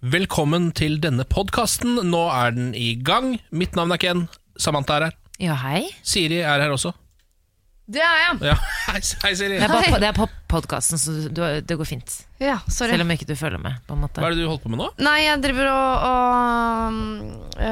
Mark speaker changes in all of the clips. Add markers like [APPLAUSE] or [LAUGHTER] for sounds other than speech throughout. Speaker 1: Velkommen til denne podkasten. Nå er den i gang. Mitt navn er Ken. Samantha er her.
Speaker 2: Ja, hei.
Speaker 1: Siri er her også.
Speaker 3: Det er jeg.
Speaker 1: Ja. [LAUGHS] Hei, hei, Siri.
Speaker 2: Det er,
Speaker 1: Hva
Speaker 2: bare,
Speaker 3: Hei.
Speaker 2: på- det er på podkasten, så du- du, det går fint.
Speaker 3: Ja, sorry.
Speaker 2: Selv om ikke du følger med. på en måte
Speaker 1: er det du holder på med nå?
Speaker 3: Nei, jeg driver og, og øh,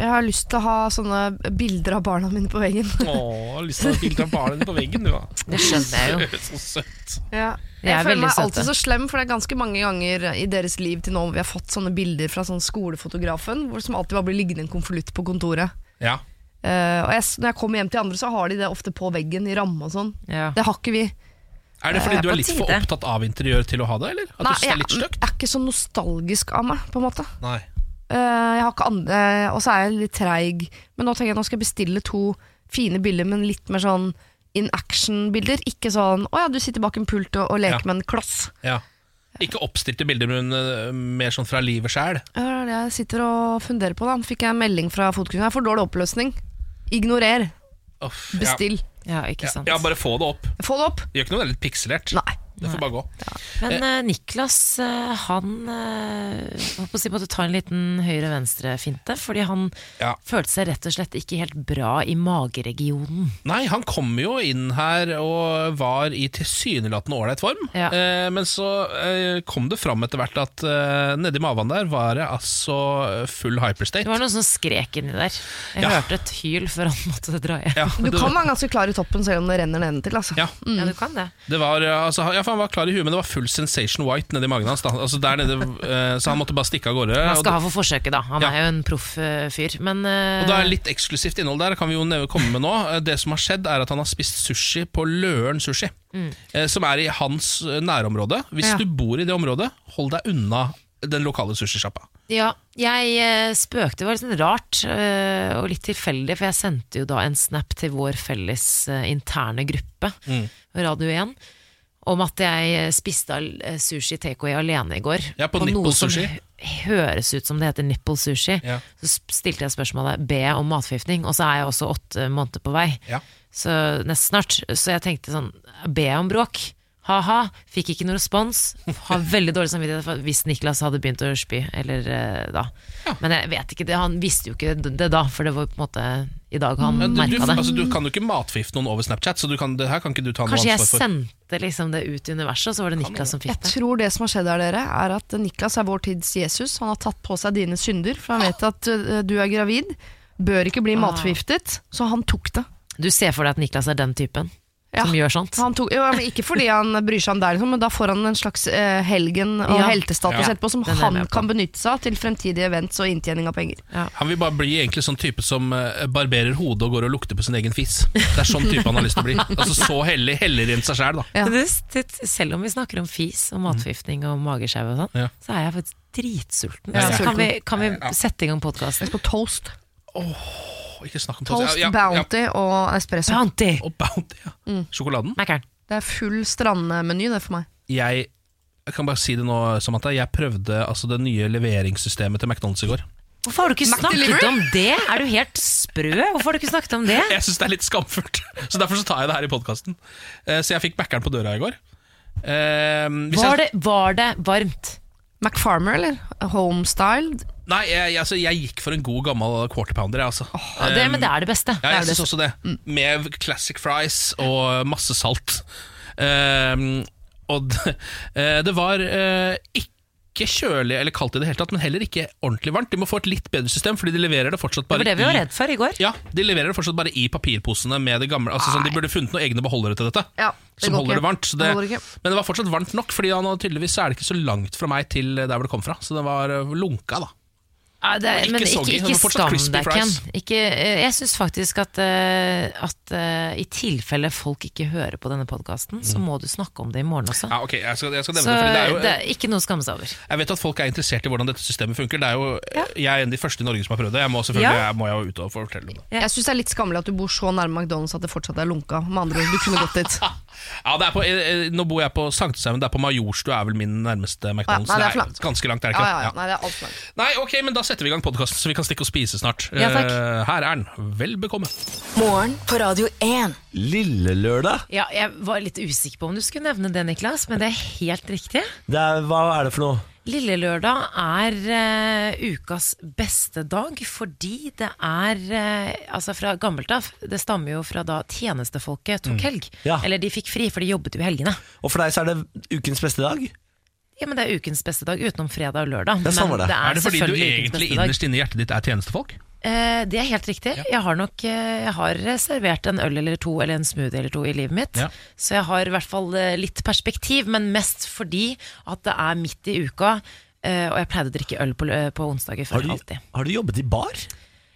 Speaker 3: Jeg har lyst til å ha sånne bilder av barna mine på veggen.
Speaker 1: Å, jeg har lyst til å filtre barnet ditt på veggen, du, da.
Speaker 2: Det skjønner jeg jo.
Speaker 1: [LAUGHS] Så søtt.
Speaker 3: Ja.
Speaker 2: De er
Speaker 3: Jeg føler
Speaker 2: veldig
Speaker 3: meg
Speaker 2: søte.
Speaker 3: alltid så slem, for det er ganske mange ganger i deres liv til nå hvor vi har fått sånne bilder fra sånn skolefotografen, hvor som alltid bare blir liggende en konvolutt på kontoret.
Speaker 1: Ja.
Speaker 3: Eh, og jeg, s- når jeg kommer hjem til andre, så har de det ofte på veggen, i ramme og sånn.
Speaker 2: Ja.
Speaker 3: Det har ikke vi.
Speaker 1: Er det fordi
Speaker 2: Det er
Speaker 1: du er
Speaker 2: på
Speaker 1: litt for
Speaker 2: tide.
Speaker 1: opptatt av interiør til å ha det, eller? At du synes det er litt
Speaker 3: jeg,
Speaker 1: stygt?
Speaker 3: jeg er ikke så nostalgisk av meg, på en måte.
Speaker 1: Nei.
Speaker 3: Eh, jeg har ikke andre, eh, og så er jeg litt treig. Men nå tenker jeg at nå skal jeg bestille to fine bilder, men litt mer sånn in action-bilder. Ikke sånn 'Å ja, du sitter bak en pult og, og leker
Speaker 1: Ja.
Speaker 3: med en kloss'.
Speaker 1: Ja. Ikke oppstilte bilder, men eh, mer sånn fra livet sjæl.
Speaker 3: Ja, Det er det jeg sitter og funderer på. da Fikk jeg en melding fra fotokunstneren. Jeg får dårlig oppløsning. Ignorer. Bestill.
Speaker 2: ja, ikke
Speaker 1: Ja.
Speaker 2: sant.
Speaker 1: ja, bare få det opp.
Speaker 3: Få det opp!
Speaker 1: Det gjør ikke noe, det er litt pikselert.
Speaker 3: Nei.
Speaker 1: Det får bare gå.
Speaker 2: Men eh, Niklas, eh, han eh, holdt på å si måtte ta en liten høyre-venstre-finte, fordi han
Speaker 1: Ja.
Speaker 2: følte seg rett og slett ikke helt bra i mageregionen.
Speaker 1: Nei, han kom jo inn her og var i tilsynelatende ålreit form.
Speaker 2: Ja.
Speaker 1: Eh, men så eh, kom det fram etter hvert at eh, nedi maven der var det altså full hyperstate.
Speaker 2: Det var noen som skrek inni der. Jeg
Speaker 1: Ja.
Speaker 2: hørte et hyl før han måtte dra hjem.
Speaker 1: Ja,
Speaker 3: Du
Speaker 1: det,
Speaker 3: kan være ganske klar i toppen selv om det renner nedentil. Altså.
Speaker 1: ja,
Speaker 2: Ja, du kan det.
Speaker 1: det var, eh, altså, han- ja, for han var klar i huet, men det var full sensation white nedi magen hans. Da. Altså, der nede, eh, så han måtte bare stikke av gårde.
Speaker 2: Han
Speaker 1: og
Speaker 2: skal ha for forsøket, da. Han
Speaker 1: Ja.
Speaker 2: er jo en proff eh, fyr. Men
Speaker 1: Og
Speaker 2: Eh.
Speaker 1: det er litt eksklusivt innhold der, kan vi jo neve- komme med nå. Eh, Det som har skjedd, er at han har spist sushi på Løren sushi, eh, som er i hans eh, nærområde. Hvis
Speaker 2: Mm. Ja.
Speaker 1: du bor i det området, hold deg unna den lokale sushisjappa.
Speaker 2: Ja, jeg eh, spøkte, det var litt sånn rart eh, og litt tilfeldig, for jeg sendte jo da en snap til vår felles eh, interne gruppe,
Speaker 1: Mm.
Speaker 2: Radio 1, om at jeg eh, spiste al- eh, sushi takeaway alene i går.
Speaker 1: Ja, på nipple
Speaker 2: noe som
Speaker 1: sushi.
Speaker 2: hø- høres ut som det heter nipple sushi.
Speaker 1: Ja.
Speaker 2: Så sp- stilte jeg spørsmålet, be om matforgiftning, og så er jeg også åtte måneder på vei.
Speaker 1: Ja.
Speaker 2: Så nesten snart. Så jeg tenkte sånn, be om bråk. Ha-ha, fikk ikke noe respons. Har veldig dårlig samvittighet for hvis Niklas hadde begynt å spy, eller eh, da. Men jeg vet ikke det, han visste jo ikke det, det da, for det var på en måte i dag han
Speaker 1: Men Du, du,
Speaker 2: merka det.
Speaker 1: altså, du kan jo ikke matforgifte noen over Snapchat, så du kan, det her kan ikke du ta noe
Speaker 2: Kanskje jeg
Speaker 1: ansvar for.
Speaker 2: sendte liksom det ut i universet, og så var det Niklas som fikk
Speaker 3: Jeg
Speaker 2: det.
Speaker 3: tror det som har skjedd her, dere, er at Niklas er vår tids Jesus. Han har tatt på seg dine synder, for han vet at øh, du er gravid. Bør ikke bli matforgiftet, så han tok det.
Speaker 2: Du ser for deg at Niklas er den typen
Speaker 3: Ja.
Speaker 2: som gjør sånt?
Speaker 3: Han tok, jo, men ikke fordi han bryr seg om deg, liksom, men da får han en slags eh, helgen og
Speaker 2: Ja.
Speaker 3: heltestatus
Speaker 1: Ja.
Speaker 3: etterpå som
Speaker 2: Den er jeg
Speaker 3: han
Speaker 2: med på.
Speaker 3: kan benytte seg av til fremtidige events og inntjening av penger.
Speaker 1: Han vil bare bli egentlig sånn type som eh, barberer hodet og går og lukter på sin egen fis. Det er sånn type han har lyst til å bli. Altså Så hellig heller enn seg sjæl, da.
Speaker 3: Ja.
Speaker 2: Det, det- selv om vi snakker om fis og matforgiftning og magesjau og sånn,
Speaker 1: Ja.
Speaker 2: så er jeg faktisk dritsulten.
Speaker 1: Ja,
Speaker 2: Så
Speaker 1: ja.
Speaker 2: kan vi, kan vi sette i gang podkasten?
Speaker 3: Jeg skal på toast.
Speaker 1: Å, ikke snakk om
Speaker 3: Toast,
Speaker 1: Ja, ja,
Speaker 3: Bounty og espresso.
Speaker 2: Bounty!
Speaker 1: Ja, og Bounty, ja.
Speaker 2: Mm.
Speaker 1: Sjokoladen.
Speaker 2: Mækkern.
Speaker 3: Det er full strandmeny, det, for meg.
Speaker 1: Jeg, jeg kan bare si det nå, Samantha. Jeg prøvde altså, det nye leveringssystemet til McDonald's i går.
Speaker 2: Hvorfor har du ikke snakket om det? Er du helt sprø? Hvorfor har du ikke snakket om det?
Speaker 1: Jeg syns det er litt skamfullt, [LAUGHS] så derfor så tar jeg det her i podkasten. Så jeg fikk backeren på døra i går. Eh, hvis jeg-
Speaker 2: Var det, var det varmt?
Speaker 3: McFarmer, eller? Homestyle?
Speaker 1: Nei, jeg, jeg- altså, jeg gikk for en god gammel quarter pounder, jeg, altså.
Speaker 2: Ja, det, men det er Mm. det beste.
Speaker 1: Ja,
Speaker 2: Det er
Speaker 1: jeg
Speaker 2: det
Speaker 1: syns også det. Med classic fries og masse salt. Ehm, og det, eh, det var eh, ikke kjølig eller kaldt i det hele tatt, men heller ikke ordentlig varmt. De må få et litt bedre system, fordi de leverer det fortsatt
Speaker 2: Det
Speaker 1: bare
Speaker 2: var det vi var
Speaker 1: i
Speaker 2: redd for i går.
Speaker 1: ja, de leverer det fortsatt bare i papirposene med det gamle. Altså, sånn, de burde funnet noen egne beholdere til dette.
Speaker 3: Ja, det
Speaker 1: som
Speaker 3: går
Speaker 1: holder
Speaker 3: ikke.
Speaker 1: det varmt. Så
Speaker 3: Det
Speaker 1: det,
Speaker 3: holder ikke.
Speaker 1: men det var fortsatt varmt nok, Fordi han hadde tydeligvis så er det ikke så langt fra meg til der hvor det kom fra. Så det var eh, lunka, da.
Speaker 2: Ja, det,
Speaker 1: Ikke
Speaker 2: men ikke,
Speaker 1: soggy,
Speaker 2: ikke
Speaker 1: det var fortsatt
Speaker 2: skam
Speaker 1: crispy
Speaker 2: deg, Ken.
Speaker 1: fries.
Speaker 2: Ikke, eh, jeg syns faktisk at, eh, at eh, i tilfelle folk ikke hører på denne podkasten, så må du snakke om det i morgen også.
Speaker 1: Mm. Ja, ok, jeg skal, jeg skal nevne
Speaker 2: Så
Speaker 1: det, fordi det er jo
Speaker 2: det er ikke noe å skamme seg over.
Speaker 1: Jeg vet at folk er interessert i hvordan dette systemet funker. Det er jo, eh, Jeg er en av de første i Norge som har prøvd det. Jeg må selvfølgelig
Speaker 2: Ja.
Speaker 1: jeg må jo ut og fortelle om det.
Speaker 2: Ja.
Speaker 3: Jeg syns det er litt skammelig at du bor så nærme McDonald's at det fortsatt er lunka. Med andre ord, du kunne gått
Speaker 1: [LAUGHS]
Speaker 3: dit.
Speaker 1: Ja, det er på, eh, eh, nå bor jeg på Sankthanshaugen, det er på Majorstua er vel min nærmeste McDonald's.
Speaker 3: Ja, nei, det er for langt.
Speaker 1: ganske langt, er det
Speaker 3: Ja,
Speaker 1: ikke?
Speaker 3: ja, ja.
Speaker 1: Ja.
Speaker 3: Nei, det er alt for langt.
Speaker 1: Nei, ok, men da setter vi i gang podkasten, så vi kan stikke og spise snart.
Speaker 2: Ja, takk.
Speaker 1: Eh, her er den. Vel bekomme.
Speaker 4: Morgen på Radio 1.
Speaker 5: Lille lørdag?
Speaker 2: Ja, jeg var litt usikker på om du skulle nevne det, Niklas, men det er helt riktig.
Speaker 5: Det er, hva er det for noe?
Speaker 2: Lille lørdag er eh, ukas beste dag, fordi det er eh, Altså fra gammelt av, det stammer jo fra da tjenestefolket tok helg.
Speaker 5: Mm. Ja.
Speaker 2: Eller de fikk fri, for de jobbet jo i helgene.
Speaker 5: Og for deg så er det ukens beste dag?
Speaker 2: Ja, men Det er ukens beste dag utenom fredag og lørdag.
Speaker 5: Ja, sånn var det.
Speaker 1: Er det fordi du
Speaker 2: selvfølgelig ukens
Speaker 1: egentlig
Speaker 2: beste dag.
Speaker 1: innerst inne i hjertet ditt er tjenestefolk?
Speaker 2: Eh, det er helt riktig. Jeg har nok eh, jeg har servert en øl eller to eller en smoothie eller to i livet mitt.
Speaker 1: Ja.
Speaker 2: Så jeg har i hvert fall eh, litt perspektiv, men mest fordi at det er midt i uka. eh, og jeg pleide å drikke øl på, lø- på onsdager
Speaker 5: Har
Speaker 2: før
Speaker 5: du,
Speaker 2: alltid.
Speaker 5: har du jobbet i bar?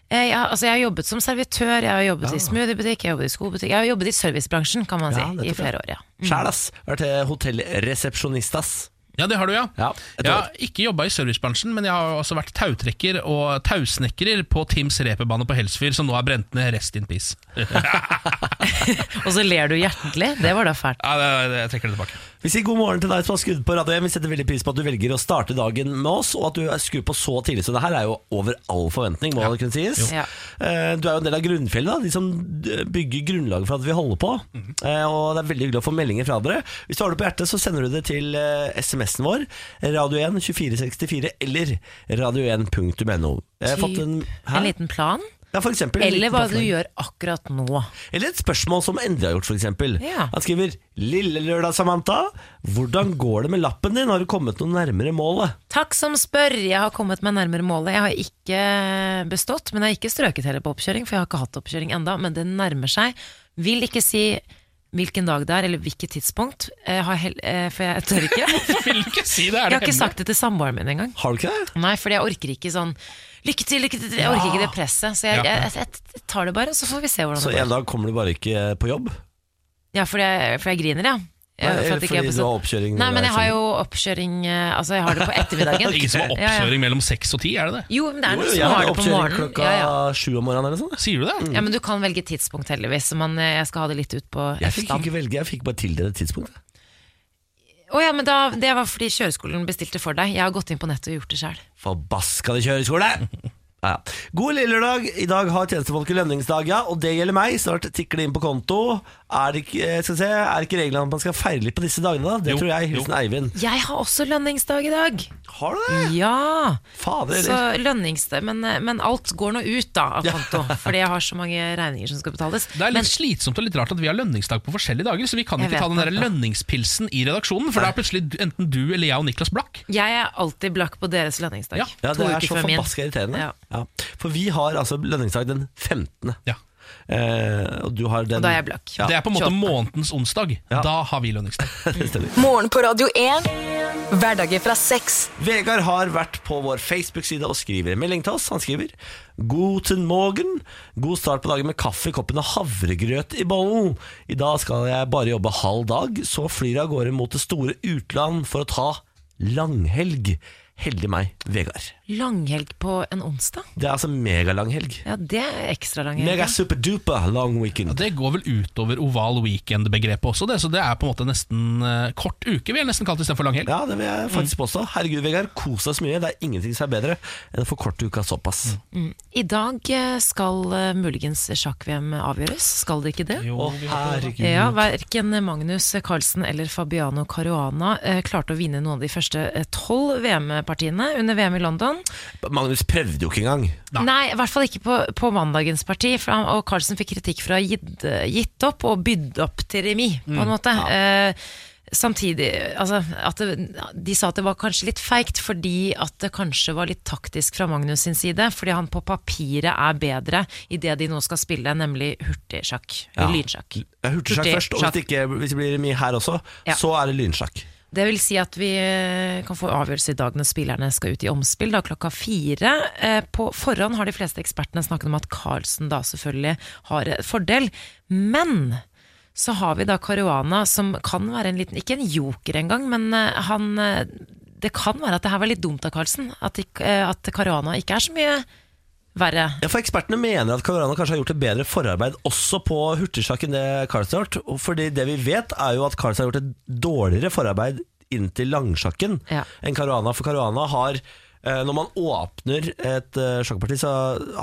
Speaker 2: Eh, jeg, har- altså, jeg har jobbet som servitør, jeg har jobbet i smoothiebutikk, jeg har jobbet i skobutikk. Jeg har jobbet i servicebransjen, kan man si,
Speaker 5: Ja, nettopp,
Speaker 2: i
Speaker 5: ja.
Speaker 2: flere år. ja.
Speaker 5: Sjæl, ass. Vært eh, hotellresepsjonist, ass.
Speaker 1: Ja, det har du, ja.
Speaker 5: Ja, et
Speaker 1: jeg
Speaker 5: år.
Speaker 1: har ikke jobba i servicebransjen, men jeg har også vært tautrekker og tausnekrer på Tims reperbane på Helsfyr, som nå er brent ned. Rest in peace. ja,
Speaker 2: Og så ler du hjertelig. Det var da fælt.
Speaker 1: det, det, jeg trekker det tilbake.
Speaker 5: Vi sier god morgen til deg som har skrudd på radioen. Vi setter veldig pris på at du velger å starte dagen med oss, og at du er skrudd på så tidlig. Så det her er jo over all forventning, må det kunne sies.
Speaker 2: Jo. Ja.
Speaker 5: Eh, Du er jo en del av grunnfjellet, da. de som eh, bygger grunnlaget for at vi holder på.
Speaker 2: Mhm.
Speaker 5: Eh, Og det er veldig hyggelig å få meldinger fra dere. Hvis du har det på hjertet, så sender du det til eh, SMS-en vår, radio 1 2464 eller radio1.no. Jeg har fått en,
Speaker 2: Typ
Speaker 5: Hæ?
Speaker 2: en liten plan.
Speaker 5: Ja, for eksempel, en
Speaker 2: Eller
Speaker 5: liten
Speaker 2: hva du
Speaker 5: oppslag.
Speaker 2: gjør akkurat nå.
Speaker 5: Eller et spørsmål som Endre har gjort, f.eks.
Speaker 2: Ja.
Speaker 5: Han skriver 'Lille lørdag, Samantha. Hvordan går det med lappen din? Har du kommet noe nærmere målet?'
Speaker 2: Takk som spør, jeg har kommet meg nærmere målet. Jeg har ikke bestått, men jeg har ikke strøket heller på oppkjøring, for jeg har ikke hatt oppkjøring enda, men det nærmer seg. Vil ikke si hvilken dag det er, eller hvilket tidspunkt, jeg har hel eh, for jeg tør ikke.
Speaker 5: [LAUGHS]
Speaker 2: jeg
Speaker 1: [LAUGHS] Vil ikke si det, er
Speaker 2: har
Speaker 1: det
Speaker 2: ikke sagt det til samboeren min engang.
Speaker 5: Har du ikke det?
Speaker 2: Nei, fordi jeg orker ikke sånn Lykke til, lykke til! Jeg orker ikke det presset. Så jeg,
Speaker 1: Ja.
Speaker 2: jeg, jeg, jeg tar det bare, så får vi se hvordan
Speaker 5: Ah. Så
Speaker 2: det går.
Speaker 5: en dag kommer du bare ikke på jobb?
Speaker 2: Ja, for jeg, for jeg griner, ja. Jeg-
Speaker 5: Nei,
Speaker 2: for at ikke
Speaker 5: eller
Speaker 2: jeg
Speaker 5: fordi
Speaker 2: er på
Speaker 5: du
Speaker 2: sånn-
Speaker 5: har oppkjøring?
Speaker 2: Nei,
Speaker 5: når
Speaker 2: men
Speaker 5: det er
Speaker 2: jeg har
Speaker 5: sånn-
Speaker 2: jo oppkjøring eh, Altså, jeg har det på
Speaker 5: [LAUGHS]
Speaker 2: ettermiddagen.
Speaker 1: Ingen som har
Speaker 2: Ja, ja.
Speaker 1: oppkjøring mellom seks og ti, er det det?
Speaker 2: Jo, men det er
Speaker 5: Jo,
Speaker 2: noen
Speaker 5: jo,
Speaker 2: som
Speaker 5: jeg
Speaker 2: har
Speaker 5: har
Speaker 2: det på
Speaker 5: oppkjøring
Speaker 2: morgenen.
Speaker 5: klokka
Speaker 2: Ja, ja.
Speaker 5: sju om morgenen eller sånn, noe sånt.
Speaker 1: Sier du det?
Speaker 2: Ja, men du kan velge tidspunkt heldigvis, men eh, jeg skal ha det litt ut på
Speaker 5: Jeg fikk
Speaker 2: ettermiddagen.
Speaker 5: ikke velge, jeg fikk bare tildelt et tidspunkt.
Speaker 2: Å ja, men da, det var fordi kjøreskolen bestilte for deg. Jeg har gått inn på nettet og gjort det sjøl.
Speaker 5: Forbaska de kjøreskole! [LAUGHS] Ja. ja. God lille lørdag. I dag har tjenestefolket lønningsdag, ja, og det gjelder meg. Snart tikker det inn på konto. Er det ikke, eh, skal vi se, er det ikke reglene at man skal feire litt på disse dagene, da? Det
Speaker 1: Jo,
Speaker 5: tror jeg.
Speaker 1: jo.
Speaker 5: Hilsen Eivind.
Speaker 2: Jeg har også lønningsdag i dag!
Speaker 5: Har du det?
Speaker 2: Ja!
Speaker 5: Fader,
Speaker 2: Mm. Så
Speaker 5: eller?
Speaker 2: lønningsdag Men, eh, men alt går nå ut da av konto, fordi jeg har så mange regninger som skal betales.
Speaker 1: Det er litt
Speaker 2: Men
Speaker 1: slitsomt og litt rart at vi har lønningsdag på forskjellige dager, så vi kan
Speaker 2: Jeg
Speaker 1: ikke
Speaker 2: vet
Speaker 1: ta den der
Speaker 2: det.
Speaker 1: lønningspilsen i redaksjonen, for da er plutselig enten du eller jeg og Niklas blakk.
Speaker 2: jeg er alltid blakk på deres lønningsdag.
Speaker 1: Ja.
Speaker 5: Ja,
Speaker 2: to
Speaker 5: det er
Speaker 2: uker
Speaker 5: så
Speaker 2: før min.
Speaker 5: forbaska irriterende.
Speaker 2: Ja.
Speaker 5: Ja. For vi har altså lønningsdag den 15.
Speaker 1: Ja.
Speaker 5: Eh, og du har den
Speaker 2: Og da er jeg blakk.
Speaker 5: Ja.
Speaker 1: Det er på en måte
Speaker 2: 28.
Speaker 1: månedens onsdag.
Speaker 5: Ja.
Speaker 1: Da har vi lønningsdag.
Speaker 5: Det stemmer.
Speaker 4: Morgen på Radio 1. Hverdager fra seks.
Speaker 5: Vegard har vært på vår Facebook-side og skriver en melding til oss. Han skriver Guten morgen. God start på dagen med kaffe i koppen og havregrøt i bollen. I dag skal jeg bare jobbe halv dag, så flyr jeg av gårde mot det store utland for å ta langhelg. Heldig meg, Vegard.
Speaker 2: Langhelg på en onsdag?
Speaker 5: Det er altså megalanghelg.
Speaker 2: Ja, det er ekstra lang helg.
Speaker 5: Mega
Speaker 2: ja.
Speaker 5: super duper long weekend.
Speaker 1: Det går vel utover oval weekend-begrepet også, det, så det er på en måte nesten eh, kort uke, vil jeg nesten kalle det istedenfor lang helg.
Speaker 5: Ja, det vil jeg faktisk påstå. Herregud, Vegard, kos deg så mye. Det er ingenting som er bedre enn å få kort uka såpass.
Speaker 2: I dag eh, skal eh, muligens sjakk-VM avgjøres, skal det ikke det?
Speaker 1: Jo,
Speaker 5: Å, herregud.
Speaker 2: Ja, Verken Magnus Carlsen eller Fabiano Caruana eh, klarte å vinne noen av de første eh, tolv VM-partiene under VM i London.
Speaker 5: Magnus prøvde jo ikke engang.
Speaker 1: Nei.
Speaker 2: Nei, i hvert fall ikke på, på mandagens parti. For han, og Carlsen fikk kritikk for å ha gitt, gitt opp og bydd opp til remis, på en måte. Eh, samtidig altså, at det, De sa at det var kanskje litt feigt, fordi at det kanskje var litt taktisk fra Magnus sin side. Fordi han på papiret er bedre i det de nå skal spille, nemlig hurtigsjakk.
Speaker 5: Ja. Eh,
Speaker 2: Eller lynsjakk.
Speaker 5: Ja, Hurtigsjakk
Speaker 2: Hurtig
Speaker 5: først, og hvis det, ikke, hvis det blir mye her også,
Speaker 2: Ja.
Speaker 5: så er det lynsjakk.
Speaker 2: Det vil si at vi eh, kan få avgjørelse i dag når spillerne skal ut i omspill da, klokka fire. Eh, På forhånd har de fleste ekspertene snakket om at Carlsen da selvfølgelig har et fordel. Men så har vi da Caruana som kan være en liten, ikke en joker engang, men eh, han eh, Det kan være at det her var litt dumt av Carlsen. At, ikk- eh, at Caruana ikke er så mye verre.
Speaker 5: Ja, for Ekspertene mener at Caverana kanskje har gjort et bedre forarbeid også på hurtigsjakk enn det Carlsen har gjort. og Fordi det vi vet, er jo at Carlsen har gjort et dårligere forarbeid inn til langsjakken
Speaker 2: Ja.
Speaker 5: enn Caruana. For Caruana har eh, Når man åpner et eh, sjakkparti, så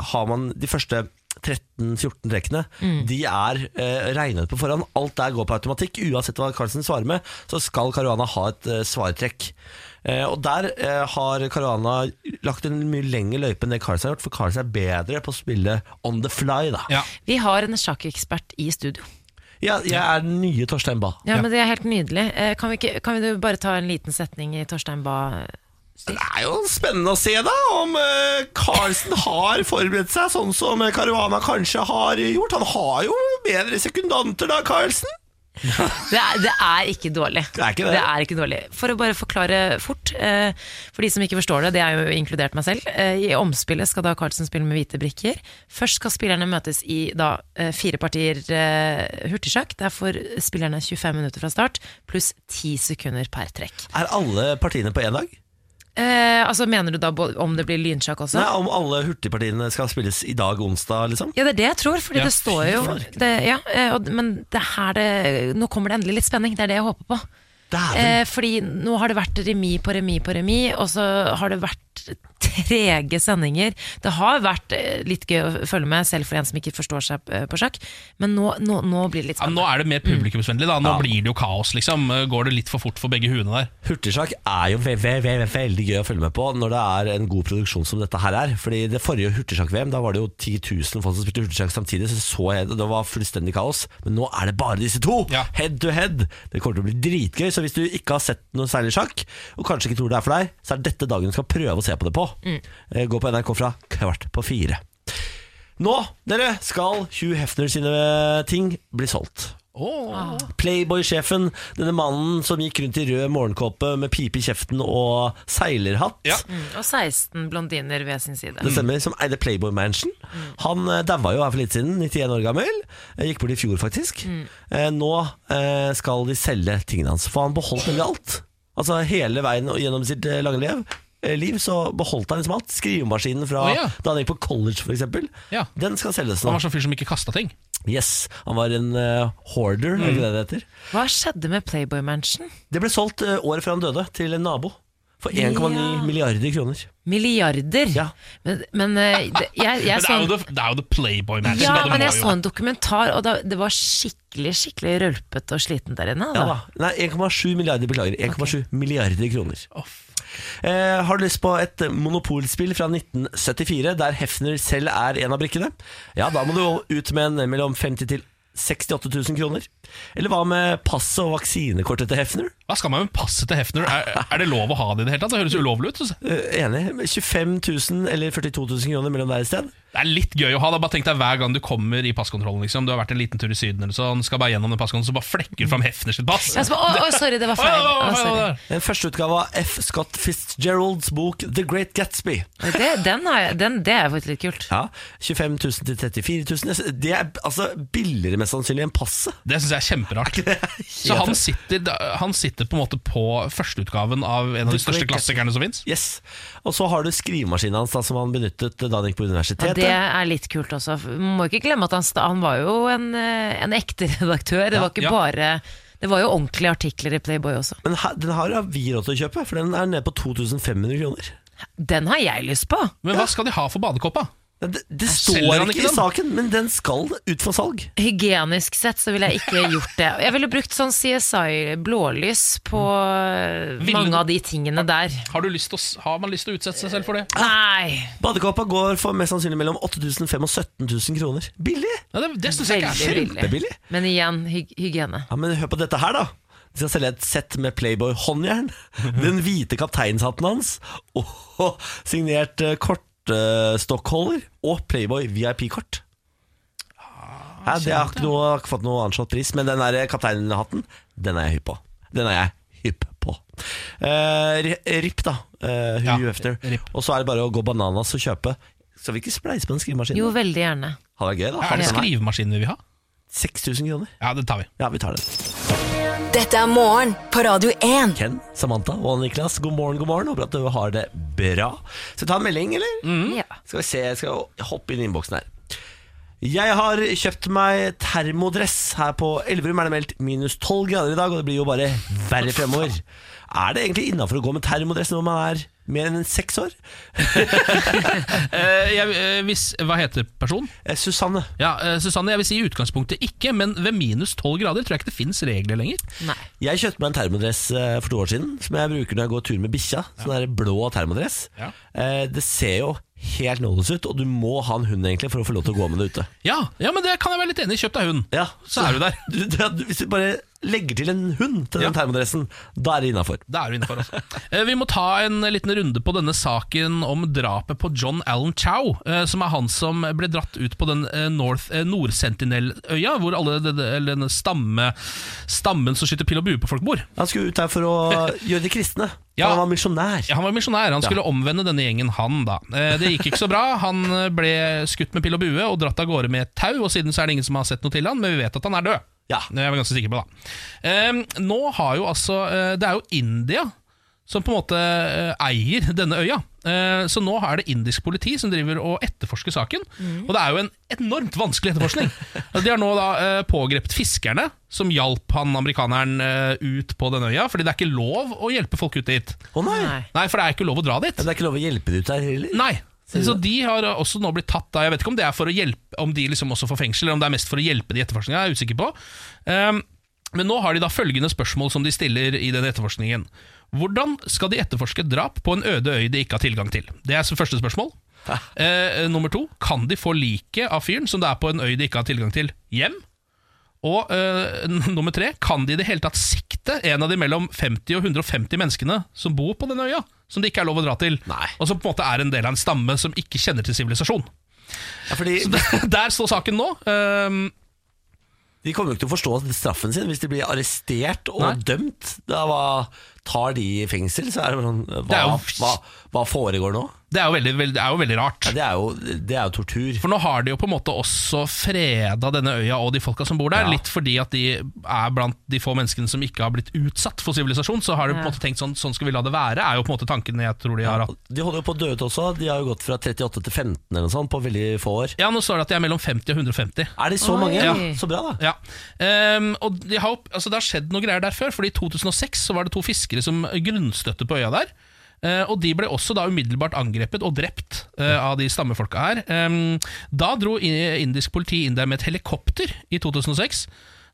Speaker 5: har man de første 13-14 trekkene. De er eh, regnet på forhånd. Alt der går på automatikk. Uansett hva Carlsen svarer med, så skal Caruana ha et eh, svartrekk. Eh, og der eh, har Caruana lagt en mye lengre løype enn det Cars har gjort, for Cars er bedre på å spille on the fly, da.
Speaker 1: Ja.
Speaker 2: Vi har en sjakkekspert i studio.
Speaker 5: Ja, jeg er den nye Torstein Bae.
Speaker 2: Ja, men Det er helt nydelig. Eh, Kan vi, ikke, kan vi du bare ta en liten setning i Torstein Bae?
Speaker 5: Det er jo spennende å se da om eh, Carlsen har forberedt seg sånn som eh, Caruana kanskje har gjort. Han har jo bedre sekundanter da, Carlsen.
Speaker 2: Det er, det er ikke dårlig.
Speaker 5: Det er ikke det.
Speaker 2: er ikke dårlig. For å bare forklare fort, eh, for de som ikke forstår det, det er jo inkludert meg selv. Eh, I omspillet skal da Carlsen spille med hvite brikker. Først skal spillerne møtes i da eh, fire partier eh, hurtigsjakk. Der får spillerne 25 minutter fra start, pluss 10 sekunder per trekk.
Speaker 5: Er alle partiene på én dag?
Speaker 2: Eh, altså Mener du da bo- om det blir lynsjakk også?
Speaker 5: Nei, Om alle hurtigpartiene skal spilles i dag, onsdag, liksom?
Speaker 2: Ja, det er det jeg tror, fordi
Speaker 1: Ja,
Speaker 2: det står jo det, ja, eh, og, Men det her det, nå kommer det endelig litt spenning, det er det jeg håper på.
Speaker 5: Dæven!
Speaker 2: Eh, fordi nå har det vært remis på remis på remis, og så har det vært trege sendinger. Det har vært eh, litt gøy å følge med, selv for en som ikke forstår seg eh, på sjakk, men nå, nå, nå blir det litt
Speaker 1: Ja,
Speaker 2: sånn, spennende.
Speaker 1: nå er det mer publikumsvennlig. da Nå blir det jo kaos, liksom. Går det litt for fort for begge huene der?
Speaker 5: Hurtigsjakk er jo ve ve ve veldig gøy å følge med på når det er en god produksjon som dette her er. Fordi det forrige hurtigsjakk-VM, da var det jo 10 000 folk som spilte hurtigsjakk samtidig, så så jeg det, det var fullstendig kaos. Men nå er det bare disse to!
Speaker 1: Ja.
Speaker 5: Head to head! Det kommer til å bli dritgøy, så hvis du ikke har sett noe særlig sjakk, og kanskje ikke tror det er for deg, så er dette dagen du skal prøve å se på det på. Eh, Gå på NRK fra kvart på fire. Nå, dere, skal Hugh Hefner sine ting bli solgt.
Speaker 1: Oh.
Speaker 5: Playboy-sjefen, denne mannen som gikk rundt i rød morgenkåpe med pipe i kjeften og seilerhatt.
Speaker 1: Ja.
Speaker 2: Mm, Og 16 blondiner ved sin side.
Speaker 5: Det stemmer, som eide Playboy Mansion. Han eh, daua jo her for litt siden, 91 år gammel. Eh, Gikk bort i fjor, faktisk.
Speaker 1: Mm.
Speaker 5: Eh, Nå eh, skal de selge tingene hans, for han beholdt nemlig alt. Altså hele veien og gjennom sitt eh, lange liv, eh, liv så beholdt han liksom alt. Skrivemaskinen fra
Speaker 1: Å, ja.
Speaker 5: da han gikk på college, for eksempel.
Speaker 1: Ja.
Speaker 5: Den skal selges
Speaker 1: Han
Speaker 5: nå.
Speaker 1: var sånn fyr som ikke kasta ting.
Speaker 5: Yes, han var en eh, hoarder,
Speaker 1: Mm.
Speaker 5: er ikke det det heter?
Speaker 2: Hva skjedde med Playboy Mansion?
Speaker 5: Det ble solgt eh, året før han døde til en nabo for 1,9
Speaker 2: Ja.
Speaker 5: milliarder kroner.
Speaker 2: Milliarder!
Speaker 5: Ja.
Speaker 2: Men, men eh, det, jeg,
Speaker 1: Men
Speaker 2: jeg
Speaker 1: det
Speaker 2: så
Speaker 1: er jo det, det, er jo det Playboy Mansion.
Speaker 2: Ja,
Speaker 1: da, det
Speaker 2: men
Speaker 1: må
Speaker 2: jeg
Speaker 1: jo-
Speaker 2: så en dokumentar, og da, det var skikkelig skikkelig rølpete og sliten der inne.
Speaker 5: Ja
Speaker 2: Altså.
Speaker 5: da. Nei, 1,7 milliarder, beklager. 1,7 milliarder kroner.
Speaker 1: Å, f-
Speaker 5: Eh, har du lyst på et monopolspill fra 1974 der Hefner selv er en av brikkene? Ja, da må du jo ut med en mellom 50 til 68 000 kroner. Eller hva med passet og vaksinekortet til Hefner?
Speaker 1: Hva skal man med passet til Hefner? Er, er det lov å ha det i det hele tatt? Det
Speaker 2: Mm.
Speaker 1: høres jo ulovlig ut. synes jeg.
Speaker 5: Eh, enig. 25 000 eller 42 000 kroner mellom der et sted.
Speaker 1: Det er litt gøy å ha. Da. Bare tenk deg hver gang du kommer i passkontrollen. Liksom. Du har vært en liten tur i Syden, eller sånn, skal bare gjennom den passkontrollen, så bare flekker du fram Hefner sitt pass.
Speaker 2: Ja, så, Altså, å, å, sorry, det var
Speaker 1: Å, ja, det
Speaker 2: feil.
Speaker 1: var
Speaker 2: Å,
Speaker 1: feil, det
Speaker 2: sorry.
Speaker 1: var det.
Speaker 5: En førsteutgave av F. Scott Fitzgeralds bok The Great Gatsby.
Speaker 2: Oi, Det, den har jeg, den, det er faktisk litt kult.
Speaker 5: Ja, 25 000 til 34 000 Det er altså billigere mest sannsynlig enn
Speaker 2: [LAUGHS]
Speaker 5: passet
Speaker 1: Det syns jeg er kjemperart. Så han sitter, da- han sitter på en måte på førsteutgaven av en av de
Speaker 5: The Great
Speaker 1: største klassikerne som fins.
Speaker 5: Yes, og så har du skrivemaskinen hans da, Som han benyttet da han gikk på
Speaker 2: Ja,
Speaker 5: universitetet
Speaker 2: det er litt kult også. Man må ikke glemme at han, sta- han var jo en, eh, en ekte [LAUGHS] redaktør. Det var ikke
Speaker 1: ja.
Speaker 2: bare Det var jo ordentlige artikler i Playboy også.
Speaker 5: Men her, den har vi råd til å kjøpe For den er nede på 2500 kroner
Speaker 2: Den har jeg lyst på!
Speaker 1: Men hva skal de ha for badekåpa?
Speaker 5: Nei, Det, det
Speaker 1: selger
Speaker 5: står
Speaker 1: han
Speaker 5: ikke
Speaker 1: ikke
Speaker 5: i
Speaker 1: den?
Speaker 5: saken Men den skal ut for salg
Speaker 2: Hygienisk sett så ville
Speaker 1: [LAUGHS]
Speaker 2: jeg ikke gjort det. Jeg ville brukt sånn CSI-blålys på eh,
Speaker 1: Ville du-
Speaker 2: mange av de tingene der.
Speaker 1: Har, du lyst til å, s- har man lyst til å utsette seg selv for det?
Speaker 2: Nei!
Speaker 5: Badekåpa går for mest sannsynlig mellom 8500 og 17.000 kroner Billig,
Speaker 1: Ja, det det syns jeg ikke er
Speaker 2: Veldig billig.
Speaker 5: kjempebillig
Speaker 2: Men igjen, hyg hygiene.
Speaker 5: Ja, men hør på dette her da de skal selge et sett med Playboy-håndjern, den hvite kapteinshatten hans, og signert eh, kortstokkholder og Playboy VIP-kort. Ja, det har ikke, noe, har ikke fått noe anslått pris, men den der kapteinhatten, den er jeg hypp på. Den er jeg hypp på. Eh, ri- RIP, da. eh, Hugh
Speaker 1: Ja,
Speaker 5: Hefner.
Speaker 1: RIP.
Speaker 5: Og så er det bare å gå bananas og kjøpe. Skal vi ikke spleise på den skrivemaskinen?
Speaker 2: Jo, veldig gjerne.
Speaker 5: Hadde vært gøy, da. sånn
Speaker 1: Er det
Speaker 5: Hadde vært-
Speaker 1: skrivemaskinen vi vil ha?
Speaker 5: 6000 kroner.
Speaker 1: Ja, det tar vi.
Speaker 5: Ja, vi tar den.
Speaker 4: Dette er morgen på Radio 1.
Speaker 5: Ken, Samantha og Niklas, god morgen, god morgen. Håper at du har det
Speaker 1: Mm.
Speaker 5: bra. Skal vi ta en melding, eller?
Speaker 2: Ja.
Speaker 5: Skal vi se, jeg skal hoppe inn i innboksen her. Jeg har kjøpt meg termodress her på Elverum. Er det meldt minus 12 grader i dag, og det blir jo bare verre fremover. Er det egentlig innafor å gå med termodress når man er mer enn seks år?
Speaker 1: Eh, jeg, eh, hvis, hva heter personen?
Speaker 5: Eh, Susanne.
Speaker 1: Ja, eh, Susanne, jeg vil si i utgangspunktet ikke, men ved minus 12 grader tror jeg ikke det finnes regler lenger.
Speaker 2: Nei.
Speaker 5: Jeg kjøpte meg en termodress eh, for to år siden, som jeg bruker når jeg går tur med bikkja. Sånn der blå termodress.
Speaker 1: Ja.
Speaker 5: Eh, Det ser jo helt nådeløs ut, og du må ha en hund egentlig for å få lov til å gå med det ute.
Speaker 1: Ja, ja, men det kan jeg være litt enig i. Kjøp deg hund.
Speaker 5: Ja,
Speaker 1: Så er du der.
Speaker 5: ja, du- Hvis du bare legger til en hund til
Speaker 1: Ja.
Speaker 5: den termodressen, da er det innafor.
Speaker 1: Da er du innenfor, altså. [LAUGHS] Eh, Vi må ta en liten runde på denne saken om drapet på John Allen Chow, eh, som er han som ble dratt ut på den eh, North, eh, Nord-Sentinel-øya, hvor alle de- de- eller denne stamme, stammen som skyter pil og bue på folk, bor.
Speaker 5: Han skulle ut her for
Speaker 1: [LAUGHS]
Speaker 5: å gjøre de kristne.
Speaker 1: Ja.
Speaker 5: For Han var misjonær.
Speaker 1: Ja, han var misjonær. Han skulle omvende denne gjengen, han da. Eh, Det gikk ikke så bra. Han eh, ble skutt med pil og bue og dratt av gårde med et tau, og siden så er det ingen som har sett noe til han, men vi vet at han er død.
Speaker 5: Ja.
Speaker 1: Det er jeg ganske sikker på, da. Ehm, nå har jo altså eh, Det er jo India som på en måte eh, eier denne øya. Eh, så nå er det indisk politi som driver og etterforsker saken. Og det er jo en enormt vanskelig etterforskning. Altså, De har nå da eh, pågrepet fiskerne som hjalp han amerikaneren eh, ut på denne øya, fordi det er ikke lov å hjelpe folk ut dit.
Speaker 5: Å nei.
Speaker 2: Nei.
Speaker 1: Nei, for det er ikke lov å dra dit.
Speaker 5: Men det er ikke lov å hjelpe de ut her heller.
Speaker 1: Nei. Så de har også nå blitt tatt da Jeg vet ikke om det er for å hjelpe Om de liksom også får fengsel, eller om det er mest for å hjelpe de i etterforskninga. Jeg er usikker på. Ehm, men nå har de da følgende spørsmål som de stiller i den etterforskningen. Hvordan skal de etterforske et drap på en øde øy de ikke har tilgang til? Det er første spørsmål. Eh, nummer to, kan de få liket av fyren som det er på en øy de ikke har tilgang til, hjem? Og eh, [LAUGHS] n- nummer tre, kan de i det hele tatt sikte en av de mellom 50 og 150 menneskene som bor på denne øya, som det ikke er lov å dra til,
Speaker 5: Nei.
Speaker 1: og som på en måte er en del av en stamme som ikke kjenner til sivilisasjon? [LAUGHS]
Speaker 5: Ja, fordi
Speaker 1: Så det- Der står saken nå. Ehm,
Speaker 5: De kommer jo ikke til å forstå straffen sin hvis de blir arrestert og
Speaker 1: Nei.
Speaker 5: dømt. Da hva, Tar de i fengsel, så er det sånn
Speaker 1: Det
Speaker 5: Hva,
Speaker 1: er jo-
Speaker 5: hva, hva foregår nå?
Speaker 1: det, er jo veldig, veldig, det er jo veldig rart.
Speaker 5: Ja, det, er jo, det er jo tortur.
Speaker 1: For nå har de jo på en måte også freda denne øya og de folka som bor der.
Speaker 5: Ja.
Speaker 1: Litt fordi at de er blant de få menneskene som ikke har blitt utsatt for sivilisasjon. Så har de på en måte tenkt sånn, sånn skal vi la det være, er jo på en måte tanken jeg tror de har hatt.
Speaker 5: De holder jo på å dø ut også. De har jo gått fra 38 til 15 eller noe sånt på veldig få år.
Speaker 1: Ja, nå står det at de er mellom 50 og 150.
Speaker 5: Er de så
Speaker 2: Oi.
Speaker 5: mange?
Speaker 2: Ja.
Speaker 5: Så bra,
Speaker 1: Ja.
Speaker 5: da.
Speaker 1: Ehm, og de har, opp- altså det har skjedd noe greier der før, Fordi i 2006 så var det to fiskere som eh, grunnstøtte på øya der. Eh, og de ble også da umiddelbart angrepet og drept eh, av de stammefolka her. Ehm, da dro i- indisk politi inn der med et helikopter i 2006.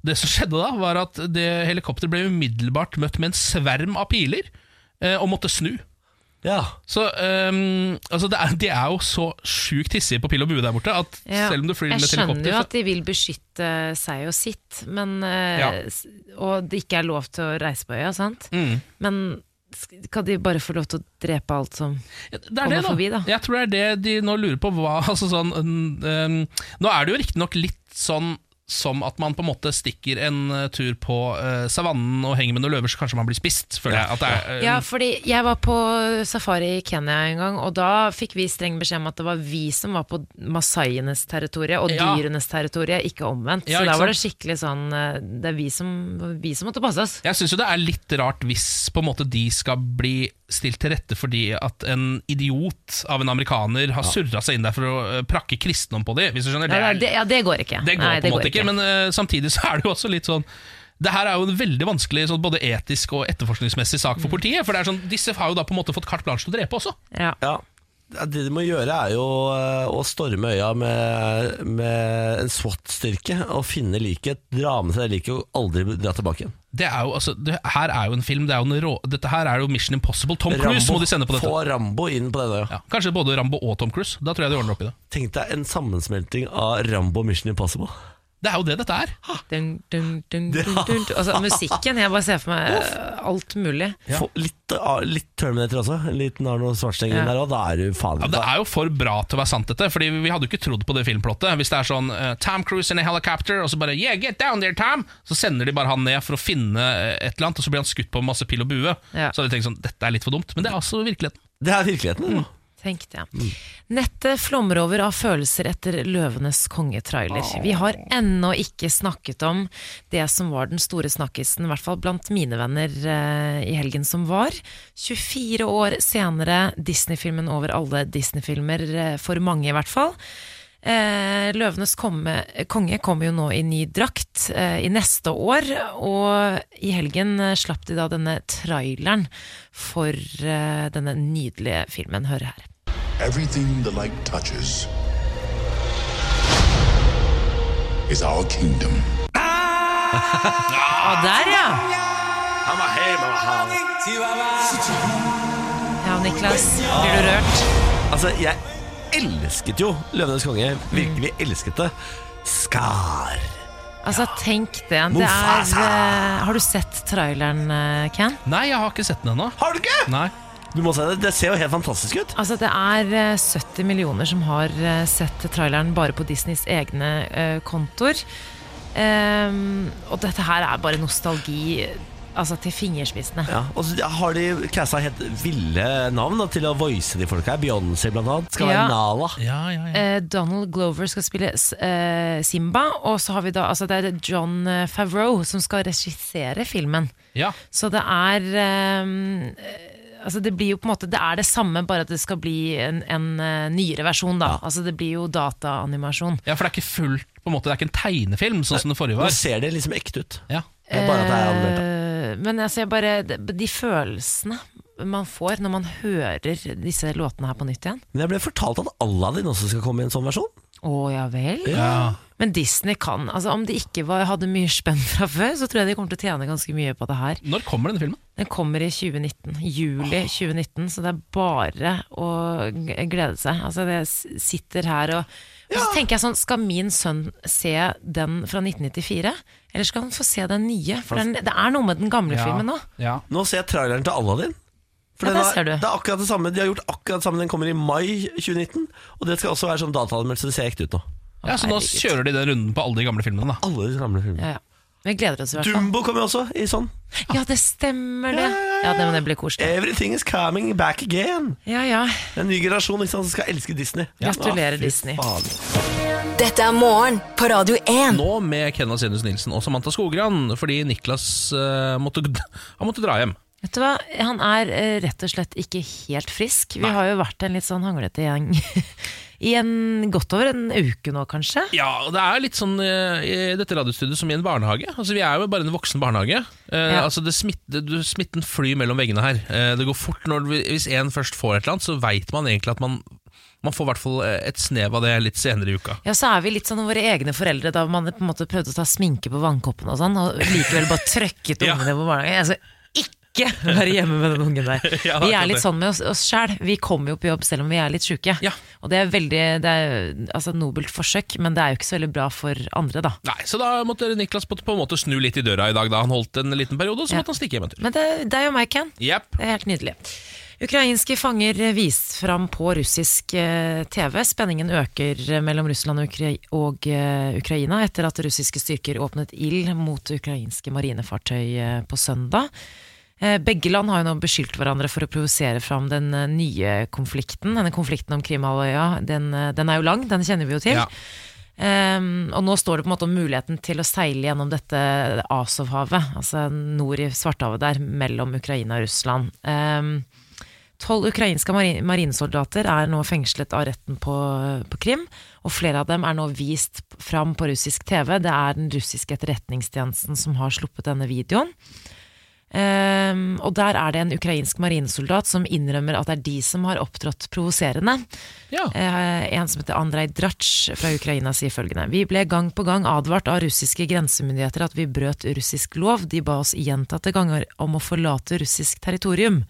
Speaker 1: Det som [LAUGHS] skjedde da, var at det helikopteret ble umiddelbart møtt med en sverm av piler, eh, og måtte snu.
Speaker 5: Ja.
Speaker 1: Så ehm, altså det er, De er jo så sjukt hissige på pil og bue der borte at
Speaker 2: Ja.
Speaker 1: selv om du flyr med
Speaker 2: Jeg
Speaker 1: et
Speaker 2: skjønner
Speaker 1: helikopter
Speaker 2: jo
Speaker 1: så-
Speaker 2: at de vil beskytte seg og sitt, men, eh,
Speaker 1: Ja.
Speaker 2: s- og det ikke er lov til å reise på øya, sant?
Speaker 1: Mm.
Speaker 2: Men sk- kan de bare få lov til å drepe alt som
Speaker 1: Det er det,
Speaker 2: kommer
Speaker 1: da.
Speaker 2: forbi, da.
Speaker 1: Jeg tror det er det de nå lurer på. Hva, [LAUGHS] altså sånn, mm, mm, nå er det jo riktignok litt sånn som at man på en måte stikker en eh, tur på eh, savannen og henger med noen løver, så kanskje man blir spist. Føler jeg at det er, eh,
Speaker 2: Ja, fordi jeg var på safari i Kenya en gang, og da fikk vi streng beskjed om at det var vi som var på masaienes territorie og
Speaker 1: Ja.
Speaker 2: dyrenes territorie, ikke omvendt.
Speaker 1: Ja,
Speaker 2: så
Speaker 1: ikke
Speaker 2: da var det skikkelig sånn eh, Det er vi som, vi som måtte passe oss.
Speaker 1: Jeg syns jo det er litt rart hvis på en måte de skal bli stilt til rette fordi at en idiot av en amerikaner har surra seg inn der for å eh, prakke kristendom på dem, hvis du skjønner.
Speaker 2: Ja,
Speaker 1: Det er
Speaker 2: det, ja, det går ikke.
Speaker 1: Det går
Speaker 2: Nei,
Speaker 1: på en måte ikke, men eh, samtidig så er det jo også litt sånn det her er jo en veldig vanskelig sånn, både etisk og etterforskningsmessig sak for politiet. For det er sånn, Disse har jo da på en måte fått carte blanche til å drepe også.
Speaker 2: ja.
Speaker 5: ja. Ja, Det de må gjøre, er jo eh, å storme øya med, med en SWAT-styrke og finne liket, dra med seg det liket og aldri dra tilbake igjen.
Speaker 1: Det er jo, altså, det her er jo en film. Det er jo en rå, dette her er jo Mission Impossible. Tom Cruise må de sende på dette.
Speaker 5: Få Rambo inn på denne øya.
Speaker 1: Ja, kanskje både Rambo og Tom Cruise. Da tror jeg de ordner opp i det.
Speaker 5: Tenk deg en sammensmelting av Rambo og Mission Impossible.
Speaker 1: Det er jo det dette er.
Speaker 2: Dun, dun, dun, dun, dun. Altså, musikken, jeg bare ser for meg eh, alt mulig.
Speaker 5: Få litt, av- litt Terminator også. En liten Arnold Schwarzenegger
Speaker 2: Ja.
Speaker 5: der òg. Da er du faen
Speaker 1: Ja, det er jo for bra til å være sant, dette. Fordi Vi hadde jo ikke trodd på det filmplottet. Hvis det er sånn eh, Tom Cruise in a helicopter, og så bare Yeah, get down there, Tom! Så sender de bare han ned for å finne eh, et eller annet, og så blir han skutt på med masse pil og bue.
Speaker 2: Ja.
Speaker 1: Så hadde de tenkt sånn Dette er litt for dumt. Men det er altså virkeligheten.
Speaker 5: Det er
Speaker 1: Mm.
Speaker 5: virkeligheten. altså. da.
Speaker 2: Tenkte jeg. Nettet flommer over av følelser etter 'Løvenes konge'-trailer. Vi har ennå ikke snakket om det som var den store snakkisen, i hvert fall blant mine venner eh, i helgen som var. 24 år senere, Disney-filmen over alle Disney-filmer, eh, for mange i hvert fall. Eh, Løvenes komme, konge kommer jo nå i ny drakt eh, i neste år, og i helgen eh, slapp de da denne traileren for eh, denne nydelige filmen. Hør her.
Speaker 6: Everything the light touches is our kingdom.
Speaker 2: Ah, der, ja! Ja, Niklas, blir du rørt?
Speaker 5: Altså, jeg elsket jo Løvenes konge.
Speaker 1: Mm.
Speaker 5: Virkelig elsket det. Skar.
Speaker 2: Altså, tenk det. det er,
Speaker 5: Mufasa!
Speaker 2: eh, har du sett traileren, eh, Ken?
Speaker 1: Nei, jeg har ikke sett den ennå.
Speaker 5: Har du ikke?
Speaker 1: Nei.
Speaker 5: Du må se det. Det ser jo helt fantastisk ut.
Speaker 2: Altså, det er eh, 70 millioner som har eh, sett traileren bare på Disneys egne eh, kontor. Ehm, og dette her er bare nostalgi altså, til fingerspissene.
Speaker 5: Ja, og så har de casta helt ville navn da, til å voice de folka her. Beyoncé blant annet. Skal
Speaker 2: Ja.
Speaker 5: være Nala.
Speaker 1: Ja, ja, ja.
Speaker 2: Eh, Donald Glover skal spille s- eh, Simba, og så har vi da altså, det er John Favreau som skal regissere filmen.
Speaker 1: ja.
Speaker 2: Så det er ehm, eh, Altså det blir jo på en måte Det er det samme, bare at det skal bli en, en eh, nyere versjon, da. Altså det blir jo dataanimasjon.
Speaker 1: Ja, for det er ikke fullt på en måte, det er ikke en tegnefilm, sånn som det forrige
Speaker 5: Nå
Speaker 1: var.
Speaker 5: ser det liksom ekte ut.
Speaker 1: Ja.
Speaker 5: Det er bare at det er anmeldt.
Speaker 2: Eh, Men jeg ser bare de, de følelsene man får når man hører disse låtene her på nytt igjen.
Speaker 5: Men jeg ble fortalt at Aladdin også skal komme i en sånn versjon.
Speaker 2: Å ja vel.
Speaker 1: Ja.
Speaker 2: Men Disney kan. Altså Om de ikke var, hadde mye spenn fra før, så tror jeg de kommer til å tjene ganske mye på det her.
Speaker 1: Når kommer denne filmen?
Speaker 2: Den kommer i 2019. Juli 2019, så det er bare å g- glede seg. Altså Jeg s- sitter her og og så tenker jeg sånn, Skal min sønn se den fra 1994, eller skal han få se den nye? For den, det er noe med den gamle filmen nå.
Speaker 1: Ja.
Speaker 5: Nå ser jeg traileren til Aladdin. For
Speaker 2: Ja,
Speaker 5: den
Speaker 2: der
Speaker 5: har-
Speaker 2: ser du.
Speaker 5: Det er akkurat det samme. De har gjort akkurat det samme. Den kommer i mai 2019. Og det skal også være sånn dataanmeldelse. Det ser ekte ut nå.
Speaker 1: ja, Så nå
Speaker 2: Herregud.
Speaker 1: kjører de den runden på alle de gamle filmene, da.
Speaker 5: Alle de gamle filmene.
Speaker 2: Ja, ja. Vi gleder oss i hvert fall.
Speaker 5: Dumbo kommer også i sånn.
Speaker 2: Ja, det stemmer det. Ja, det, men det blir koselig.
Speaker 5: Everything is coming back again.
Speaker 2: Ja, ja.
Speaker 5: En ny generasjon ikke sant, som skal elske Disney.
Speaker 2: Gratulerer,
Speaker 5: Ah, fy
Speaker 2: Disney.
Speaker 5: faen.
Speaker 4: Dette er morgen på Radio 1.
Speaker 1: Nå med Kenna Senus Nilsen og Samantha Skogran, fordi Niklas eh, måtte, [LAUGHS] han måtte dra hjem.
Speaker 2: Vet du hva, han er eh, rett og slett ikke helt frisk. Vi har jo vært en litt sånn hanglete gjeng [LAUGHS] i en godt over en uke nå, kanskje.
Speaker 1: Ja, og det er litt sånn eh, i dette radiostudiet som i en barnehage. Altså, Vi er jo bare en voksen barnehage. Eh,
Speaker 2: Ja.
Speaker 1: Altså, det smitte, du, Smitten flyr mellom veggene her. Eh, det går fort når vi, Hvis en først får et eller annet, så veit man egentlig at man, man får i hvert fall eh, et snev av det litt senere i uka.
Speaker 2: Ja, så er vi litt sånn våre egne foreldre da man på en måte prøvde å ta sminke på vannkoppen og sånn, og likevel bare trøkket
Speaker 1: Ja.
Speaker 2: ungene på barnehagen. Altså, ikke være hjemme med den ungen der.
Speaker 1: [LAUGHS] Ja, det er
Speaker 2: vi
Speaker 1: akkurat
Speaker 2: er litt
Speaker 1: det.
Speaker 2: sånn med oss, oss sjæl. Vi kommer jo på jobb selv om vi er litt sjuke.
Speaker 1: Ja.
Speaker 2: Og det er veldig det er, altså, nobelt forsøk, men det er jo ikke så veldig bra for andre, da.
Speaker 1: Nei, Så da måtte Niklas på, på en måte snu litt i døra i dag, da han holdt en liten periode, og så
Speaker 2: Ja.
Speaker 1: måtte han stikke hjem en tur.
Speaker 2: Men det, det er jo meg, Ken.
Speaker 1: Jepp.
Speaker 2: Det er helt nydelig. Ukrainske fanger vist fram på russisk eh, TV. Spenningen øker mellom Russland og, Ukra og eh, Ukraina etter at russiske styrker åpnet ild mot ukrainske marinefartøy eh, på søndag. Eh, Begge land har jo nå beskyldt hverandre for å provosere fram den eh, nye konflikten. Denne konflikten om Krimhalvøya, den, eh, den er jo lang, den kjenner vi jo til.
Speaker 1: Ja.
Speaker 2: Ehm, og nå står det på en måte om muligheten til å seile gjennom dette Azov-havet, altså nord i Svartehavet der, mellom Ukraina og Russland. Ehm, Tolv ukrainske mari- marinesoldater er nå fengslet av retten på, på Krim, og flere av dem er nå vist fram på russisk TV. Det er den russiske etterretningstjenesten som har sluppet denne videoen. Ehm, og der er det en ukrainsk marinesoldat som innrømmer at det er de som har opptrådt provoserende.
Speaker 1: Ja.
Speaker 2: Eh, en som heter Andrej Drac fra Ukraina sier følgende Vi ble gang på gang advart av russiske grensemyndigheter at vi brøt russisk lov. De ba oss gjentatte ganger om å forlate russisk territorium.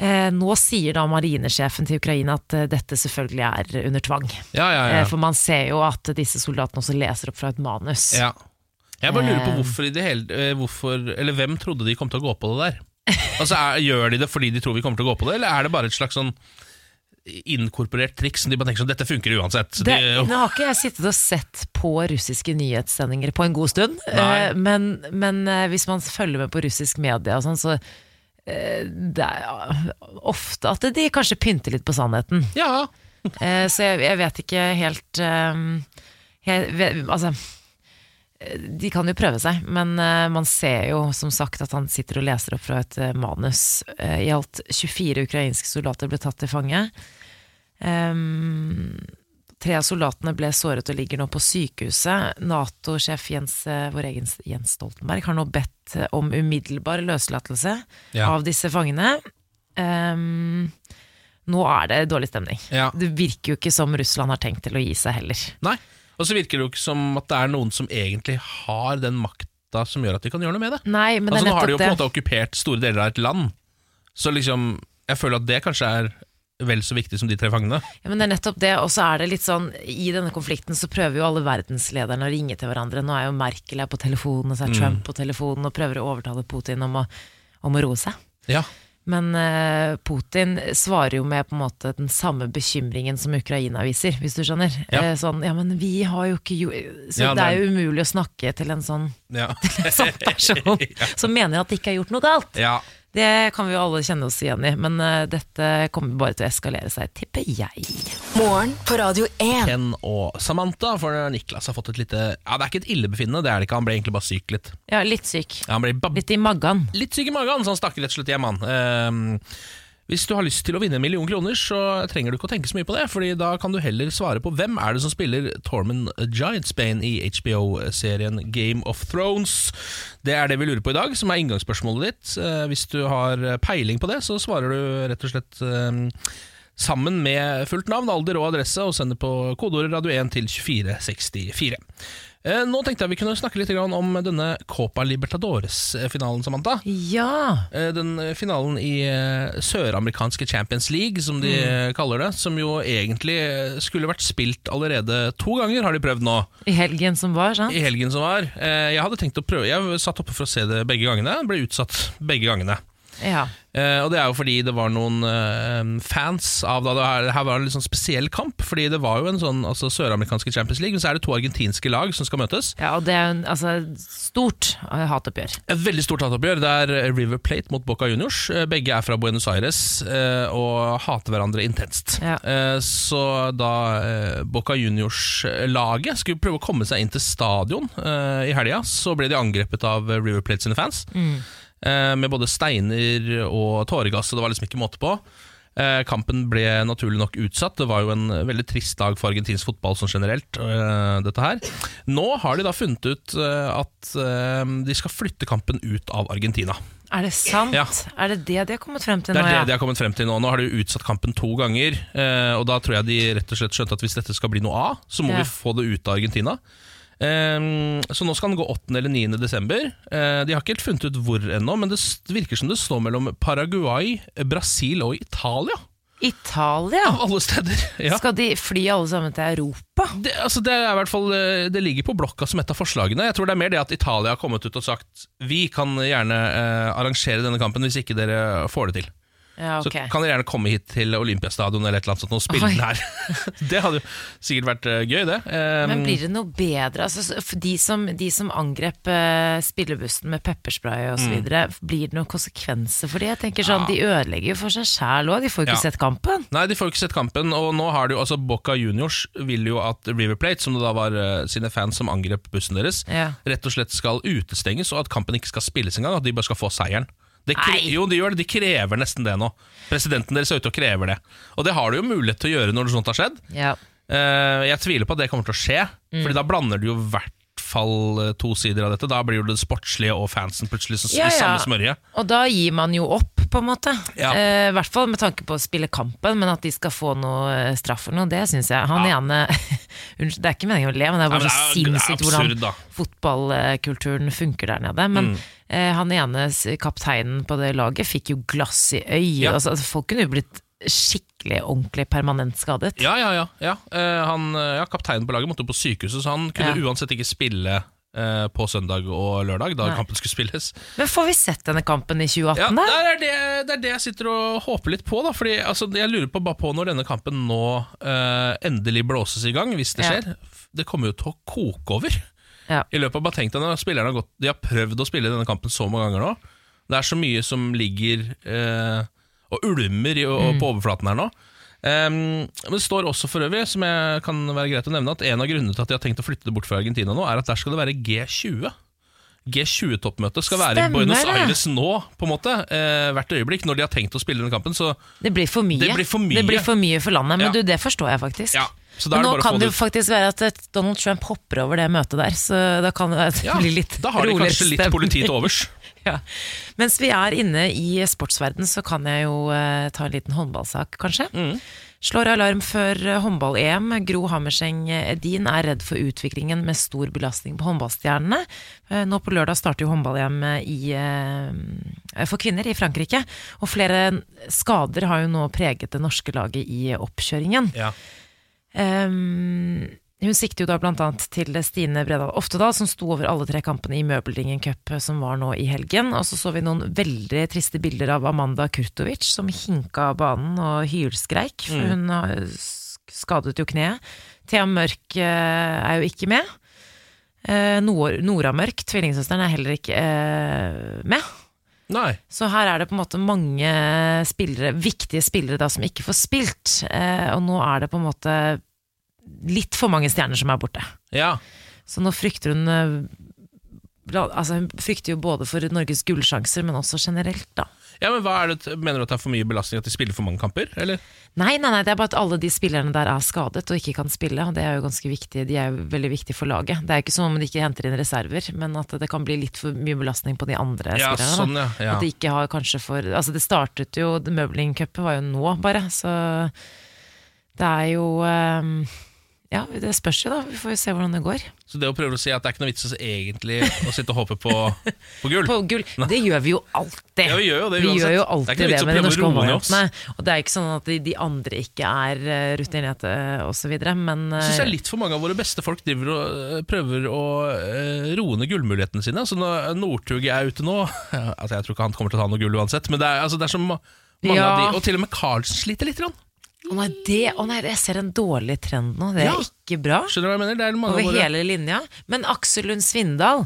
Speaker 2: Eh, nå sier da marinesjefen til Ukraina at eh, dette selvfølgelig er under tvang.
Speaker 1: Ja, ja, ja.
Speaker 2: Eh, for man ser jo at disse soldatene også leser opp fra et manus.
Speaker 1: ja. Jeg bare lurer på
Speaker 2: Eh.
Speaker 1: hvorfor, i det hele, eh, hvorfor Eller hvem trodde de kom til å gå på det der? Altså, er, Gjør de det fordi de tror vi kommer til å gå på det, eller er det bare et slags sånn inkorporert triks som de bare tenker sånn Dette funker uansett. Så
Speaker 2: Det,
Speaker 1: de,
Speaker 2: nå har ikke jeg sittet og sett på russiske nyhetssendinger på en god stund,
Speaker 1: Nei.
Speaker 2: eh, men, men eh, hvis man følger med på russisk media og sånn, så eh, det er ja, ofte at de kanskje pynter litt på sannheten.
Speaker 1: ja,
Speaker 2: Eh, Så jeg, jeg vet ikke helt ehm, jeg, ve- Altså eh, de kan jo prøve seg, men eh, man ser jo som sagt at han sitter og leser opp fra et eh, manus. Eh, I alt 24 ukrainske soldater ble tatt til fange. Ehm, Tre av soldatene ble såret og ligger nå på sykehuset. Nato-sjef Jens, eh, vår egen S- Jens Stoltenberg har nå bedt eh, om umiddelbar løslatelse
Speaker 1: Ja.
Speaker 2: av disse fangene. Ehm, nå er det dårlig stemning.
Speaker 1: Ja.
Speaker 2: Det virker jo ikke som Russland har tenkt til å gi seg heller.
Speaker 1: Nei. Og så virker det jo ikke som at det er noen som egentlig har den makta som gjør at de kan gjøre noe med det.
Speaker 2: Nei, men
Speaker 1: altså,
Speaker 2: det er
Speaker 1: nå har de
Speaker 2: nettopp
Speaker 1: jo på en
Speaker 2: det.
Speaker 1: måte okkupert store deler av et land, så liksom Jeg føler at det kanskje er vel så viktig som de tre fangene.
Speaker 2: Ja, men det er nettopp det, og så er det litt sånn I denne konflikten så prøver jo alle verdenslederne å ringe til hverandre. Nå er jo Merkel her på telefonen, og så er Trump på telefonen og prøver å overtale Putin om å, om å roe seg.
Speaker 1: Ja.
Speaker 2: Men eh, Putin svarer jo med på en måte den samme bekymringen som Ukraina viser, hvis du skjønner.
Speaker 1: Ja.
Speaker 2: Eh, sånn, ja, men vi har jo ikke jo Så
Speaker 1: Ja,
Speaker 2: det er
Speaker 1: nei.
Speaker 2: jo umulig å snakke til en sånn, [LAUGHS]
Speaker 1: Ja.
Speaker 2: sånn person som mener at det ikke er gjort noe galt.
Speaker 1: ja.
Speaker 2: Det kan vi jo alle kjenne oss igjen i, men eh, dette kommer bare til å eskalere seg, tipper jeg.
Speaker 4: Morgen på Radio 1.
Speaker 1: Ken og Samantha, for Niklas har fått et lite Ja, det er ikke et illebefinnende, det er det ikke. Han ble egentlig bare syk litt.
Speaker 2: Ja, litt syk.
Speaker 1: Ja, han ble bab
Speaker 2: Litt i magen.
Speaker 1: litt syk i magen, så han stakk rett og slett hjem, han. Ehm, hvis du har lyst til å vinne en million kroner, så trenger du ikke å tenke så mye på det, Fordi da kan du heller svare på hvem er det som spiller Tormund Giantsbane i HBO-serien Game of Thrones. Det er det vi lurer på i dag, som er inngangsspørsmålet ditt. Eh, hvis du har peiling på det, så svarer du rett og slett ehm, sammen med fullt navn, alder og adresse, og sender på kodeordet radio 1 til 2464. Eh, Nå tenkte jeg vi kunne snakke litt grann om denne Copa Libertadores-finalen, Samantha.
Speaker 2: Ja.
Speaker 1: Eh, Den eh, finalen i eh, søramerikanske Champions League, som de eh, kaller det, som jo egentlig eh, skulle vært spilt allerede to ganger, har de prøvd nå,
Speaker 2: I helgen som var, sant?
Speaker 1: i helgen som var. Eh, Jeg hadde tenkt å prøve, jeg satt oppe for å se det begge gangene, ble utsatt begge gangene.
Speaker 2: Ja.
Speaker 1: Eh, og det er jo fordi det var noen eh, fans av da det her, her var en litt sånn spesiell kamp. Fordi det var jo en sånn altså, søramerikanske Champions League, men så er det to argentinske lag som skal møtes.
Speaker 2: ja, og det er jo en- altså, stort eh, hatoppgjør.
Speaker 1: Et veldig stort hatoppgjør. Det er River Plate mot Boca Juniors. Eh, Begge er fra Buenos Aires eh, og hater hverandre intenst.
Speaker 2: Ja.
Speaker 1: Eh, Så da eh, Boca Juniors-laget skulle prøve å komme seg inn til stadion eh, i helga, så ble de angrepet av eh, River Plate sine fans. Eh, Med både steiner og tåregass, og det var liksom ikke måte på. Eh, Kampen ble naturlig nok utsatt. Det var jo en veldig trist dag for argentinsk fotball sånn generelt. eh, dette her Nå har de da funnet ut eh, at eh, de skal flytte kampen ut av Argentina.
Speaker 2: Er det sant?
Speaker 1: Ja.
Speaker 2: Er det det de har kommet frem til
Speaker 1: Det
Speaker 2: nå?
Speaker 1: er det
Speaker 2: ja?
Speaker 1: de har kommet frem til nå. Nå har de jo utsatt kampen to ganger. eh, Og da tror jeg de rett og slett skjønte at hvis dette skal bli noe av, så må
Speaker 2: Ja.
Speaker 1: vi få det ut av Argentina. Eh, så nå skal den gå 8. eller 9. desember. Eh, de har ikke helt funnet ut hvor ennå, men det s- virker som det står mellom Paraguay, Brasil og Italia.
Speaker 2: Italia?
Speaker 1: Av alle steder. Ja.
Speaker 2: Skal de fly alle sammen til Europa?
Speaker 1: Det, altså det, er i hvert fall, eh, det ligger på blokka som et av forslagene. Jeg tror det er mer det at Italia har kommet ut og sagt vi kan gjerne eh, arrangere denne kampen hvis ikke dere får det til.
Speaker 2: Ja,
Speaker 1: Så
Speaker 2: ok.
Speaker 1: kan dere gjerne komme hit til Olympiastadion eller et eller annet sånt og spille
Speaker 2: Oi.
Speaker 1: den her. [LAUGHS] det hadde jo sikkert vært eh, gøy, det. Eh,
Speaker 2: Men blir det noe bedre? Altså, så- for de, som, de som angrep eh, spillebussen med pepperspray osv.,
Speaker 1: Mm.
Speaker 2: videre blir det noen konsekvenser for det? Jeg tenker sånn, De ødelegger jo for seg sjæl òg, de får jo
Speaker 1: Ja.
Speaker 2: ikke sett kampen.
Speaker 1: Nei, de får jo ikke sett kampen, og nå har det jo, altså Boca Juniors vil jo at River Plate, som det da var eh, sine fans som angrep bussen deres,
Speaker 2: Ja.
Speaker 1: rett og slett skal utestenges, og at kampen ikke skal spilles engang, at de bare skal få seieren. Det kre
Speaker 2: Nei.
Speaker 1: jo, de gjør det. De krever nesten det nå. Presidenten deres er ute og krever det. Og det har du jo mulighet til å gjøre når noe sånt har skjedd.
Speaker 2: Ja.
Speaker 1: Eh, jeg tviler på at det kommer til å skje,
Speaker 2: Mm.
Speaker 1: Fordi da blander du jo i hvert fall eh, to sider av dette. Da blir jo det sportslige og fansen plutselig s- i
Speaker 2: Ja, ja.
Speaker 1: samme smørje.
Speaker 2: Og da gir man jo opp, på en måte.
Speaker 1: Ja.
Speaker 2: Eh, I hvert fall med tanke på å spille kampen, men at de skal få noe eh, straff for noe, det syns jeg. Han ene [LAUGHS] Unnskyld, det er ikke meningen å le, men det er
Speaker 1: Ja,
Speaker 2: bare
Speaker 1: men det
Speaker 2: så
Speaker 1: er- det er
Speaker 2: sinnssykt
Speaker 1: absurd, da.
Speaker 2: hvordan fotballkulturen funker der nede. Men
Speaker 1: Mm.
Speaker 2: eh, han ene s- kapteinen på det laget fikk jo glass i øyet.
Speaker 1: Ja.
Speaker 2: Altså, folk kunne jo blitt skikkelig, ordentlig permanent skadet.
Speaker 1: Ja, ja, ja, ja. Eh, han, eh, ja Kapteinen på laget måtte jo på sykehuset, så han kunne
Speaker 2: Ja.
Speaker 1: uansett ikke spille eh, på søndag og lørdag, da
Speaker 2: Nei.
Speaker 1: kampen skulle spilles.
Speaker 2: Men får vi sett denne kampen i 2018,
Speaker 1: Ja, det,
Speaker 2: da?
Speaker 1: er det, det er det jeg sitter og håper litt på. Da, fordi altså, Jeg lurer på bare på når denne kampen nå eh, endelig blåses i gang, hvis det
Speaker 2: Ja.
Speaker 1: skjer. Det kommer jo til å koke over.
Speaker 2: Ja.
Speaker 1: I løpet av bare tenk deg når spillerne har gått De har prøvd å spille denne kampen så mange ganger nå. Det er så mye som ligger eh, og ulmer i,
Speaker 2: Mm.
Speaker 1: og, på overflaten her nå. Ehm, men det står også for øvrig, som jeg kan være greit å nevne, at en av grunnene til at de har tenkt å flytte det bort fra Argentina nå, er at der skal det være G20. G20-toppmøtet skal være i
Speaker 2: Stemmer
Speaker 1: Buenos
Speaker 2: det.
Speaker 1: Aires nå, på en måte. Eh, hvert øyeblikk, når de har tenkt å spille denne kampen. Så
Speaker 2: Det blir for mye.
Speaker 1: Det blir for mye.
Speaker 2: Det blir for mye for landet. Men
Speaker 1: Ja.
Speaker 2: du, det forstår jeg faktisk.
Speaker 1: ja, Så da
Speaker 2: Men
Speaker 1: er
Speaker 2: nå
Speaker 1: det bare å få
Speaker 2: kan det
Speaker 1: det
Speaker 2: jo
Speaker 1: ut.
Speaker 2: faktisk være at eh, Donald Trump hopper over det møtet der, så da kan det
Speaker 1: Ja,
Speaker 2: bli litt
Speaker 1: da har de
Speaker 2: roligere
Speaker 1: kanskje litt
Speaker 2: stemning.
Speaker 1: politi til
Speaker 2: [LAUGHS]
Speaker 1: overs.
Speaker 2: Ja. Mens vi er inne i sportsverden, så kan jeg jo eh, ta en liten håndballsak, kanskje. Slår alarm før eh, håndball-EM. Gro Hammerseng Edin er redd for utviklingen med stor belastning på håndballstjernene. Eh, Nå på lørdag starter jo håndball-EM i, eh, for kvinner i Frankrike. Og flere skader har jo nå preget det norske laget i oppkjøringen.
Speaker 1: Ja.
Speaker 2: Ehm, hun sikter jo da blant annet til Stine Bredal Oftedal, som sto over alle tre kampene i Møbeldingen Cup eh, som var nå i helgen. Og så så vi noen veldig triste bilder av Amanda Kurtovic som hinka av banen og hylskreik. For hun har s- skadet jo kneet. Thea Mørk eh, er jo ikke med. Eh, Nor- Nora Mørk, tvillingsøsteren, er heller ikke eh, med.
Speaker 1: Nei.
Speaker 2: Så her er det på en måte mange spillere, viktige spillere da, som ikke får spilt. Eh, og nå er det på en måte litt for mange stjerner som er borte.
Speaker 1: Ja.
Speaker 2: Så nå frykter hun eh, la- altså Hun frykter jo både for Norges gullsjanser, men også generelt, da.
Speaker 1: ja, men hva er det, Mener du at det er for mye belastning at de spiller for mange kamper? Eller?
Speaker 2: Nei, nei, nei, det er bare at alle de spillerne der er skadet og ikke kan spille. Og det er jo ganske viktig, de er jo veldig viktige for laget. Det er jo ikke som om de ikke henter inn reserver, men at det kan bli litt for mye belastning på de andre
Speaker 1: Ja,
Speaker 2: spillerne. da.
Speaker 1: sånn, ja, ja.
Speaker 2: At de ikke har kanskje for Altså, det startet jo Møbelingcupen var jo nå, bare, så det er jo eh, Ja, det spørs jo, da. Vi får jo se hvordan det går.
Speaker 1: Så det å prøve å si at det er ikke noe vits å egentlig å sitte og håpe på, på gull.
Speaker 2: [LAUGHS] på
Speaker 1: [LAUGHS]
Speaker 2: gull. Det gjør vi jo alltid.
Speaker 1: Ja, vi gjør jo det
Speaker 2: vi
Speaker 1: uansett.
Speaker 2: gjør
Speaker 1: Det
Speaker 2: jo
Speaker 1: er
Speaker 2: alltid
Speaker 1: ikke
Speaker 2: det,
Speaker 1: noe
Speaker 2: med de
Speaker 1: vits å
Speaker 2: norske
Speaker 1: prøve å roe ned oss.
Speaker 2: håndballjentene. Og det er ikke sånn at de, de andre ikke er eh, rutinerte osv., men eh,
Speaker 1: Jeg synes jeg litt for mange av våre beste folk driver og øh, prøver å øh, roe ned gullmulighetene sine. Altså når Northug er ute nå [LAUGHS] altså Jeg tror ikke han kommer til å ta noe gull uansett, men det er, altså det er så ma mange
Speaker 2: Ja.
Speaker 1: av de Og til og med Carlsen sliter litt. Grann.
Speaker 2: Å nei, det, å nei, jeg ser en dårlig trend nå. Det er
Speaker 1: Ja.
Speaker 2: ikke bra.
Speaker 1: Skjønner du hva jeg mener? Det er mange
Speaker 2: Over
Speaker 1: av våre
Speaker 2: hele linja. Men Aksel Lund Svindal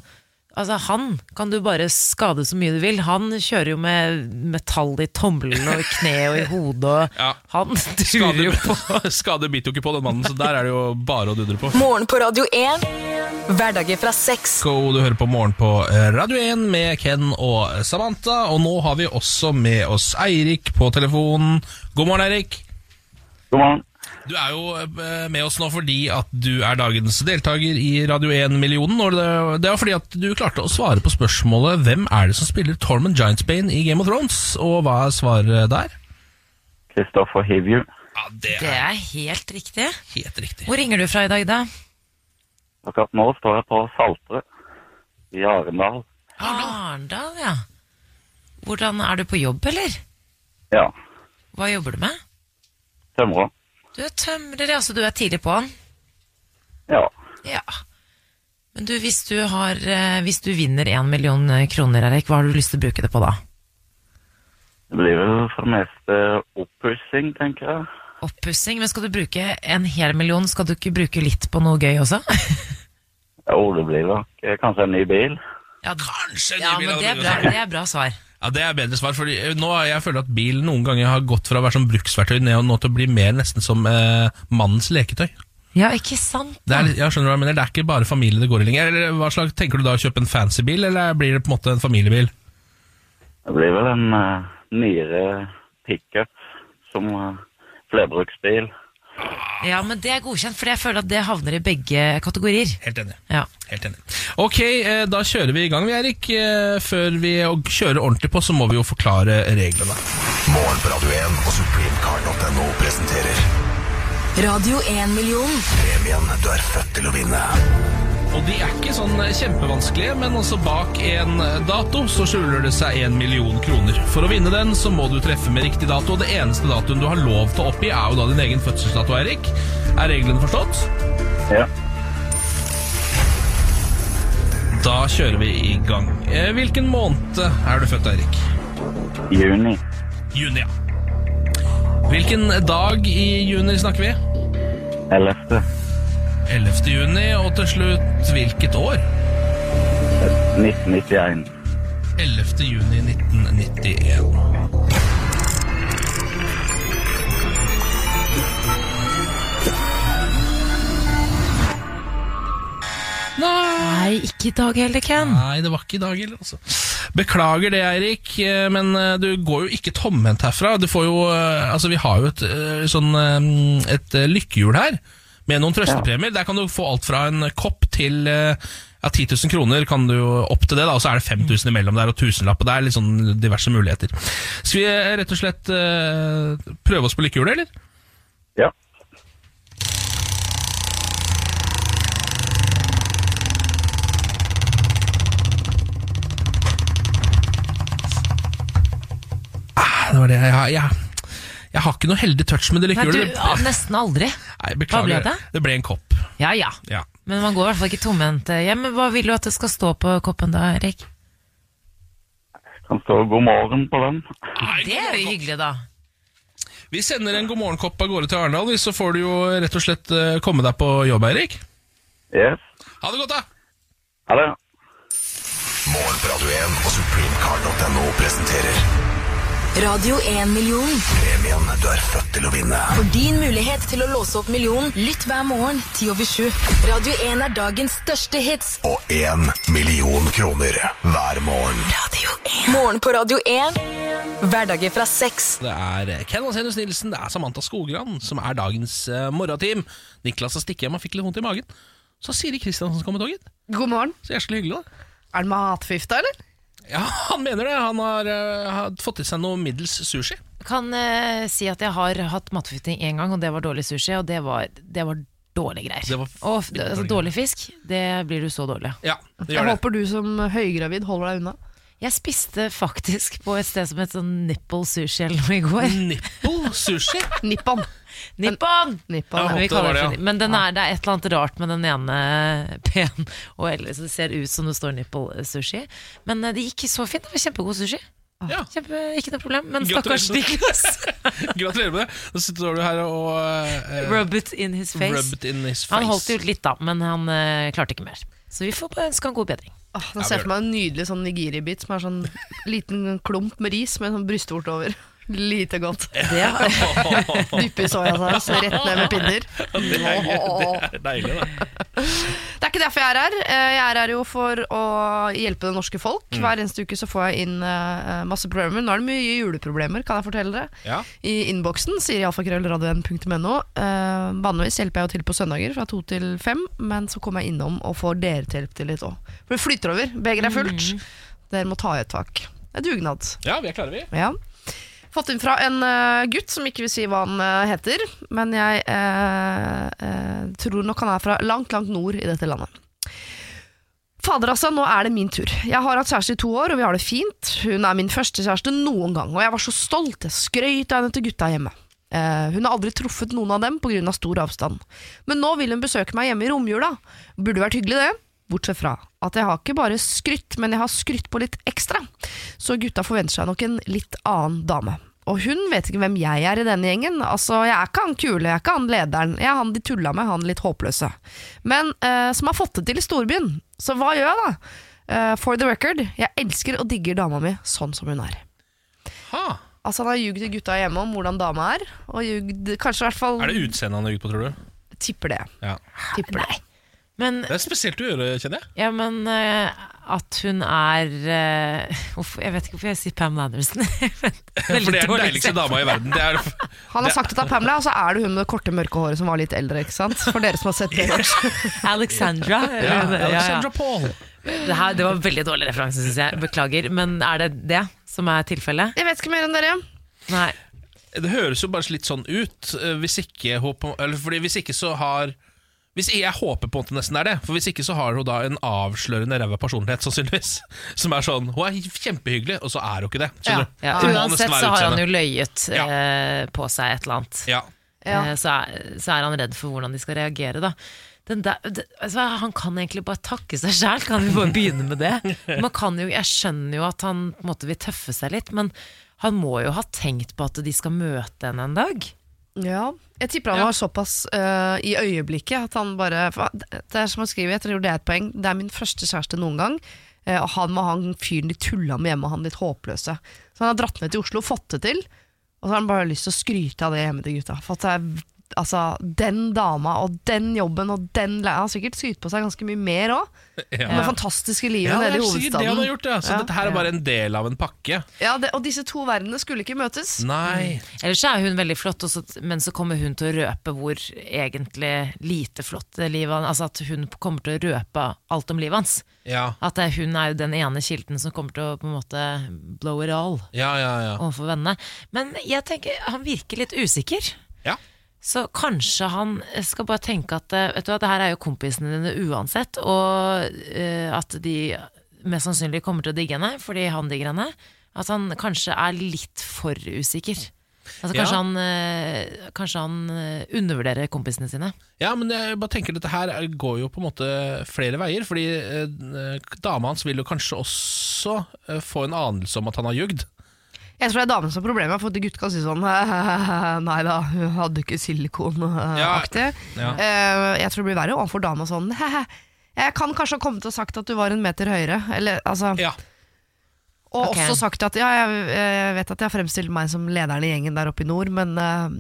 Speaker 2: Altså Han kan du bare skade så mye du vil. Han kjører jo med metall i tommelen og i kneet og i hodet. Og
Speaker 1: Ja.
Speaker 2: Han [LAUGHS] turer jo på.
Speaker 1: [LAUGHS] Skade, skade biter jo ikke på den mannen, så der er det jo bare å dudre på.
Speaker 4: Morgen på Radio 1. Hverdager fra seks.
Speaker 1: Go, du hører på Morgen på eh, Radio 1 med Ken og Samantha. Og nå har vi også med oss Eirik på telefonen. God morgen, Eirik.
Speaker 7: God morgen.
Speaker 1: Du er jo eh, med oss nå fordi at du er dagens deltaker i Radio 1-millionen. og det- Det var fordi at du klarte å svare på spørsmålet hvem er det som spiller Tormund Giantsbane i Game of Thrones, og hva er svaret der?
Speaker 7: Kristoffer Hivju
Speaker 1: Ja, Det
Speaker 2: Det
Speaker 1: er
Speaker 2: er helt riktig.
Speaker 1: helt riktig.
Speaker 2: Hvor ringer du fra i dag, da?
Speaker 7: Akkurat nå står jeg på Saltrød i Arendal.
Speaker 2: Arendal, ja. Hvordan er du på jobb, eller?
Speaker 7: Ja.
Speaker 2: Hva jobber du med?
Speaker 7: Tømrer.
Speaker 2: Du er tømrer, altså du er tidlig på'n.
Speaker 7: Ja.
Speaker 2: Ja. Men du, hvis du, har, eh, hvis du vinner én million eh, kroner, Erik, hva har du lyst til å bruke det på da?
Speaker 7: Det blir vel for det meste oppussing, tenker jeg.
Speaker 2: Oppussing? Men skal du bruke en hel million, skal du ikke bruke litt på noe gøy også?
Speaker 7: Jo, det blir nok eh, kanskje en ny bil.
Speaker 2: [LAUGHS] ja,
Speaker 1: Kanskje
Speaker 2: ja, men det er bra, det er bra svar.
Speaker 1: Ja, det er bedre svar, for nå har jeg føler at bil noen ganger har gått fra å være som bruksverktøy ned og nå til å bli mer nesten som eh, mannens leketøy.
Speaker 2: Ja, ikke sant?
Speaker 1: Det er, litt- jeg skjønner hva jeg mener, det er ikke bare familie det går i lenger. Eller hva slags, Tenker du da å kjøpe en fancy bil, eller blir det på en måte en familiebil?
Speaker 7: Det blir vel en eh, nyere pickup som eh, flerbruksbil.
Speaker 2: Ja, men det er godkjent, for jeg føler at det havner i begge kategorier.
Speaker 1: Helt enig.
Speaker 2: Ja.
Speaker 1: Helt enig. Ok, eh, da kjører vi i gang, vi, Erik. Eh, Før vi og- kjører ordentlig på, så må vi jo forklare reglene.
Speaker 6: Morgen på Radio 1 og supremecard.no presenterer
Speaker 4: Radio 1-million.
Speaker 6: premien du er født til å vinne.
Speaker 1: Og de er ikke sånn eh, kjempevanskelige, men altså bak en eh, dato så skjuler det seg en million kroner. For å vinne den så må du treffe med riktig dato, og det eneste datoen du har lov til å oppgi, er jo da din egen fødselsdato, Erik. Er reglene forstått?
Speaker 7: Ja.
Speaker 1: Da kjører vi i gang. Eh, Hvilken måned eh, er du født, Eirik?
Speaker 7: Juni.
Speaker 1: Juni, ja. Hvilken dag i juni snakker vi?
Speaker 7: 11.
Speaker 1: 11. juni, og til slutt hvilket år?
Speaker 7: 1991.
Speaker 1: 11. juni 1991.
Speaker 2: Nei, ikke i dag heller, Ken.
Speaker 1: Nei, det var ikke i dag heller, altså. Beklager det, Eirik, eh, men eh, du går jo ikke tomhendt herfra. Du får jo eh, Altså, vi har jo et eh, sånn eh, et eh, lykkehjul her. med noen trøstepremier. Der kan du få alt fra en kopp til eh, ja, 10 000 kroner kan du jo opp til det, da, og så er det 5000 imellom der og tusenlapp. og Det er litt sånn diverse muligheter. Skal vi eh, rett og slett eh, prøve oss på lykkehjulet, eller?
Speaker 7: Ja.
Speaker 1: Ah, Det var det jeg har. Jeg, jeg har ikke noe heldig touch med det
Speaker 2: Nei, du,
Speaker 1: lykkehjulet.
Speaker 2: ah, nesten aldri.
Speaker 1: Nei, beklager.
Speaker 2: Hva ble det?
Speaker 1: Det ble en kopp.
Speaker 2: Ja ja.
Speaker 1: Ja.
Speaker 2: Men man går i hvert fall ikke tomhendt eh, hjem. Men Hva vil du at det skal stå på koppen da, Erik?
Speaker 7: Kan stå 'god morgen' på den.
Speaker 2: Det er jo hyggelig, da.
Speaker 1: Vi sender en god morgenkopp av gårde til Arendal, hvis så får du jo rett og slett eh, komme deg på jobb, Eirik.
Speaker 7: Yes.
Speaker 1: Ha det godt, da!
Speaker 7: Ha det.
Speaker 6: Morgen på Radio 1 og supremecard.no presenterer
Speaker 4: Radio 1-million.
Speaker 6: premien du er født til å vinne.
Speaker 4: For din mulighet til å låse opp millionen, lytt hver morgen 10 over 7. Radio 1 er dagens største hits.
Speaker 6: Og én million kroner hver morgen.
Speaker 4: Radio 1. Morgen på Radio 1. Hverdager fra seks.
Speaker 1: Det er eh, Ken Vasenius Nilsen, det er Samantha Skogran som er dagens uh, morgenteam. Niklas har stikket hjem og fikk litt vondt i magen. Så har Siri Kristiansen kom med toget.
Speaker 3: God morgen.
Speaker 1: Så jævlig hyggelig, da.
Speaker 3: Er det matforgifta, eller?
Speaker 1: Ja, han mener det. Han har, eh, har fått i seg noe middels sushi.
Speaker 2: Kan eh, si at jeg har hatt matforgiftning én gang, og det var dårlig sushi. Og det var, det var dårlige greier.
Speaker 1: Det var
Speaker 2: og,
Speaker 1: fryktelig
Speaker 2: altså,
Speaker 1: dårlige
Speaker 2: dårlig fisk, det blir du så dårlig av.
Speaker 1: Ja, det
Speaker 3: Jeg
Speaker 1: gjør det.
Speaker 3: håper du som høygravid holder deg unna.
Speaker 2: Jeg spiste faktisk på et sted som het sånn nipple sushi eller noe i går.
Speaker 1: Nipple
Speaker 2: [LAUGHS]
Speaker 1: sushi?
Speaker 3: Nippan.
Speaker 2: Nippon!
Speaker 1: Mm. Ja,
Speaker 3: Nippan,
Speaker 1: håper
Speaker 2: Vi
Speaker 1: det
Speaker 2: kaller
Speaker 1: var
Speaker 2: det
Speaker 1: det,
Speaker 2: for-
Speaker 1: ja.
Speaker 2: Men den er, det er et eller annet rart med den ene [LAUGHS] pen og ellers det ser ut som det står nipple sushi. Men eh, det gikk så fint. Det var kjempegod sushi.
Speaker 1: Ja.
Speaker 2: Kjempe, ikke noe problem. Men
Speaker 1: Gratulerer.
Speaker 2: stakkars [LAUGHS] Niklas.
Speaker 1: Gratulerer med det. Så står du her og eh,
Speaker 2: Rub it in his face.
Speaker 1: rub it in his face.
Speaker 2: Han holdt jo litt da, men han eh, klarte ikke mer. Så vi får bare ønske han god bedring.
Speaker 3: Åh, Ah, Nå ser jeg for meg en nydelig sånn nigiribit som er sånn liten klump med ris med sånn brystvorte over. [LAUGHS] Lite godt.
Speaker 2: Det,
Speaker 3: Dyppe i soyasaus, rett ned
Speaker 1: [LAUGHS]
Speaker 3: med pinner.
Speaker 1: Det er, det er deilig, da.
Speaker 3: Det er ikke derfor jeg er her. Eh, Jeg er her jo for å hjelpe det norske folk.
Speaker 1: Mm.
Speaker 3: Hver eneste uke så får jeg inn eh, masse problemer. Nå er det mye juleproblemer, kan jeg fortelle dere.
Speaker 1: Ja.
Speaker 3: I innboksen sier iallfallkrøllradioen.no. Eh, Vanligvis hjelper jeg jo til på søndager fra to til fem, men så kommer jeg innom og får dere til hjelp til litt òg. For det flyter over. Begeret er fullt. Dere må ta i et tak. Det er dugnad.
Speaker 1: ja, vi er klare, vi.
Speaker 3: Ja. Fått inn fra en eh, gutt som ikke vil si hva han eh, heter, men jeg eh, eh, tror nok han er fra langt, langt nord i dette landet. Fader altså, nå er det min tur. Jeg har hatt kjæreste i to år, og vi har det fint. Hun er min første kjæreste noen gang, og jeg var så stolt. Jeg skrøt av henne til gutta hjemme. Eh, hun har aldri truffet noen av dem pga. stor avstand. Men nå vil hun besøke meg hjemme i romjula. Burde vært hyggelig, det. Bortsett fra at jeg har ikke bare skrytt, men jeg har skrytt på litt ekstra. Så gutta forventer seg nok en litt annen dame. Og hun vet ikke hvem jeg er i denne gjengen. Altså, Jeg er ikke han kule, jeg er ikke han lederen. Jeg er han de tulla med, han litt håpløse. Men eh, som har fått det til i storbyen. Så hva gjør jeg, da? Eh, for the record, jeg elsker og digger dama mi sånn som hun er.
Speaker 1: Ha.
Speaker 3: Altså Han har ljugd til gutta hjemme om hvordan dama er, og ljugd kanskje i hvert fall
Speaker 1: Er det utseendet han er ute på, tror du?
Speaker 3: Tipper det.
Speaker 1: Ja.
Speaker 3: Tipper det.
Speaker 2: [LAUGHS] men
Speaker 1: Det er spesielt å gjøre, kjenner jeg.
Speaker 2: ja, men eh, at hun er eh, hvorfor- Jeg vet ikke hvorfor jeg sier Pam Anderson. [LAUGHS]
Speaker 1: For det er liksom. den deiligste dama i verden. Det er,
Speaker 3: Han har sagt at det er Pamela, og så er det hun med det korte, mørke håret som var litt eldre. ikke sant? For dere som har
Speaker 1: [LAUGHS]
Speaker 3: sett det.
Speaker 2: Alexandra.
Speaker 1: ja,
Speaker 2: eller- ja, ja.
Speaker 1: Alexandra Paul.
Speaker 2: Det, her, det var veldig dårlig referanse, syns jeg. Beklager. Men er det det som er tilfellet?
Speaker 3: Jeg vet ikke mer enn dere.
Speaker 2: Nei.
Speaker 1: Det høres jo bare litt sånn ut. eh, Hvis ikke, håper- eller fordi hvis ikke så har hvis Jeg håper på at det nesten er det. For Hvis ikke så har hun da en avslørende ræva personlighet, sannsynligvis. Som er sånn Hun er kjempehyggelig, og så er hun ikke det. Skjønner du?
Speaker 2: Ja,
Speaker 1: Så det må
Speaker 2: uansett
Speaker 1: nesten være
Speaker 2: så har han
Speaker 1: utseende.
Speaker 2: jo løyet
Speaker 1: Ja.
Speaker 2: eh, på seg et eller annet.
Speaker 1: ja.
Speaker 3: Ja.
Speaker 2: Eh, så, er, så er han redd for hvordan de skal reagere, da. Den der, det, altså, han kan egentlig bare takke seg sjæl, kan vi bare begynne med det? Man kan jo, jeg skjønner jo at han på en måte vil tøffe seg litt, men han må jo ha tenkt på at de skal møte henne en dag.
Speaker 3: Ja, jeg tipper han var såpass øh, i øyeblikket at han bare for Det er som han skriver, jeg tror det er et poeng. Det er min første kjæreste noen gang. eh, Og han var han fyren de tulla med hjemme, og han litt håpløse. Så han har dratt ned til Oslo og fått det til. Og så har han bare lyst til å skryte av det hjemme til gutta. For at det er altså, den dama og den jobben og den le- Han har sikkert skrytt på seg ganske mye mer òg.
Speaker 1: Ja.
Speaker 3: Det fantastiske livet
Speaker 1: Ja, det er
Speaker 3: nede i
Speaker 1: sikkert det han
Speaker 3: hovedstaden.
Speaker 1: har gjort, ja. Så
Speaker 3: Ja.
Speaker 1: dette her er bare en del av en pakke.
Speaker 3: Ja, det, og disse to verdenene skulle ikke møtes.
Speaker 1: Mm. Nei.
Speaker 2: Ellers så er hun veldig flott, og så- men så kommer hun til å røpe hvor egentlig lite flott det livet han- Altså at hun kommer til å røpe alt om livet hans.
Speaker 1: Ja,
Speaker 2: At det, hun er jo den ene kilden som kommer til å på en måte blow it all
Speaker 1: ja, ja. ja.
Speaker 2: overfor vennene. Men jeg tenker han virker litt usikker.
Speaker 1: ja.
Speaker 2: Så kanskje han skal bare tenke at eh, vet du hva, det her er jo kompisene dine uansett, og eh, at de mest sannsynlig kommer til å digge henne fordi han digger henne. At han kanskje er litt for usikker. Altså,
Speaker 1: Ja.
Speaker 2: kanskje, han, eh, kanskje han eh, undervurderer kompisene sine.
Speaker 1: Ja, men jeg bare tenker dette her er- går jo på en måte flere veier, fordi eh, dama hans vil jo kanskje også eh, få en anelse om at han har ljugd.
Speaker 3: Jeg tror det er damen som har problemet, for at gutter kan si sånn [LAUGHS] Nei da, hun hadde ikke silikonaktig.
Speaker 1: Ja.
Speaker 3: Eh, Jeg tror det blir verre overfor dama sånn [LAUGHS] Jeg kan kanskje ha kommet og sagt at du var en meter høyere, eller altså
Speaker 1: Ja.
Speaker 3: Og
Speaker 2: Ok.
Speaker 3: også sagt at ja, jeg, jeg vet at jeg har fremstilt meg som lederen i gjengen der oppe i nord, men eh,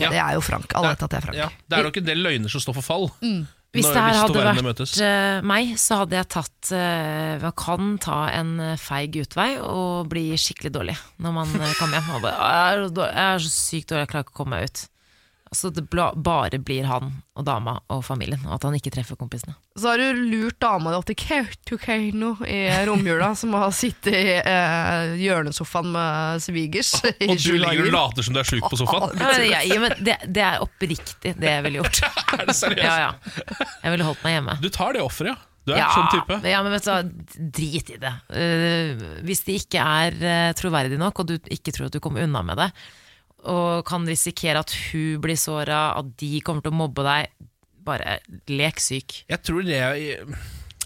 Speaker 1: Ja.
Speaker 3: det er jo Frank. Alle vet at det er Frank.
Speaker 1: ja. Det er nok en del løgner som står for fall.
Speaker 2: Mm. Hvis
Speaker 1: Når-
Speaker 2: det her
Speaker 1: hvis to
Speaker 2: hadde
Speaker 1: verdener
Speaker 2: vært
Speaker 1: møtes.
Speaker 2: eh, meg, så hadde jeg tatt eh, Man kan ta en eh, feig utvei og bli skikkelig dårlig når man eh, kommer hjem. Og bare, jeg, er så dårlig, jeg er så sykt dårlig, jeg klarer ikke å komme meg ut. Så det bla- bare blir han og dama og familien, og at han ikke treffer kompisene.
Speaker 3: Så har du lurt dama di opp til Kautokeino i romjula, som har sittet i eh, hjørnesofaen med svigers i
Speaker 1: Og du
Speaker 3: sju
Speaker 1: ligger og
Speaker 3: dager.
Speaker 1: later som du er sjuk på sofaen.
Speaker 2: [LAUGHS] Ja, men, jeg, ja, men det, det er oppriktig det jeg ville gjort.
Speaker 1: Er det seriøst?
Speaker 2: [LAUGHS] Ja, ja. Jeg ville holdt meg hjemme.
Speaker 1: Du tar det offeret, ja. Du er
Speaker 2: ja,
Speaker 1: en sånn type.
Speaker 2: Ja, men vet du hva, drit i det. Eh, hvis de ikke er eh, troverdige nok, og du ikke tror at du kommer unna med det, og kan risikere at hun blir såra, at de kommer til å mobbe deg, bare lek syk.
Speaker 1: Jeg tror det jeg,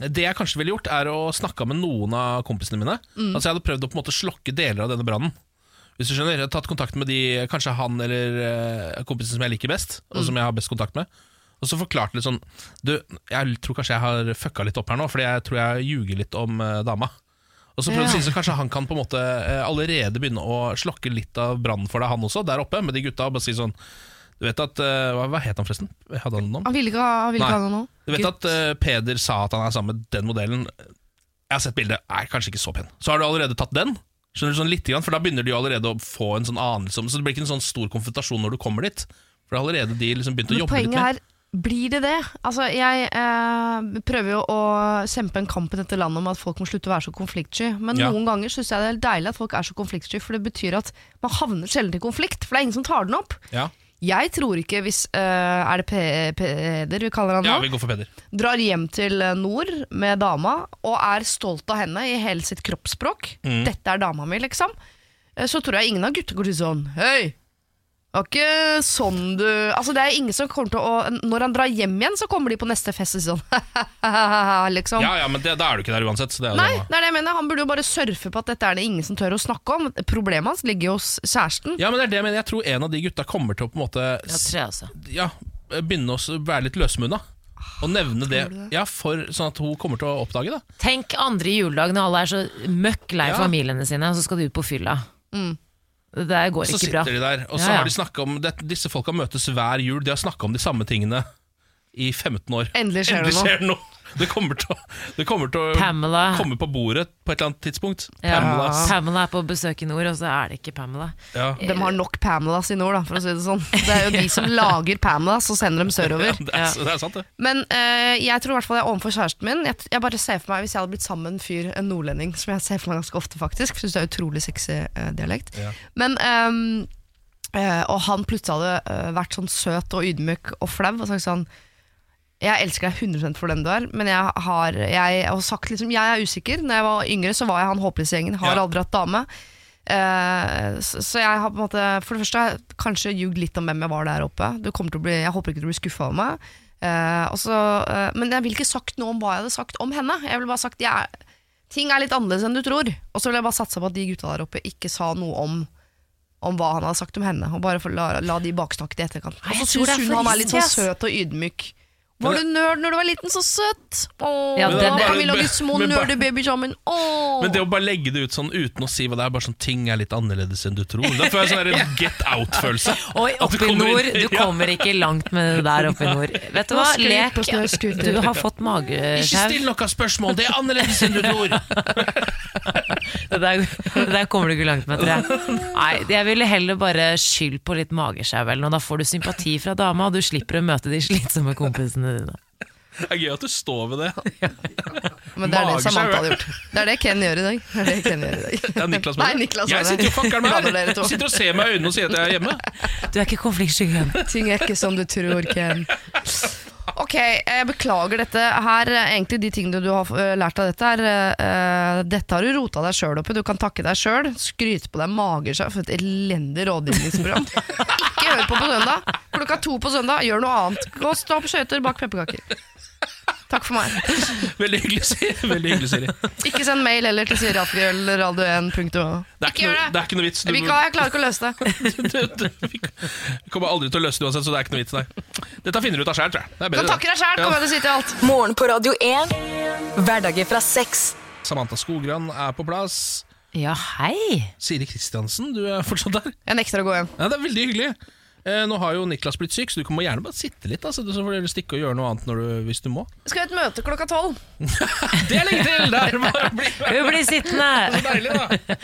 Speaker 1: det jeg kanskje ville gjort, er å snakke med noen av kompisene mine. Altså Jeg hadde prøvd å på en måte slokke deler av denne brannen. Hvis du skjønner, jeg har Tatt kontakt med de, kanskje han eller eh, kompisen som jeg liker best, og som jeg har best kontakt med. Og så forklarte litt sånn Du, jeg tror kanskje jeg har fucka litt opp her nå, fordi jeg tror jeg ljuger litt om eh, dama. Og så prøvde jeg å si så kanskje han kan på en måte eh, allerede begynne å slokke litt av brannen for deg, han også, der oppe, med de gutta, og bare si sånn Du vet at eh, Hva, hva het han forresten? Hadde han noe?
Speaker 3: Han ville ikke ha, han ville ikke
Speaker 1: Nei.
Speaker 3: ha noe nå.
Speaker 1: Du vet at eh, Peder sa at han er sammen med den modellen. Jeg har sett bildet, er kanskje ikke så pen. Så har du allerede tatt den. Skjønner du sånn litt, grann, For da begynner de jo allerede å få en sånn anelse om Så det blir ikke en sånn stor konfrontasjon når du kommer dit. For da har allerede de liksom begynt å
Speaker 3: Men
Speaker 1: jobbe litt
Speaker 3: poenget
Speaker 1: med
Speaker 3: her, blir det det? Altså, jeg eh, prøver jo å kjempe en kamp i dette landet om at folk må slutte å være så konfliktsky, men
Speaker 1: Ja.
Speaker 3: noen ganger syns jeg det er deilig at folk er så konfliktsky, for det betyr at man havner sjelden i konflikt, for det er ingen som tar den opp.
Speaker 1: Ja,
Speaker 3: Jeg tror ikke hvis eh, Er det Pe- Peder vi kaller han nå?
Speaker 1: ja vi går for Peder.
Speaker 3: drar hjem til eh, nord med dama og er stolt av henne i hele sitt kroppsspråk.
Speaker 1: Mm.
Speaker 3: Dette er dama mi, liksom. Eh, Så tror jeg ingen av gutta går til sånn Hei! Det var ikke sånn du Altså det er ingen som kommer til å Når han drar hjem igjen, så kommer de på neste fest og sier [LAUGHS] sånn liksom.
Speaker 1: Ja, ja, men det, da er du ikke der uansett. Så det er jo
Speaker 3: Nei,
Speaker 1: det.
Speaker 3: det er det jeg mener. Han burde jo bare surfe på at dette er det ingen som tør å snakke om. Problemet hans ligger jo hos kjæresten.
Speaker 1: Ja, men det er det jeg mener. Jeg tror en av de gutta kommer til å på en måte
Speaker 2: Jeg
Speaker 1: s-
Speaker 2: tror jeg også.
Speaker 1: ja, begynne å s- være litt løsmunna. Og
Speaker 3: Ah,
Speaker 1: nevne det. Ja, for, Sånn at hun kommer til å oppdage det.
Speaker 2: Tenk andre juledag når alle er så møkk lei
Speaker 1: Ja.
Speaker 2: familiene sine, og så skal de ut på fylla. Mm. Det der går
Speaker 1: Så
Speaker 2: ikke
Speaker 1: sitter
Speaker 2: bra.
Speaker 1: de der, og så
Speaker 2: Ja, ja.
Speaker 1: har de snakket om det, Disse folka møtes hver jul, de har snakka om de samme tingene i 15 år.
Speaker 3: Endelig skjer det noe.
Speaker 1: skjer det noe! Det kommer til å, det kommer til å
Speaker 2: Pamela.
Speaker 1: komme på bordet på et eller annet tidspunkt.
Speaker 2: Ja.
Speaker 1: Pamela, ass.
Speaker 2: Pamela er på besøk i nord, og så er det ikke Pamela.
Speaker 1: Ja.
Speaker 3: De har nok Pamela sine ord, da, for å si det sånn. Det er jo de som lager Pamela, så sender de sørover.
Speaker 1: Ja, det, er, det er sant, det.
Speaker 3: Men eh, jeg tror i hvert fall jeg er overfor kjæresten min. Jeg, jeg bare ser for meg Hvis jeg hadde blitt sammen med en fyr, en nordlending, som jeg ser for meg ganske ofte, faktisk Syns det er utrolig sexy eh, dialekt. Men ehm, eh, Og han plutselig hadde eh, vært sånn søt og ydmyk og flau og sagt sånn jeg elsker deg 100 for den du er, men jeg har, jeg har sagt liksom Jeg er usikker. Når jeg var yngre, så var jeg han håpløse i gjengen. Har
Speaker 1: Ja.
Speaker 3: aldri hatt dame. Eh, så, så jeg har på en måte For det første har jeg kanskje ljugd litt om hvem jeg var der oppe. Du kommer til å bli, jeg håper ikke du blir skuffa over meg. Eh, og så, eh, men jeg ville ikke sagt noe om hva jeg hadde sagt om henne. Jeg ville bare sagt jeg er- ting er litt annerledes enn du tror. Og så ville jeg bare satsa på at de gutta der oppe ikke sa noe om om hva han hadde sagt om henne, og bare for la, la de baksnakke det i etterkant. Og
Speaker 2: Nei,
Speaker 3: så
Speaker 2: jeg tror
Speaker 3: syns
Speaker 2: det er
Speaker 3: hun
Speaker 2: for
Speaker 3: han er litt sånn
Speaker 2: risky, ass.
Speaker 3: søt og ydmyk Var du nerd når du var liten? Så søtt! Åh,
Speaker 2: Ja, den-
Speaker 3: kan vi lage små
Speaker 1: Men bare-
Speaker 3: nerdebaby sammen? Åh.
Speaker 1: Men det å bare legge det ut sånn uten å si hva det er, bare sånn ting er litt annerledes enn du tror. Da får jeg sånn der get out-følelse.
Speaker 2: Oi,
Speaker 1: At du
Speaker 2: oppe i
Speaker 1: kommer
Speaker 2: nord,
Speaker 1: inn-
Speaker 2: du
Speaker 1: [LAUGHS] Ja.
Speaker 2: kommer ikke langt med det der oppe i
Speaker 1: [LAUGHS]
Speaker 2: nord. Vet du hva,
Speaker 3: Nå sklir
Speaker 2: lek.
Speaker 3: på snøscooter.
Speaker 2: Du har fått
Speaker 1: Ikke
Speaker 2: magesjau.
Speaker 1: still noen spørsmål, det er annerledes enn du tror!
Speaker 2: Det der, det der kommer du ikke langt med, tror
Speaker 1: [LAUGHS]
Speaker 2: jeg. Nei, jeg ville heller bare skyld på litt magesjau eller noe. Da får du sympati fra dama, og du slipper å møte de slitsomme kompisene dine.
Speaker 1: Det er gøy at du står ved det.
Speaker 3: Men det er det
Speaker 1: Magesjau,
Speaker 3: Samantha
Speaker 1: ja.
Speaker 3: hadde gjort. Det er det Ken gjør i dag. Det er det Ken gjør i dag.
Speaker 1: Ja, Niklas
Speaker 3: Nei,
Speaker 1: mener det.
Speaker 3: Niklas
Speaker 1: jeg
Speaker 3: mener
Speaker 1: sitter
Speaker 3: det.
Speaker 1: jo fakkeren med
Speaker 3: Ja, dere
Speaker 1: her.
Speaker 3: to.
Speaker 1: Sitter og ser meg i øynene og sier at jeg er hjemme.
Speaker 2: Du er ikke konfliktsky igjen.
Speaker 3: Ting er ikke som du tror, Ken. Ok, jeg beklager dette her. eh, Egentlig de tingene du har eh, lært av dette, er eh, Dette har du rota deg sjøl opp i. Du kan takke deg sjøl. Skryte på deg magesjau for et elendig rådgivningsprogram. Ikke hør på på søndag. Klokka to på søndag, gjør noe annet. Gå og stå på skøyter, bak pepperkaker. Takk for meg.
Speaker 1: Veldig hyggelig, Siri. Veldig hyggelig, Siri.
Speaker 3: Ikke send mail heller til siriafjellradio1.no.
Speaker 1: Det er
Speaker 3: Ikke
Speaker 1: ikke
Speaker 3: gjør
Speaker 1: noe, det
Speaker 3: det!
Speaker 1: er ikke noe vits. Du,
Speaker 3: Vi kan, jeg klarer ikke å løse det.
Speaker 1: [LAUGHS] du, du, vi kommer aldri til å løse det uansett, så det er ikke noe vits. Nei. Dette finner du ut av sjæl, tror jeg. Det er
Speaker 3: Du kan
Speaker 1: bedre,
Speaker 3: takke deg sjæl,
Speaker 1: Ja.
Speaker 3: kommer jeg til å si til alt.
Speaker 4: Morgen på Radio 1. Hverdager fra seks.
Speaker 1: Samantha Skogran er på plass.
Speaker 2: Ja, hei!
Speaker 1: Siri Kristiansen, du er fortsatt der.
Speaker 3: Jeg nekter å gå hjem.
Speaker 1: Ja, det er veldig hyggelig. Eh, nå har jo Niklas blitt syk, så du kan må gjerne bare sitte litt. Altså, så får du stikke og gjøre noe annet når du, hvis du må.
Speaker 3: Skal vi ha et møte klokka tolv?
Speaker 1: Det er lenge til! Der må jeg bli
Speaker 3: [LAUGHS]
Speaker 2: Hun blir sittende!
Speaker 1: så deilig, da.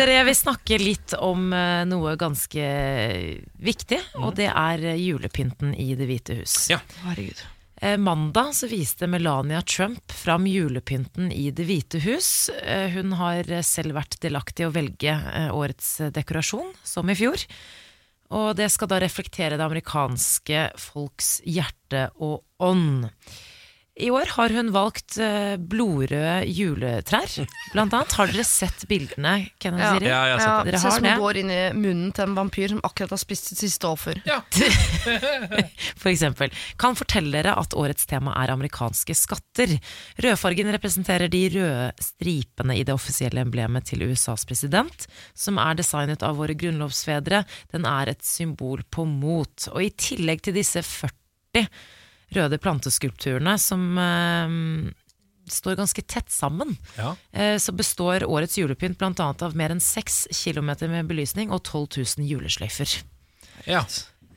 Speaker 2: Dere, jeg vil snakke litt om eh, noe ganske viktig, og det er eh, julepynten i Det hvite hus.
Speaker 1: Ja.
Speaker 3: Herregud.
Speaker 2: Eh, mandag så viste Melania Trump fram julepynten i Det hvite hus. Eh, hun har eh, selv vært delaktig i å velge eh, årets eh, dekorasjon, som i fjor. Og det skal da reflektere det amerikanske folks hjerte og ånd. I år har hun valgt eh, blodrøde juletrær, blant annet. Har dere sett bildene, Ken og
Speaker 3: Ja.
Speaker 2: Siri?
Speaker 1: Ja, jeg har
Speaker 3: Ja,
Speaker 1: sett det.
Speaker 2: Dere har
Speaker 3: det ser ut som
Speaker 2: det.
Speaker 3: hun går inn i munnen til en vampyr som akkurat har spist sitt siste offer.
Speaker 2: for eksempel, kan fortelle dere at årets tema er amerikanske skatter. Rødfargen representerer de røde stripene i det offisielle emblemet til USAs president, som er designet av våre grunnlovsfedre. Den er et symbol på mot. Og i tillegg til disse 40 røde planteskulpturene som eh, står ganske tett sammen,
Speaker 1: Ja.
Speaker 2: eh, så består årets julepynt bl.a. av mer enn 6 km med belysning og 12 000 julesløyfer.
Speaker 1: Ja.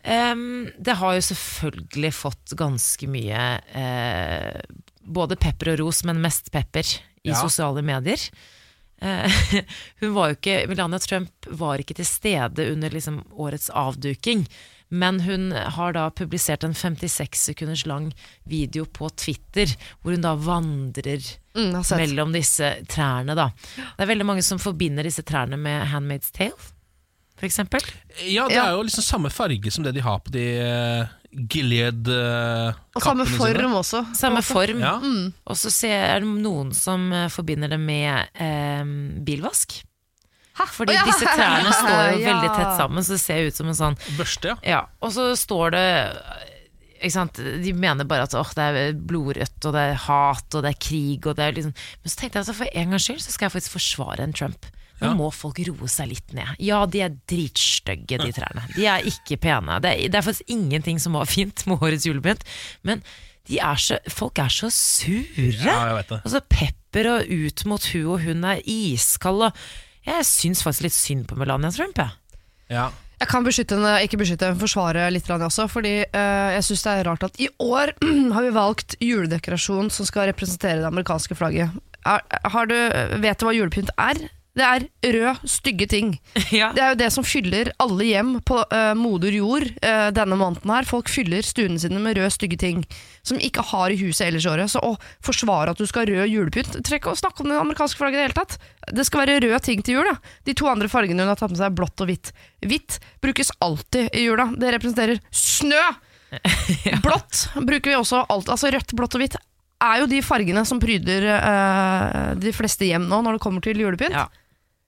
Speaker 2: Em, det har jo selvfølgelig fått ganske mye eh, både pepper og ros, men mest pepper i
Speaker 1: Ja.
Speaker 2: sosiale medier. Eh, [LAUGHS] hun var jo ikke, Melania Trump var ikke til stede under liksom årets avduking, men hun har da publisert en 56 sekunders lang video på Twitter, hvor hun da vandrer
Speaker 3: Mm, jeg har sett.
Speaker 2: mellom disse trærne. da. Det er veldig mange som forbinder disse trærne med Handmaid's Tale, for eksempel.
Speaker 1: ja, det
Speaker 3: Ja.
Speaker 1: er jo liksom samme farge som det de har på de uh, Gilead-kappene
Speaker 3: Og samme form Mm. også.
Speaker 2: Samme form.
Speaker 1: Ja.
Speaker 2: Og så ser jeg noen som eh, forbinder det med eh, bilvask. Fordi
Speaker 3: Å, ja.
Speaker 2: disse
Speaker 3: [LAUGHS]
Speaker 2: trærne står jo
Speaker 3: Ja.
Speaker 2: veldig tett sammen, så det ser ut som en sånn
Speaker 1: Børste, ja.
Speaker 2: ja, Og så står det ikke sant? De mener bare at åh, det er blodrødt, og det er hat, og det er krig og det er liksom. Men så tenkte jeg at for en gangs skyld så skal jeg faktisk forsvare en Trump. Nå
Speaker 1: Ja.
Speaker 2: må folk roe seg litt ned. Ja, de er dritstygge, de trærne. De er ikke pene. Det er, det er faktisk ingenting som var fint med årets julepynt, men de er så, folk er så sure.
Speaker 1: Ja, jeg vet det.
Speaker 2: Og så pepper og ut mot hun, og hun er iskald. Og jeg syns faktisk litt synd på Melania Trump,
Speaker 1: [LAUGHS]
Speaker 2: jeg.
Speaker 1: ja.
Speaker 3: Jeg kan beskytte henne, ikke beskytte henne, forsvare litt grann også, fordi eh, jeg syns det er rart at i år [CLEARS THROAT] har vi valgt juledekorasjon som skal representere det amerikanske flagget. Er, har du, vet du hva julepynt er? Det er rød, stygge ting.
Speaker 2: Ja.
Speaker 3: Det er jo det som fyller alle hjem på eh, moder jord eh, denne måneden her. Folk fyller stuene sine med røde, stygge ting som ikke har i huset ellers i året. Så å forsvare at du skal ha rød julepynt Trenger ikke å snakke om det amerikanske flagget i det hele tatt. Det skal være røde ting til jul, da. De to andre fargene hun har tatt med seg, er blått og hvitt. Hvitt brukes alltid i jula. Det representerer snø! Blått bruker vi også alt. Altså rødt, blått og hvitt er jo de fargene som pryder eh, de fleste hjem nå når det kommer til julepynt.
Speaker 2: Ja.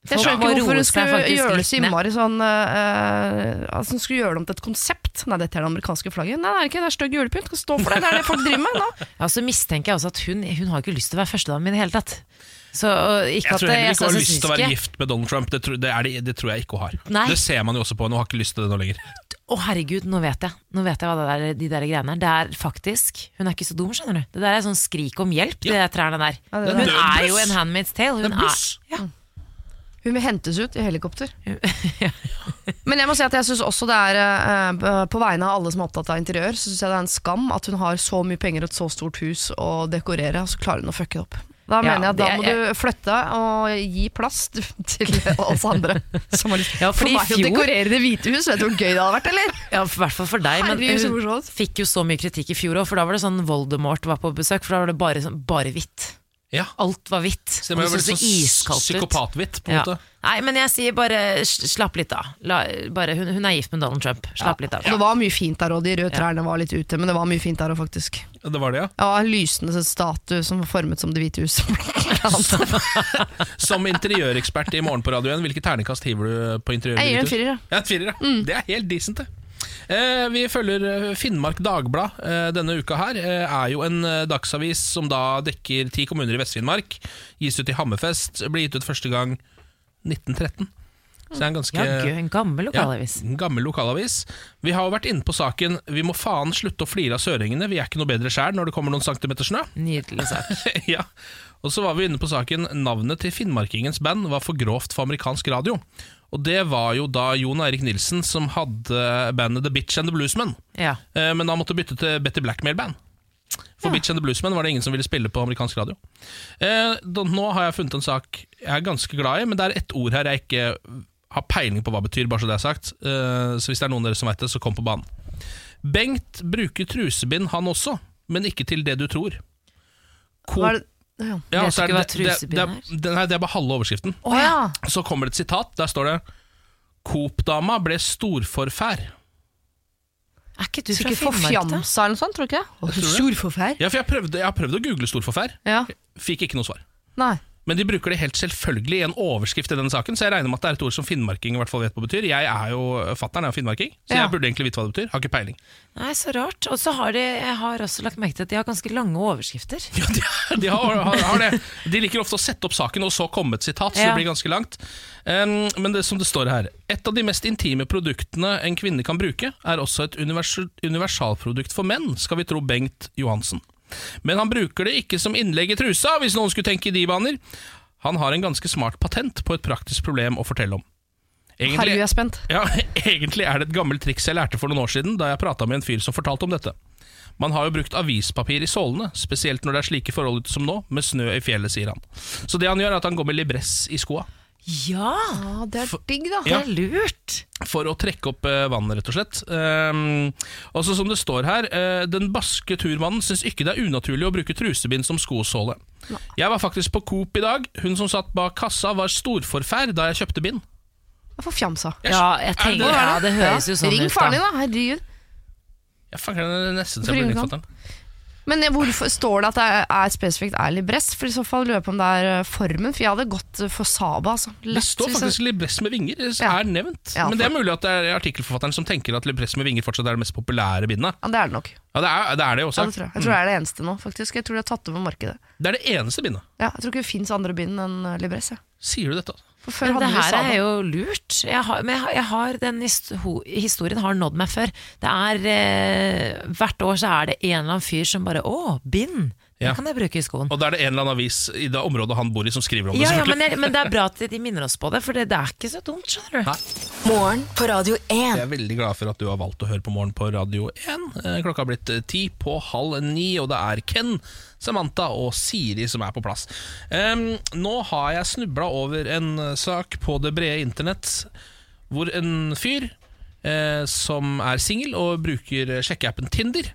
Speaker 3: Jeg
Speaker 2: Folk
Speaker 3: skjønner
Speaker 2: må
Speaker 3: ikke
Speaker 2: roe
Speaker 3: hvorfor hun
Speaker 2: seg
Speaker 3: skulle
Speaker 2: faktisk
Speaker 3: gjøre det
Speaker 2: litt
Speaker 3: så
Speaker 2: ned.
Speaker 3: innmari sånn eh, Altså hun skulle gjøre det om til et konsept. Nei, dette er det amerikanske flagget. Nei, det er ikke det, det er stygg julepynt. Skal stå for det. Det er det folk driver med nå.
Speaker 2: Ja, så mistenker jeg også at hun, hun har ikke lyst til å være førstedame i det hele tatt. Så, og
Speaker 1: Jeg
Speaker 2: ikke at
Speaker 1: tror heller ikke
Speaker 2: altså,
Speaker 1: hun har
Speaker 2: synes
Speaker 1: lyst til å være
Speaker 2: ikke-
Speaker 1: gift med Donald Trump. Det, tror- det, er, det- det tror jeg ikke hun har.
Speaker 2: Nei.
Speaker 1: Det ser man jo også på henne, hun har ikke lyst til det nå lenger.
Speaker 2: Å herregud, nå vet jeg Nå vet jeg hva det der, de der greiene er Det er faktisk, hun er ikke så dum, skjønner du Det der er sånn skrik om hjelp, de der trærne der
Speaker 3: Ja, det er
Speaker 2: Hun
Speaker 1: det.
Speaker 2: er jo en handmaid's tale Hun
Speaker 1: Det er bluss.
Speaker 2: er, ja.
Speaker 3: Hun vil hentes ut i helikopter. [LAUGHS] Men jeg må si at jeg synes også det er eh, på vegne av alle som er opptatt av interiør, så synes jeg det er en skam at hun har så mye penger og et så stort hus å dekorere, og så klarer hun å fucke det opp. Da
Speaker 2: Ja,
Speaker 3: mener jeg at da
Speaker 2: det-
Speaker 3: må du flytte og gi plass du, [LAUGHS] til oss andre. Som har lyst.
Speaker 2: Ja,
Speaker 3: for
Speaker 2: fordi
Speaker 3: meg å
Speaker 2: i fjor-
Speaker 3: dekorere Det hvite hus, vet du hvor gøy det hadde vært, eller?
Speaker 2: ja, for- i hvert fall for deg Men
Speaker 3: Herregud, så
Speaker 2: hun
Speaker 3: morsomt.
Speaker 2: fikk jo så mye kritikk i fjor også For da var det sånn Voldemort var på besøk For da var det bare, sånn, bare hvitt
Speaker 1: Ja.
Speaker 2: Alt var hvitt
Speaker 1: Så det må jo
Speaker 2: og det
Speaker 1: være
Speaker 2: så
Speaker 1: sånn
Speaker 2: iskaldt ut.
Speaker 1: psykopathvitt, på en måte.
Speaker 2: Nei, men jeg sier bare s- Slapp litt av La, bare, hun, hun er gift med Donald Trump Slapp litt av
Speaker 3: Og Det var mye fint der, og de røde trærne var litt ute, men det var mye fint der òg, faktisk.
Speaker 1: Det var det, ja.
Speaker 3: Ja, en lysende statue som var formet som Det hvite [LAUGHS] hus.
Speaker 1: Som interiørekspert i Morgen på radioen, hvilke ternekast hiver du på interiør?
Speaker 3: Jeg gir en
Speaker 1: Birgit?
Speaker 3: firer, ja.
Speaker 1: Ja, en firer, ja.
Speaker 2: Mm.
Speaker 1: Det er helt decent, det. Eh, vi følger eh, Finnmark Dagblad eh, denne uka her. Eh, er jo en eh, dagsavis som da dekker ti kommuner i Vest-Finnmark. Gis ut i Hammerfest. Ble gitt ut første gang 1913. Så det er en ganske
Speaker 2: Ja, gøy, en gammel lokalavis
Speaker 1: Ja, en gammel lokalavis. Vi har jo vært inne på saken 'Vi må faen slutte å flire av søringene'. Vi er ikke noe bedre sjæl når det kommer noen centimeter snø. [LAUGHS]
Speaker 2: Nydelig sak
Speaker 1: ja. Og så var vi inne på saken Navnet til Finnmarkingens band var for grovt for amerikansk radio. Og det var jo da Jon Eirik Nilsen som hadde bandet The Bitch and the Bluesmen.
Speaker 2: Ja
Speaker 1: Eh, Men han måtte bytte til Betty Blackmail Band. For Bitch and the Bluesmen var det ingen som ville spille på amerikansk radio. Eh, da, nå har jeg funnet en sak jeg er ganske glad i, men det er ett ord her jeg ikke har peiling på hva betyr, bare så det er sagt. Eh, så hvis det er noen av dere som veit det, så kom på banen. Bengt bruker trusebind, han også, men ikke til det du tror. Ko-
Speaker 3: Var det, ja.
Speaker 1: ja,
Speaker 2: Vet
Speaker 1: så er
Speaker 2: du ikke hva
Speaker 1: det- det- det-
Speaker 2: trusebind
Speaker 1: det- Nei, det er bare halve overskriften.
Speaker 3: Å ja.
Speaker 1: Så kommer det et sitat. Der står det Coop-dama ble storforfær.
Speaker 2: Er ikke du fra
Speaker 3: Sikkert
Speaker 2: Finnmark da?
Speaker 3: forfjamsa eller noe sånt, tror du ikke? Og
Speaker 1: tror det.
Speaker 3: forfær.
Speaker 1: Ja, for jeg, prøvde, jeg har prøvd å google storforfær.
Speaker 3: Ja.
Speaker 1: Fikk ikke noe svar.
Speaker 3: Nei.
Speaker 1: Men de bruker det helt selvfølgelig i en overskrift i denne saken, så jeg regner med at det er et ord som finnmarking i hvert fall vet hva betyr. Jeg er jo fatter'n, jeg er finnmarking, så
Speaker 3: Ja.
Speaker 1: jeg burde egentlig vite hva det betyr. Har ikke peiling.
Speaker 2: Nei, så rart. Og så har de, jeg har også lagt merke til at de har ganske lange overskrifter.
Speaker 1: [LAUGHS] Ja, de, de, har, har, har det. de liker ofte å sette opp saken og så komme et sitat, så
Speaker 2: Ja.
Speaker 1: det blir ganske langt. Em, men det som det står her Et av de mest intime produktene en kvinne kan bruke, er også et univers universalprodukt for menn, skal vi tro Bengt Johansen. Men han bruker det ikke som innlegg i trusa, hvis noen skulle tenke i de baner. Han har en ganske smart patent på et praktisk problem å fortelle om.
Speaker 3: Herregud, jeg er spent.
Speaker 1: Ja, [LAUGHS] Egentlig er det et gammelt triks jeg lærte for noen år siden da jeg prata med en fyr som fortalte om dette. Man har jo brukt avispapir i sålene, spesielt når det er slike forhold ute som nå, med snø i fjellet, sier han. Så det han gjør, er at han går med libress i skoa
Speaker 2: Ja!
Speaker 3: Ja, det er digg, da.
Speaker 2: Det er lurt.
Speaker 1: for å trekke opp eh, vannet, rett og slett. Ehm, og så som det står her, eh, den baske turmannen syns ikke det er unaturlig å bruke trusebind som skosåle. Jeg var faktisk på Coop i dag. Hun som satt bak kassa var storforfær da jeg kjøpte bind.
Speaker 3: Jeg er forfjamsa.
Speaker 1: Jeg-
Speaker 2: Ja, jeg tenker,
Speaker 1: det-
Speaker 2: ja, det høres jo sånn
Speaker 3: Ring
Speaker 2: ut.
Speaker 3: faren din,
Speaker 2: da.
Speaker 3: da. Herregud.
Speaker 1: Jeg fanger den nesten så
Speaker 3: Hvorfor
Speaker 1: jeg
Speaker 2: sånn?
Speaker 1: blir
Speaker 3: gjorde han
Speaker 1: nyfatter'n.
Speaker 3: Men hvorfor står det at det er- er spesifikt er libress? For i så fall lurer jeg på om det er eh, formen, for jeg hadde gått eh, for Saba. Altså.
Speaker 1: Det
Speaker 3: Lett,
Speaker 1: står
Speaker 3: hvis jeg-
Speaker 1: faktisk libress med vinger, det
Speaker 3: Ja.
Speaker 1: er nevnt.
Speaker 3: Ja, for-
Speaker 1: Men det er mulig at det er artikkelforfatteren som tenker at libress med vinger fortsatt er det mest populære bindet.
Speaker 3: Ja, det er det nok.
Speaker 1: Ja, det er det, er det
Speaker 3: Ja,
Speaker 1: også.
Speaker 3: det tror jeg. jeg tror det er det eneste nå, faktisk. Jeg tror de har tatt over markedet.
Speaker 1: Det er det eneste bindet.
Speaker 3: Ja, jeg tror ikke det fins andre bind enn eh, libress. jeg.
Speaker 1: Sier du dette? altså?
Speaker 3: For før
Speaker 2: Men det
Speaker 3: hadde vi
Speaker 2: her
Speaker 3: Saba.
Speaker 2: er jo lurt. Jeg har, men jeg har, jeg har den histo- historien har nådd meg før. Det er eh, Hvert år så er det en eller annen fyr som bare Å, bind! Det
Speaker 1: Ja.
Speaker 2: kan jeg bruke i skoen.
Speaker 1: Og da er det en eller annen avis i det området han bor i som skriver om det.
Speaker 2: Ja, ja,
Speaker 1: selvfølgelig.
Speaker 2: men, jeg, men det er bra at de minner oss på det, for det, det er ikke så dumt, skjønner du.
Speaker 4: Morgen på Radio 1.
Speaker 1: Jeg er veldig glad for at du har valgt å høre på Morgen på Radio 1. Eh, Klokka har blitt eh, ti på halv ni, og det er Ken, Samantha og Siri som er på plass. Em, nå har jeg snubla over en eh, sak på det brede internett hvor en fyr eh, som er singel og bruker eh, sjekkeappen Tinder,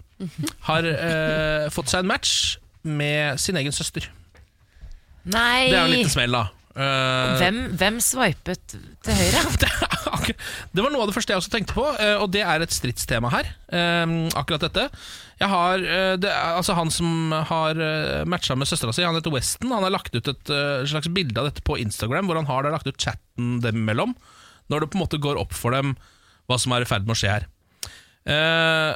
Speaker 1: har eh, fått seg en match med sin egen søster. Det er jo en
Speaker 2: Nei!
Speaker 1: liten smell, da. Eh,
Speaker 2: Hvem, hvem sveipet til høyre?
Speaker 1: [LAUGHS] det er akkurat- det var noe av det første jeg også tenkte på, eh, og det er et stridstema her. eh, Akkurat dette. Jeg har, eh, det er, altså Han som har eh, matcha med søstera si, han heter Weston. Han har lagt ut et eh, slags bilde av dette på Instagram, hvor han har da lagt ut chatten dem imellom. Når det på en måte går opp for dem hva som er i ferd med å skje her. Eh,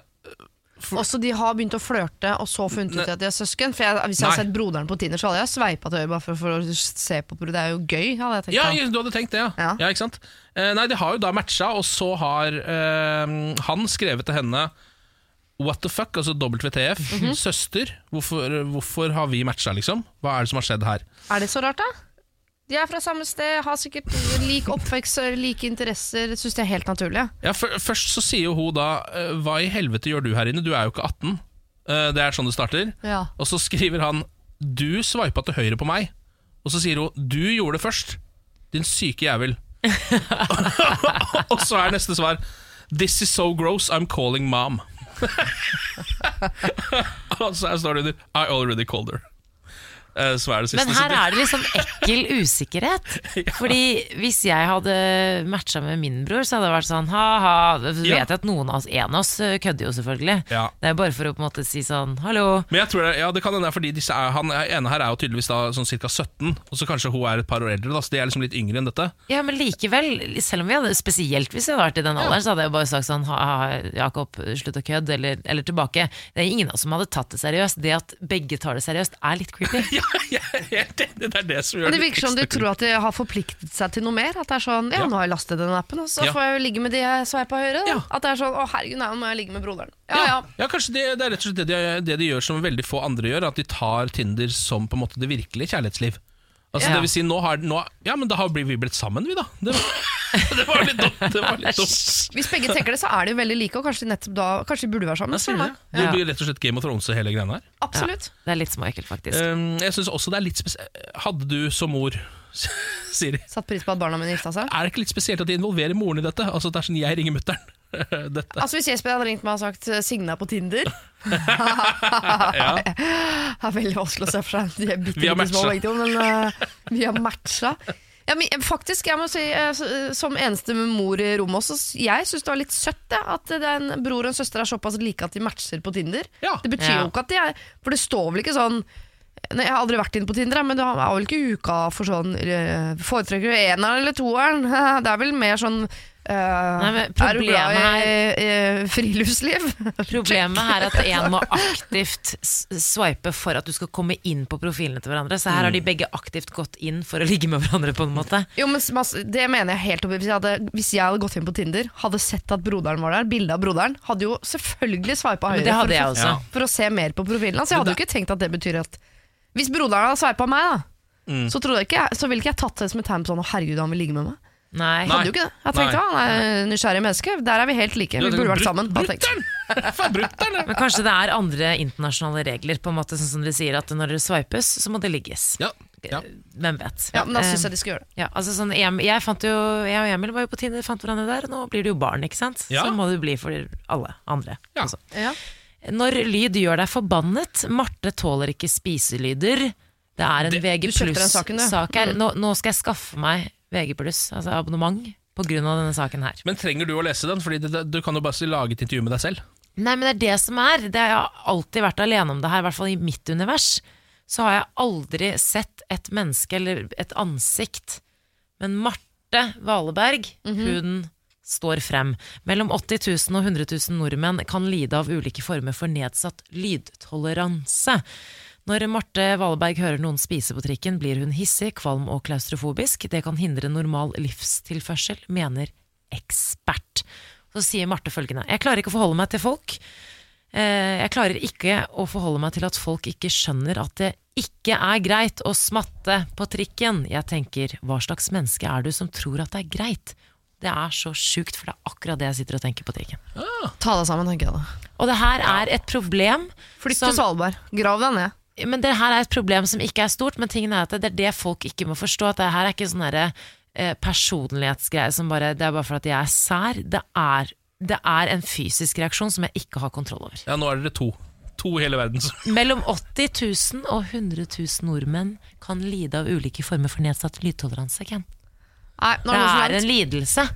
Speaker 3: Også de har begynt å flørte, og så funnet ut
Speaker 1: Nei.
Speaker 3: at de er søsken. For jeg, Hvis jeg
Speaker 1: Nei.
Speaker 3: hadde sett broderen på Tinder, så hadde jeg sveipa til øyet bare for, for å se på bro- Det er jo gøy, hadde jeg tenkt.
Speaker 1: Ja,
Speaker 3: da.
Speaker 1: du hadde tenkt det, ja. ja.
Speaker 3: Ja.
Speaker 1: ikke sant? Eh, nei, de har jo da matcha, og så har eh, han skrevet til henne What the fuck, altså WTF. Søster, hvorfor, hvorfor har vi matcha, liksom? Hva er det som har skjedd her?
Speaker 3: Er det så rart, da? De er fra samme sted, har sikkert lik oppvekst, like interesser. Syns de er helt naturlig. ja.
Speaker 1: Ja, fø- Først så sier jo hun da eh, Hva i helvete gjør du her inne? Du er jo ikke 18. Eh, det er sånn det starter.
Speaker 3: Ja.
Speaker 1: Og så skriver han Du sveipa til høyre på meg. Og så sier hun Du gjorde det først. Din syke [LAUGHS] jævel. og så er neste svar This is so gross, I'm calling mom. [LAUGHS] og så her står det under I already called her. Eh, Så er det siste.
Speaker 2: Men her er det liksom ekkel usikkerhet.
Speaker 1: [LAUGHS]
Speaker 2: Fordi hvis jeg hadde matcha med min bror, så hadde det vært sånn ha-ha. Vet
Speaker 1: Ja.
Speaker 2: jeg at noen av oss, en av oss eh, kødder jo selvfølgelig.
Speaker 1: Ja.
Speaker 2: Det er bare for å på en måte si sånn hallo.
Speaker 1: Men jeg tror det, ja, det kan hende det er fordi disse er, han er- ene her er jo tydeligvis da sånn ca. 17, og så kanskje hun er et par år eldre. Da, så de er liksom litt yngre enn dette.
Speaker 2: Ja, men likevel, selv om vi hadde, spesielt hvis jeg hadde vært i den alderen, så hadde jeg bare sagt sånn ha, ha, Jakob, slutt å kødde, eller, eller tilbake. Det er ingen av oss som hadde tatt det seriøst. Det at begge tar det seriøst, er litt creepy.
Speaker 1: Ja, [LAUGHS] jeg er helt enig, det er det som gjør
Speaker 3: Men det virker som de
Speaker 1: ekstra
Speaker 3: tror at de har forpliktet seg til noe mer. At det er sånn, ja,
Speaker 1: Ja.
Speaker 3: nå har jeg lastet den appen, og så
Speaker 1: Ja.
Speaker 3: får jeg jo ligge med de jeg sveipa høyre. Da.
Speaker 1: Ja.
Speaker 3: At det er sånn, å herregud, nei, nå må jeg ligge med broderen. Ja, ja.
Speaker 1: Ja, ja kanskje det, det er rett og slett det de, det de gjør som veldig få andre gjør, at de tar Tinder som på en måte det virkelige kjærlighetsliv. Altså,
Speaker 2: Ja.
Speaker 1: Det vil si, nå har, nå, ja, men da har vi vi blitt sammen, vi, da. Det var, [LAUGHS] det var litt dumt. Det var litt dumt.
Speaker 3: Hvis begge tenker det, så er de jo veldig like, og kanskje de, nettopp da, kanskje de burde være sammen. spør du meg.
Speaker 1: Det blir rett og slett Game of Thrones og hele greiene her.
Speaker 3: Absolutt.
Speaker 2: Det er litt småekkelt, faktisk.
Speaker 1: Um, jeg synes også det er litt spes Hadde du som mor, [LAUGHS] Siri
Speaker 3: Satt pris på at barna mine gifta seg.
Speaker 1: Er det ikke litt spesielt at de involverer moren i dette? Altså, det er sånn jeg ringer mutter'n. [LAUGHS] Dette.
Speaker 3: Altså Hvis Jesper hadde ringt meg og sagt eh, 'Signe er på Tinder'
Speaker 1: [LAUGHS] Ja.
Speaker 3: [LAUGHS] Det er veldig vanskelig å se for seg. De er bitte,
Speaker 1: Vi har
Speaker 3: bitte små
Speaker 1: matcha.
Speaker 3: begge to, men eh, vi har matcha. Ja, men, eh, faktisk, jeg må si, eh, s- eh, som eneste med mor i rommet også, s- jeg syns det var litt søtt det, at eh, det er en bror og en søster er såpass like at de matcher på Tinder.
Speaker 1: Ja.
Speaker 3: Det betyr
Speaker 2: Ja.
Speaker 3: jo ikke at de er For det står vel ikke sånn Nei, Jeg har aldri vært inne på Tinder, men det er vel ikke uka for sånn eh, Foretrekker du eneren eller toeren? [LAUGHS] Det er vel mer sånn eh,
Speaker 2: men
Speaker 3: Er du glad i eh, friluftsliv? [LAUGHS]
Speaker 2: Problemet er at en må aktivt s- swipe for at du skal komme inn på profilene til hverandre. Så her har de begge aktivt gått inn for å ligge med hverandre, på en måte.
Speaker 3: Jo, men Mads, det mener jeg helt oppriktig. Hvis, jeg hadde- hvis jeg hadde gått inn på Tinder, hadde sett at broderen var der, bilde av broderen, hadde jo selvfølgelig sveipa
Speaker 2: Men
Speaker 3: høyre
Speaker 2: det hadde
Speaker 3: for,
Speaker 2: jeg
Speaker 3: å,
Speaker 2: også.
Speaker 3: for å se mer på profilen hans. Jeg hadde jo ikke tenkt at det betyr at Hvis broderen hadde sveipa meg, da, så, trodde jeg ikke, jeg- så ville ikke jeg tatt det som et tegn på sånn 'Å, herregud, han vil ligge med meg'.
Speaker 2: Nei.
Speaker 3: Hadde jo ikke det. Jeg tenkte
Speaker 1: Nei.
Speaker 3: han er nysgjerrig menneske. Der er vi helt like. Vi burde vært sammen. hadde jeg tenkt.
Speaker 1: Brutter'n! Faen, brutter'n! ja.
Speaker 2: Men kanskje det er andre internasjonale regler, på en måte, sånn som dere sier, at når det swipes, så må det ligges.
Speaker 3: [LAUGHS]
Speaker 1: Ja. Ja.
Speaker 2: Hvem vet.
Speaker 3: Ja, men da syns
Speaker 2: Eh,
Speaker 3: jeg de skal gjøre det.
Speaker 2: Ja, altså sånn, jeg, jeg, fant jo, jeg og Emil var jo på Tinder, fant hverandre der, og nå blir det jo barn, ikke sant?
Speaker 1: Ja.
Speaker 2: Så må det bli for alle andre.
Speaker 1: Ja.
Speaker 2: også. Når lyd gjør deg forbannet, Marte tåler ikke spiselyder. Det er en VG
Speaker 3: du kjøpte den saken, du. Mm.
Speaker 2: sak her. Nå, nå skal jeg skaffe meg VG altså abonnement, på grunn av denne saken her.
Speaker 1: Men trenger du å lese den? Fordi det, det, du kan jo bare lage et intervju med deg selv.
Speaker 2: Nei, men det er det som er. Det har jeg alltid vært alene om det her, i hvert fall i mitt univers. Så har jeg aldri sett et menneske eller et ansikt. Men Marte Valeberg,
Speaker 3: Mhm.
Speaker 2: hun står frem. Mellom 80 000 og 100 000 nordmenn kan lide av ulike former for nedsatt lydtoleranse. Når Marte Valeberg hører noen spise på trikken, blir hun hissig, kvalm og klaustrofobisk. Det kan hindre normal livstilførsel, mener ekspert. Så sier Marte følgende Jeg klarer ikke å forholde meg til folk. Eh, Jeg klarer ikke å forholde meg til at folk ikke skjønner at det ikke er greit å smatte på trikken. Jeg tenker, hva slags menneske er du som tror at det er greit? Det er så sjukt, for det er akkurat det jeg sitter og tenker på trikken.
Speaker 3: Ta deg sammen, tenker jeg da.
Speaker 2: Og det her er et problem
Speaker 3: Flytt
Speaker 2: som-
Speaker 3: til Svalbard. Grav deg ned.
Speaker 2: men det her er et problem som ikke er stort, men tingen er at det er det folk ikke må forstå. At det her er ikke sånn herre eh, personlighetsgreie som bare Det er bare for at jeg er sær. Det er, det er en fysisk reaksjon som jeg ikke har kontroll over.
Speaker 1: Ja, nå er dere to. To i hele verden. som-
Speaker 2: Mellom 80 000 og 100 000 nordmenn kan lide av ulike former for nedsatt lydtoleranse. Ken.
Speaker 3: Nei,
Speaker 2: Det
Speaker 3: nå er det
Speaker 2: er
Speaker 3: for
Speaker 2: en
Speaker 3: langt.
Speaker 2: lidelse.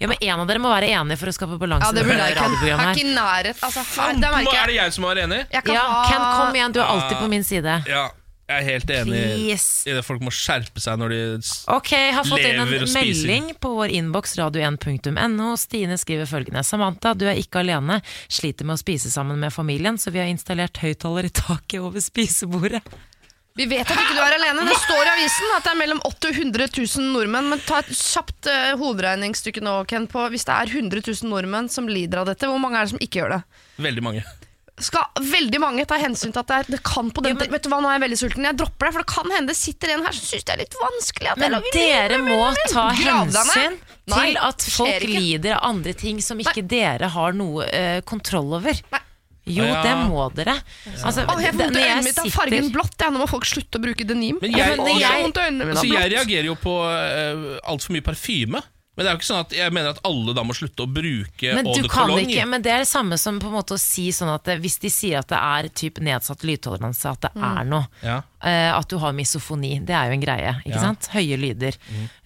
Speaker 2: Ja, men en av dere må være enig for å skape balanse
Speaker 3: Ja, det burde
Speaker 2: i
Speaker 3: jeg
Speaker 2: dette
Speaker 3: ikke. Jeg er
Speaker 2: radioprogrammet her.
Speaker 3: ikke i nærhet. Altså, her, der
Speaker 1: Nå
Speaker 3: merker
Speaker 1: er
Speaker 3: jeg.
Speaker 1: det jeg som er enig.
Speaker 3: jeg kan
Speaker 2: Ja,
Speaker 3: ha-
Speaker 2: Ken, kom igjen, du er alltid på min side.
Speaker 1: Ja, jeg er helt enig
Speaker 2: Please.
Speaker 1: i det. Folk må skjerpe seg når de s-
Speaker 2: Ok, jeg har fått inn
Speaker 1: Lever og
Speaker 2: en
Speaker 1: spiser.
Speaker 2: melding på vår innboks radio1.no. Stine skriver følgende. Samantha, du er ikke alene. Sliter med å spise sammen med familien, så vi har installert høyttaler i taket over spisebordet.
Speaker 3: Vi vet at ikke du er alene. Det står i avisen at det er mellom 8 og 100 000 nordmenn. Men ta et kjapt eh, hoderegningsstykke nå, Ken, på hvis det er 100 000 nordmenn som lider av dette, hvor mange er det som ikke gjør det?
Speaker 1: Veldig mange.
Speaker 3: Skal veldig mange ta hensyn til at det, er, det kan på den
Speaker 2: Jo, men-
Speaker 3: Vet du hva, nå er jeg veldig sulten. Jeg dropper det, for det kan hende det sitter en her som syns det er litt vanskelig. At jeg
Speaker 2: Men
Speaker 3: lager-
Speaker 2: dere må ta
Speaker 3: Gravene?
Speaker 2: hensyn
Speaker 3: Nei,
Speaker 2: til at
Speaker 3: det skjer
Speaker 2: folk
Speaker 3: ikke.
Speaker 2: lider av andre ting som ikke dere har noe eh, kontroll over.
Speaker 3: Nei.
Speaker 2: Jo,
Speaker 1: Ja.
Speaker 2: det må dere. Altså,
Speaker 3: Å, jeg får
Speaker 2: det-
Speaker 3: vondt i
Speaker 2: når jeg
Speaker 3: øynene mitt av
Speaker 2: sitter-
Speaker 3: fargen blått. jeg. Nå må folk slutte å bruke denim.
Speaker 1: Men
Speaker 3: Å,
Speaker 1: jeg-
Speaker 3: jeg får
Speaker 1: jeg-
Speaker 3: vondt i øynene mine
Speaker 1: Så
Speaker 3: av
Speaker 1: Altså, jeg
Speaker 3: blått.
Speaker 1: reagerer jo på uh, altfor mye parfyme. Men det er jo ikke sånn at jeg mener at alle da må slutte å bruke
Speaker 2: Men
Speaker 1: eau
Speaker 2: du
Speaker 1: de
Speaker 2: kan
Speaker 1: cologne.
Speaker 2: ikke, men det er det samme som på en måte å si sånn at eh, hvis de sier at det er typ nedsatt lydtoleranse, at det
Speaker 3: Mm.
Speaker 2: er noe.
Speaker 1: Ja.
Speaker 2: Eh, at du har misofoni, det er jo en greie. ikke
Speaker 1: Ja.
Speaker 2: sant? Høye lyder.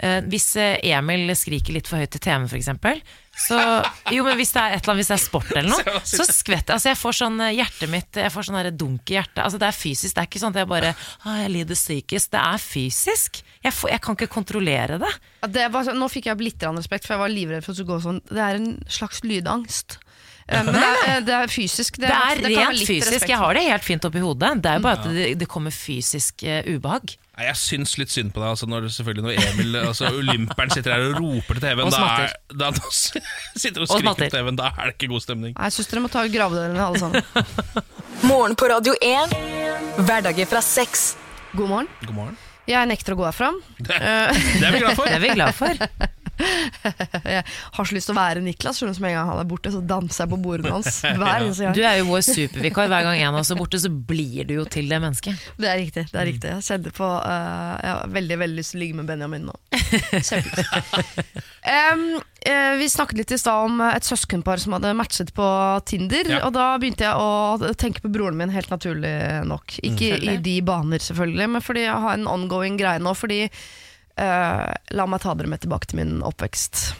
Speaker 2: Eh, hvis eh, Emil skriker litt for høyt til TV-en, f.eks. Så, jo, men hvis det er et eller annet, hvis det er sport eller noe, så skvetter jeg. Altså, jeg får sånn eh, hjertet mitt Jeg får sånn her dunk i hjertet. Altså, det er fysisk. Det er ikke sånn at jeg bare Å, jeg lider psykisk. Det er fysisk. Jeg, får, jeg kan ikke kontrollere det.
Speaker 3: Ja, det var, så- nå fikk jeg litt grann respekt, for jeg var livredd for at det skulle gå sånn. Det er en slags lydangst. Eh, Men det er, eh, det er fysisk.
Speaker 2: Det er
Speaker 3: kan jeg ha
Speaker 2: rent
Speaker 3: litt
Speaker 2: fysisk.
Speaker 3: respekt
Speaker 2: Jeg har det helt fint oppi hodet. Det er jo bare at det, det kommer fysisk eh, ubehag.
Speaker 1: Nei, jeg syns litt synd på deg altså når, selvfølgelig når Emil, altså Olymperen, sitter her og roper til TV-en.
Speaker 2: Og
Speaker 1: Da, er- da, da [LAUGHS] sitter og
Speaker 2: Og
Speaker 1: skriker
Speaker 2: smatter.
Speaker 1: til TV-en. Da er det ikke god stemning.
Speaker 3: Nei, Jeg syns dere må ta gravedørene,
Speaker 2: [LAUGHS]
Speaker 3: alle sammen.
Speaker 4: Morgen på Radio 1. Hverdager fra seks.
Speaker 3: God morgen.
Speaker 1: God morgen.
Speaker 3: Jeg nekter å gå herfra.
Speaker 2: Eh.
Speaker 1: Det, det er vi glad for.
Speaker 2: Det er vi glad
Speaker 3: [LAUGHS]
Speaker 2: for.
Speaker 3: Jeg har så lyst til å være Niklas, skjønner du, som en gang han er borte, så danser jeg på bordene hans
Speaker 2: [LAUGHS]
Speaker 3: hver eneste gang.
Speaker 2: Du er jo vår supervikar. Hver gang en av oss er borte, så blir du jo til det mennesket.
Speaker 3: Det er riktig. det er riktig Jeg kjente på eh, Jeg har veldig veldig lyst til å ligge med Benjamin [LAUGHS] nå. Kjempelyst. Em, eh, vi snakket litt i stad om eh, et søskenpar som hadde matchet på Tinder.
Speaker 1: Ja.
Speaker 3: Og da begynte jeg å tenke på broren min, helt naturlig nok. Ikke i de baner, selvfølgelig, men fordi jeg har en ongoing greie nå. Fordi eh, La meg ta dere med tilbake til min oppvekst.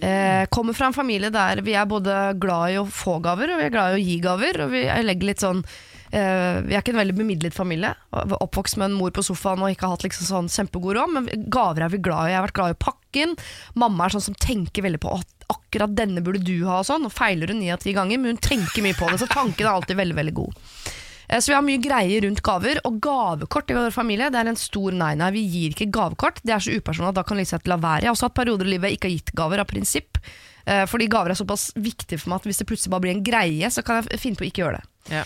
Speaker 3: Eh, kommer fra en familie der vi er både glad i å få gaver, og vi er glad i å gi gaver. Og vi jeg legger litt sånn eh, Vi er ikke en veldig bemidlet familie. Og var Oppvokst med en mor på sofaen og ikke har hatt liksom sånn kjempegod råd, men vi- gaver er vi glad i. Jeg har vært glad i pakken. Mamma er sånn som tenker veldig på at akkurat denne burde du ha og sånn. Og feiler hun ni av ti ganger, men hun tenker mye på det, så tanken er alltid veldig, veldig god. Eh, Så vi har mye greier rundt gaver, og gavekort i vår familie det er en stor nei-nei. Vi gir ikke gavekort. Det er så upersonlig at da kan jeg like sett la være. Jeg har også hatt perioder i livet jeg ikke har gitt gaver av prinsipp. eh, Fordi gaver er såpass viktig for meg at hvis det plutselig bare blir en greie, så kan jeg f- finne på å ikke gjøre det.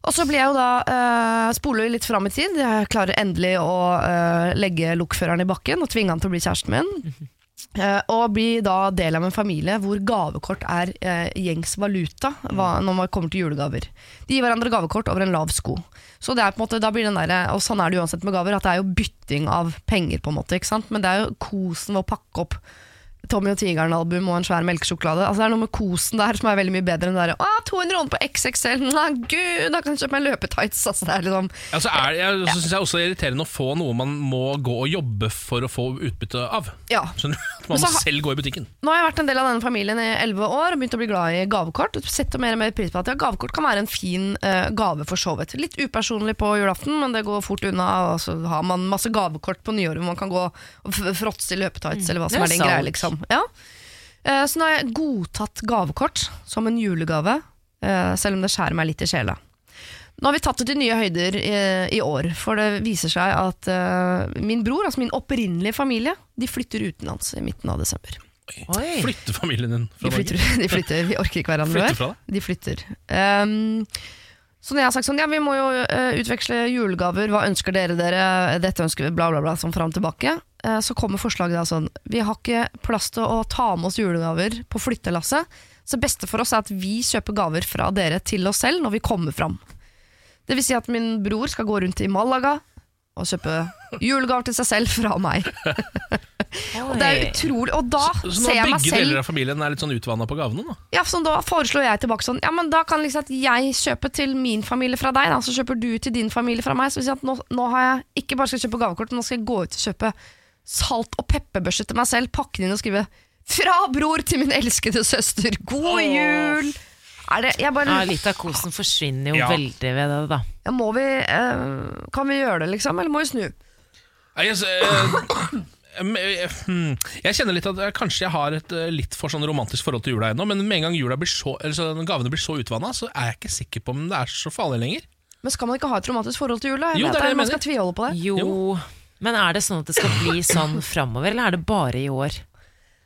Speaker 3: Og så blir jeg jo da eh, spoler vi litt fram i tid. Jeg klarer endelig å eh, legge lokføreren i bakken og tvinge han til å bli kjæresten min. Eh, og blir da del av en familie hvor gavekort er eh, gjengs valuta hva, når man kommer til julegaver. De gir hverandre gavekort over en lav sko. Så det er på en måte, da blir den der, Og sånn er det uansett med gaver, at det er jo bytting av penger, på en måte. ikke sant? Men det er jo kosen ved å pakke opp Tommy og Tigeren-album og en svær melkesjokolade. Altså Det er noe med kosen der som er veldig mye bedre enn det der «Å, 200 kroner på XXL, [LAUGHS] nei gud, da kan jeg kjøpe meg løpetights. Altså, det er liksom
Speaker 1: Altså er, jeg så synes jeg også det er irriterende å få noe man må gå og jobbe for å få utbytte av.
Speaker 3: Ja.
Speaker 1: Skjønner du? At Man
Speaker 3: Men så
Speaker 1: må
Speaker 3: ha-
Speaker 1: selv gå i butikken.
Speaker 3: Nå har jeg vært en del av denne familien i 11 år og begynt å bli glad i gavekort. og Setter mer og mer pris på at ja, gavekort kan være en fin eh, gave for så vidt. Litt upersonlig på julaften, men det går fort unna. Og så har man masse gavekort på nyåret hvor man kan gå og f- fråtse i løpetights eller hva som
Speaker 2: Mm. det er
Speaker 3: er den
Speaker 2: salg.
Speaker 3: greia, liksom. Ja. Eh, så nå har jeg godtatt gavekort som en julegave, eh, selv om det skjærer meg litt i sjela. Nå har vi tatt det til nye høyder i, i år, for det viser seg at eh, min bror, altså min opprinnelige familie, de flytter utenlands i midten av desember.
Speaker 2: Oi.
Speaker 1: Flytte familien din fra
Speaker 3: De flytter,
Speaker 1: Norge.
Speaker 3: [LAUGHS] de flytter, vi orker ikke hverandre
Speaker 1: Flytter
Speaker 3: mer.
Speaker 1: fra deg.
Speaker 3: De flytter. Ehm, så når jeg har sagt sånn, ja, vi må jo eh, utveksle julegaver, hva ønsker dere dere, dette ønsker vi, bla bla bla, sånn fram og tilbake, eh, så kommer forslaget da sånn, vi har ikke plass til å ta med oss julegaver på flyttelasset, så det beste for oss er at vi kjøper gaver fra dere til oss selv når vi kommer fram. Det vil si at min bror skal gå rundt i Malaga og kjøpe julegaver til seg selv fra meg. Og det er utrolig, og da
Speaker 1: Så nå
Speaker 3: ser jeg meg
Speaker 1: begge
Speaker 3: selv...
Speaker 1: deler av familien er litt sånn utvanna på gavene. Da.
Speaker 3: Ja, så da foreslår jeg tilbake sånn Ja, men da kan liksom at jeg kjøper til min familie fra deg da, Så kjøper du til din familie fra meg Så vil si at nå, nå har jeg ikke bare skal kjøpe gavekort Men nå skal jeg gå ut og kjøpe salt og pepperbørse til meg selv Pakke den inn og skrive Fra bror til min elskede søster, god jul! Er det, jeg bare
Speaker 2: Ja, litt av kosen forsvinner jo
Speaker 1: Ja.
Speaker 2: veldig ved det, da.
Speaker 3: ja, Må vi eh, Kan vi gjøre det, liksom? Eller må vi snu?
Speaker 1: Nei, Jeg, eh, [CLEARS THROAT] em, eh, hmm. jeg kjenner litt at eh, kanskje jeg har et eh, litt for sånn romantisk forhold til jula ennå, men med en gang jula blir så, eller så gavene blir så utvanna, så er jeg ikke sikker på om det er så farlig lenger.
Speaker 3: Men skal man ikke ha et romantisk forhold til jula? Jeg
Speaker 1: Jo,
Speaker 3: vet
Speaker 1: det er det jeg
Speaker 3: Man
Speaker 1: mener.
Speaker 3: skal tviholde på det.
Speaker 2: Jo. Men er det sånn at det skal bli sånn framover, eller er det bare i år?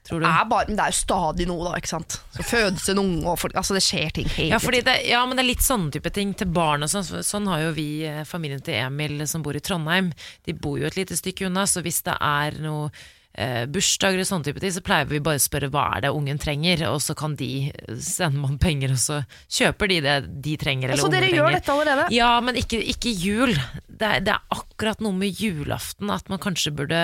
Speaker 2: Tror du?
Speaker 3: Det er, bare, men det er jo stadig noe, da. ikke sant? Så Fødes en unge og folk, altså Det skjer ting hele
Speaker 2: Ja, fordi det, ja, men det er litt sånne type ting til barn og sånn. Så- Sånn har jo vi eh, familien til Emil som bor i Trondheim. De bor jo et lite stykke unna, så hvis det er noe eh, bursdager og sånne type ting, så pleier vi bare å spørre hva er det ungen trenger, og så kan de eh, sende man penger, og så kjøper de det de trenger.
Speaker 3: Ja,
Speaker 2: Eller
Speaker 3: så
Speaker 2: ungen
Speaker 3: dere
Speaker 2: trenger.
Speaker 3: gjør dette allerede?
Speaker 2: Ja, men ikke, ikke jul. Det er, det er akkurat noe med julaften at man kanskje burde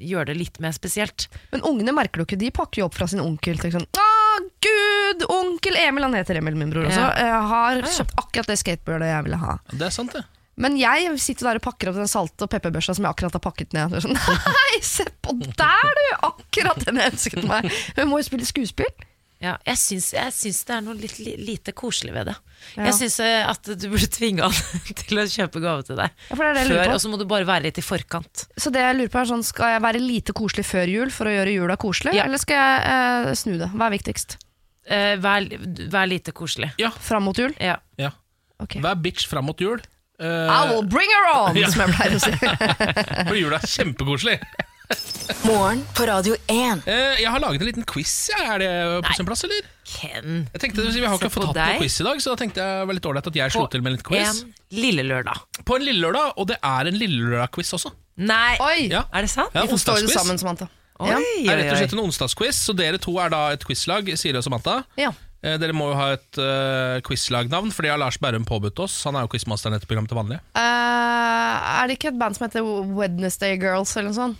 Speaker 2: gjøre det litt mer spesielt.
Speaker 3: Men ungene merker det jo ikke. De pakker jo opp fra sin onkel. tenker Sånn, «Å, Gud, onkel Emil, han heter Emil, min bror også,
Speaker 2: Ja.
Speaker 3: eh, har kjøpt akkurat det skateboardet jeg ville ha.
Speaker 1: Det er sant, det.
Speaker 3: Men jeg sitter der og pakker opp den salte og pepperbørsa som jeg akkurat har pakket ned. Og Sånn, Nei, se på der, du! Akkurat den jeg ønsket meg. Hun må jo spille skuespill.
Speaker 2: Ja, jeg syns, jeg syns det er noe litt, li- lite koselig ved det.
Speaker 3: Ja.
Speaker 2: Jeg syns eh, at du burde tvinge han [LAUGHS] til å kjøpe gave til deg.
Speaker 3: Ja, for det er det jeg lurer
Speaker 2: Før,
Speaker 3: på.
Speaker 2: og så må du bare være litt i forkant.
Speaker 3: Så det jeg lurer på er sånn, skal jeg være lite koselig før jul for å gjøre jula koselig,
Speaker 2: Ja.
Speaker 3: eller skal jeg eh, snu det? Hva er viktigst?
Speaker 2: Eh, vær, vær lite koselig.
Speaker 3: Fram mot jul?
Speaker 2: Ja.
Speaker 1: Ja.
Speaker 3: Ok.
Speaker 1: Vær bitch fram mot jul. Eh,
Speaker 3: I will bring her on,
Speaker 1: Ja.
Speaker 3: som jeg pleier å si.
Speaker 1: for jula er kjempekoselig.
Speaker 4: Morgen på Radio 1.
Speaker 1: Eh, jeg har laget en liten quiz. Ja. Er det på sin plass, eller?
Speaker 2: Ken,
Speaker 1: Jeg tenkte, Vi har
Speaker 2: Se
Speaker 1: ikke
Speaker 2: på
Speaker 1: fått hatt
Speaker 2: deg.
Speaker 1: noen quiz i dag, så da tenkte jeg det var litt ålreit at jeg slo til med en liten quiz.
Speaker 2: en lille lørdag.
Speaker 1: På en lille lørdag, og det er en lille lørdag-quiz også.
Speaker 2: Nei,
Speaker 3: Oi!
Speaker 1: Ja.
Speaker 2: er det sant?
Speaker 1: Ja,
Speaker 3: Vi får stå i det
Speaker 1: onsdagsquiz.
Speaker 3: sammen, Samantha.
Speaker 2: Oi,
Speaker 3: Ja.
Speaker 1: Det
Speaker 2: oi,
Speaker 1: er rett og slett
Speaker 2: oi.
Speaker 1: en onsdagsquiz, så dere to er da et quizlag, Siri og Samantha.
Speaker 3: Ja.
Speaker 1: Eh, dere må jo ha et uh, quizlagnavn, for det har Lars Berrum påbudt oss. Han er jo quizmasteren i dette programmet til vanlig.
Speaker 3: Eh, er det ikke et band som heter Wednesday Girls eller noe sånt?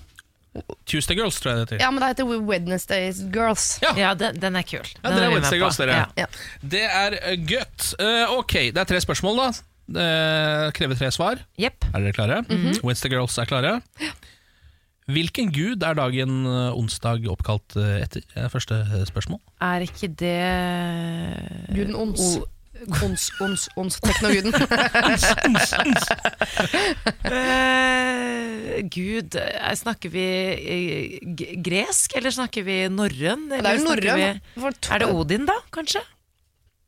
Speaker 1: Tuesday Girls, tror jeg det heter.
Speaker 3: Ja, men det heter Wednesday Girls.
Speaker 1: Ja.
Speaker 2: Ja, den, den er kul.
Speaker 1: Ja,
Speaker 2: Den
Speaker 1: dere
Speaker 2: er
Speaker 1: er
Speaker 2: vi med
Speaker 1: Wednesday
Speaker 2: på.
Speaker 1: Girls, dere.
Speaker 2: Ja.
Speaker 3: Ja.
Speaker 1: Det er eh, gøtt. Eh, ok, det er tre spørsmål, da. Det krever tre svar.
Speaker 2: Jepp.
Speaker 1: Er dere klare?
Speaker 2: Mhm.
Speaker 1: Wednesday Girls er klare. Hvilken gud er dagen eh, onsdag oppkalt eh, etter? Det er første eh, spørsmål.
Speaker 2: Er ikke det
Speaker 3: Guden Ons. Ons, Ons, Ons. [LAUGHS] Teknoguden.
Speaker 2: Eh, Gud, eh, snakker vi eh, g- gresk, eller snakker vi norrøn?
Speaker 3: Det er
Speaker 2: eller
Speaker 3: jo
Speaker 2: snakker
Speaker 3: norrøn.
Speaker 2: vi-
Speaker 3: For to-
Speaker 2: Er det Odin, da, kanskje?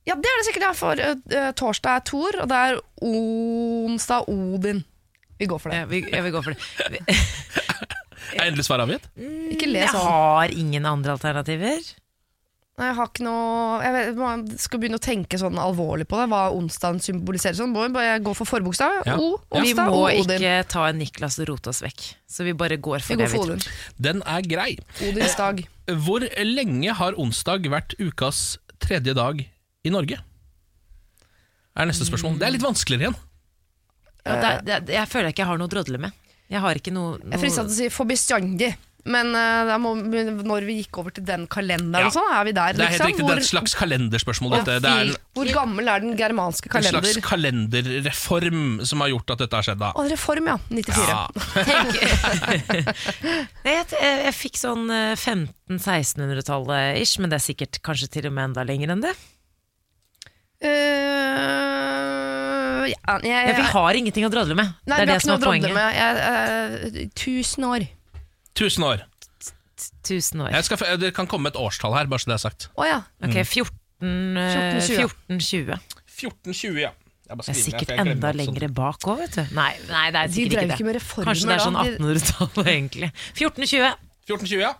Speaker 3: Ja, det er det sikkert. Ja, for eh, eh, torsdag er Thor, og det er onsdag Odin. Vi går for det.
Speaker 2: Ja, vi, ja, vi går for det.
Speaker 3: [LAUGHS]
Speaker 2: Vi-
Speaker 1: Er endelig svar avgitt?
Speaker 3: Ikke
Speaker 2: Jeg
Speaker 3: le sånn.
Speaker 2: har ingen andre alternativer.
Speaker 3: Nei, Jeg har ikke noe Jeg vet, man skal begynne å tenke sånn alvorlig på det. Hva onsdagen symboliserer. Sånn. Må jeg bare gå for forbokstav.
Speaker 1: Ja.
Speaker 3: O,
Speaker 2: Vi
Speaker 3: onsdag,
Speaker 2: må
Speaker 3: og Odin.
Speaker 2: ikke ta en Niklas og rote oss vekk, så vi bare går for
Speaker 3: Vi
Speaker 2: det
Speaker 3: går
Speaker 2: vi
Speaker 3: for
Speaker 2: tror.
Speaker 3: Odin.
Speaker 1: Den er grei.
Speaker 3: Odins dag.
Speaker 1: Hvor lenge har onsdag vært ukas tredje dag i Norge? Er neste spørsmål. Det er litt vanskeligere igjen.
Speaker 2: Ja, det, er- det, er- jeg føler jeg ikke har noe å drodle med. Jeg har ikke noe,
Speaker 3: Eh. Jeg er frista
Speaker 2: noe
Speaker 3: til å si for bestandig. Men eh, da må, når vi gikk over til den kalenderen,
Speaker 1: Ja.
Speaker 3: og sånn, er vi der.
Speaker 1: Det er helt
Speaker 3: liksom,
Speaker 1: riktig, det er et slags kalenderspørsmål. Dette. Det er en,
Speaker 3: Hvor gammel er den germanske
Speaker 1: en slags
Speaker 3: kalender?
Speaker 1: kalenderreform som har gjort at dette har skjedd. da
Speaker 3: Å, reform, ja. 94.
Speaker 1: ja.
Speaker 2: Tenk, Nei, jeg, jeg, jeg fikk sånn 1500-1600-tallet ish, men det er sikkert kanskje til og med enda lenger enn det.
Speaker 3: Eh, ja, jeg,
Speaker 2: Ja, vi har ingenting å drodle med.
Speaker 3: Nei,
Speaker 2: det er
Speaker 3: vi har
Speaker 2: det
Speaker 3: ikke
Speaker 2: som
Speaker 3: noe
Speaker 2: er
Speaker 3: å drodle
Speaker 2: poenget.
Speaker 3: med. Jeg, eh, tusen år.
Speaker 1: Tusen år.
Speaker 2: Tusen år.
Speaker 1: Jeg skal, f- det kan komme et årstall her, bare så det er sagt.
Speaker 3: Å ja.
Speaker 2: Ok, 14, eh,
Speaker 3: 14-20.
Speaker 2: 14-20.
Speaker 1: 1420, ja. Jeg bare
Speaker 2: Det er
Speaker 1: skriver ned,
Speaker 2: sikkert
Speaker 1: for jeg glemmer
Speaker 2: enda
Speaker 1: alt sånt.
Speaker 2: lengre bak òg, vet du. Nei, nei, det er
Speaker 3: De
Speaker 2: sikkert
Speaker 3: drev
Speaker 2: ikke
Speaker 3: ikke med
Speaker 2: det.
Speaker 3: reformer
Speaker 2: Kanskje det er
Speaker 3: da,
Speaker 2: sånn
Speaker 3: de-
Speaker 2: 1800-tallet, egentlig. 14-20.
Speaker 1: 1420, ja.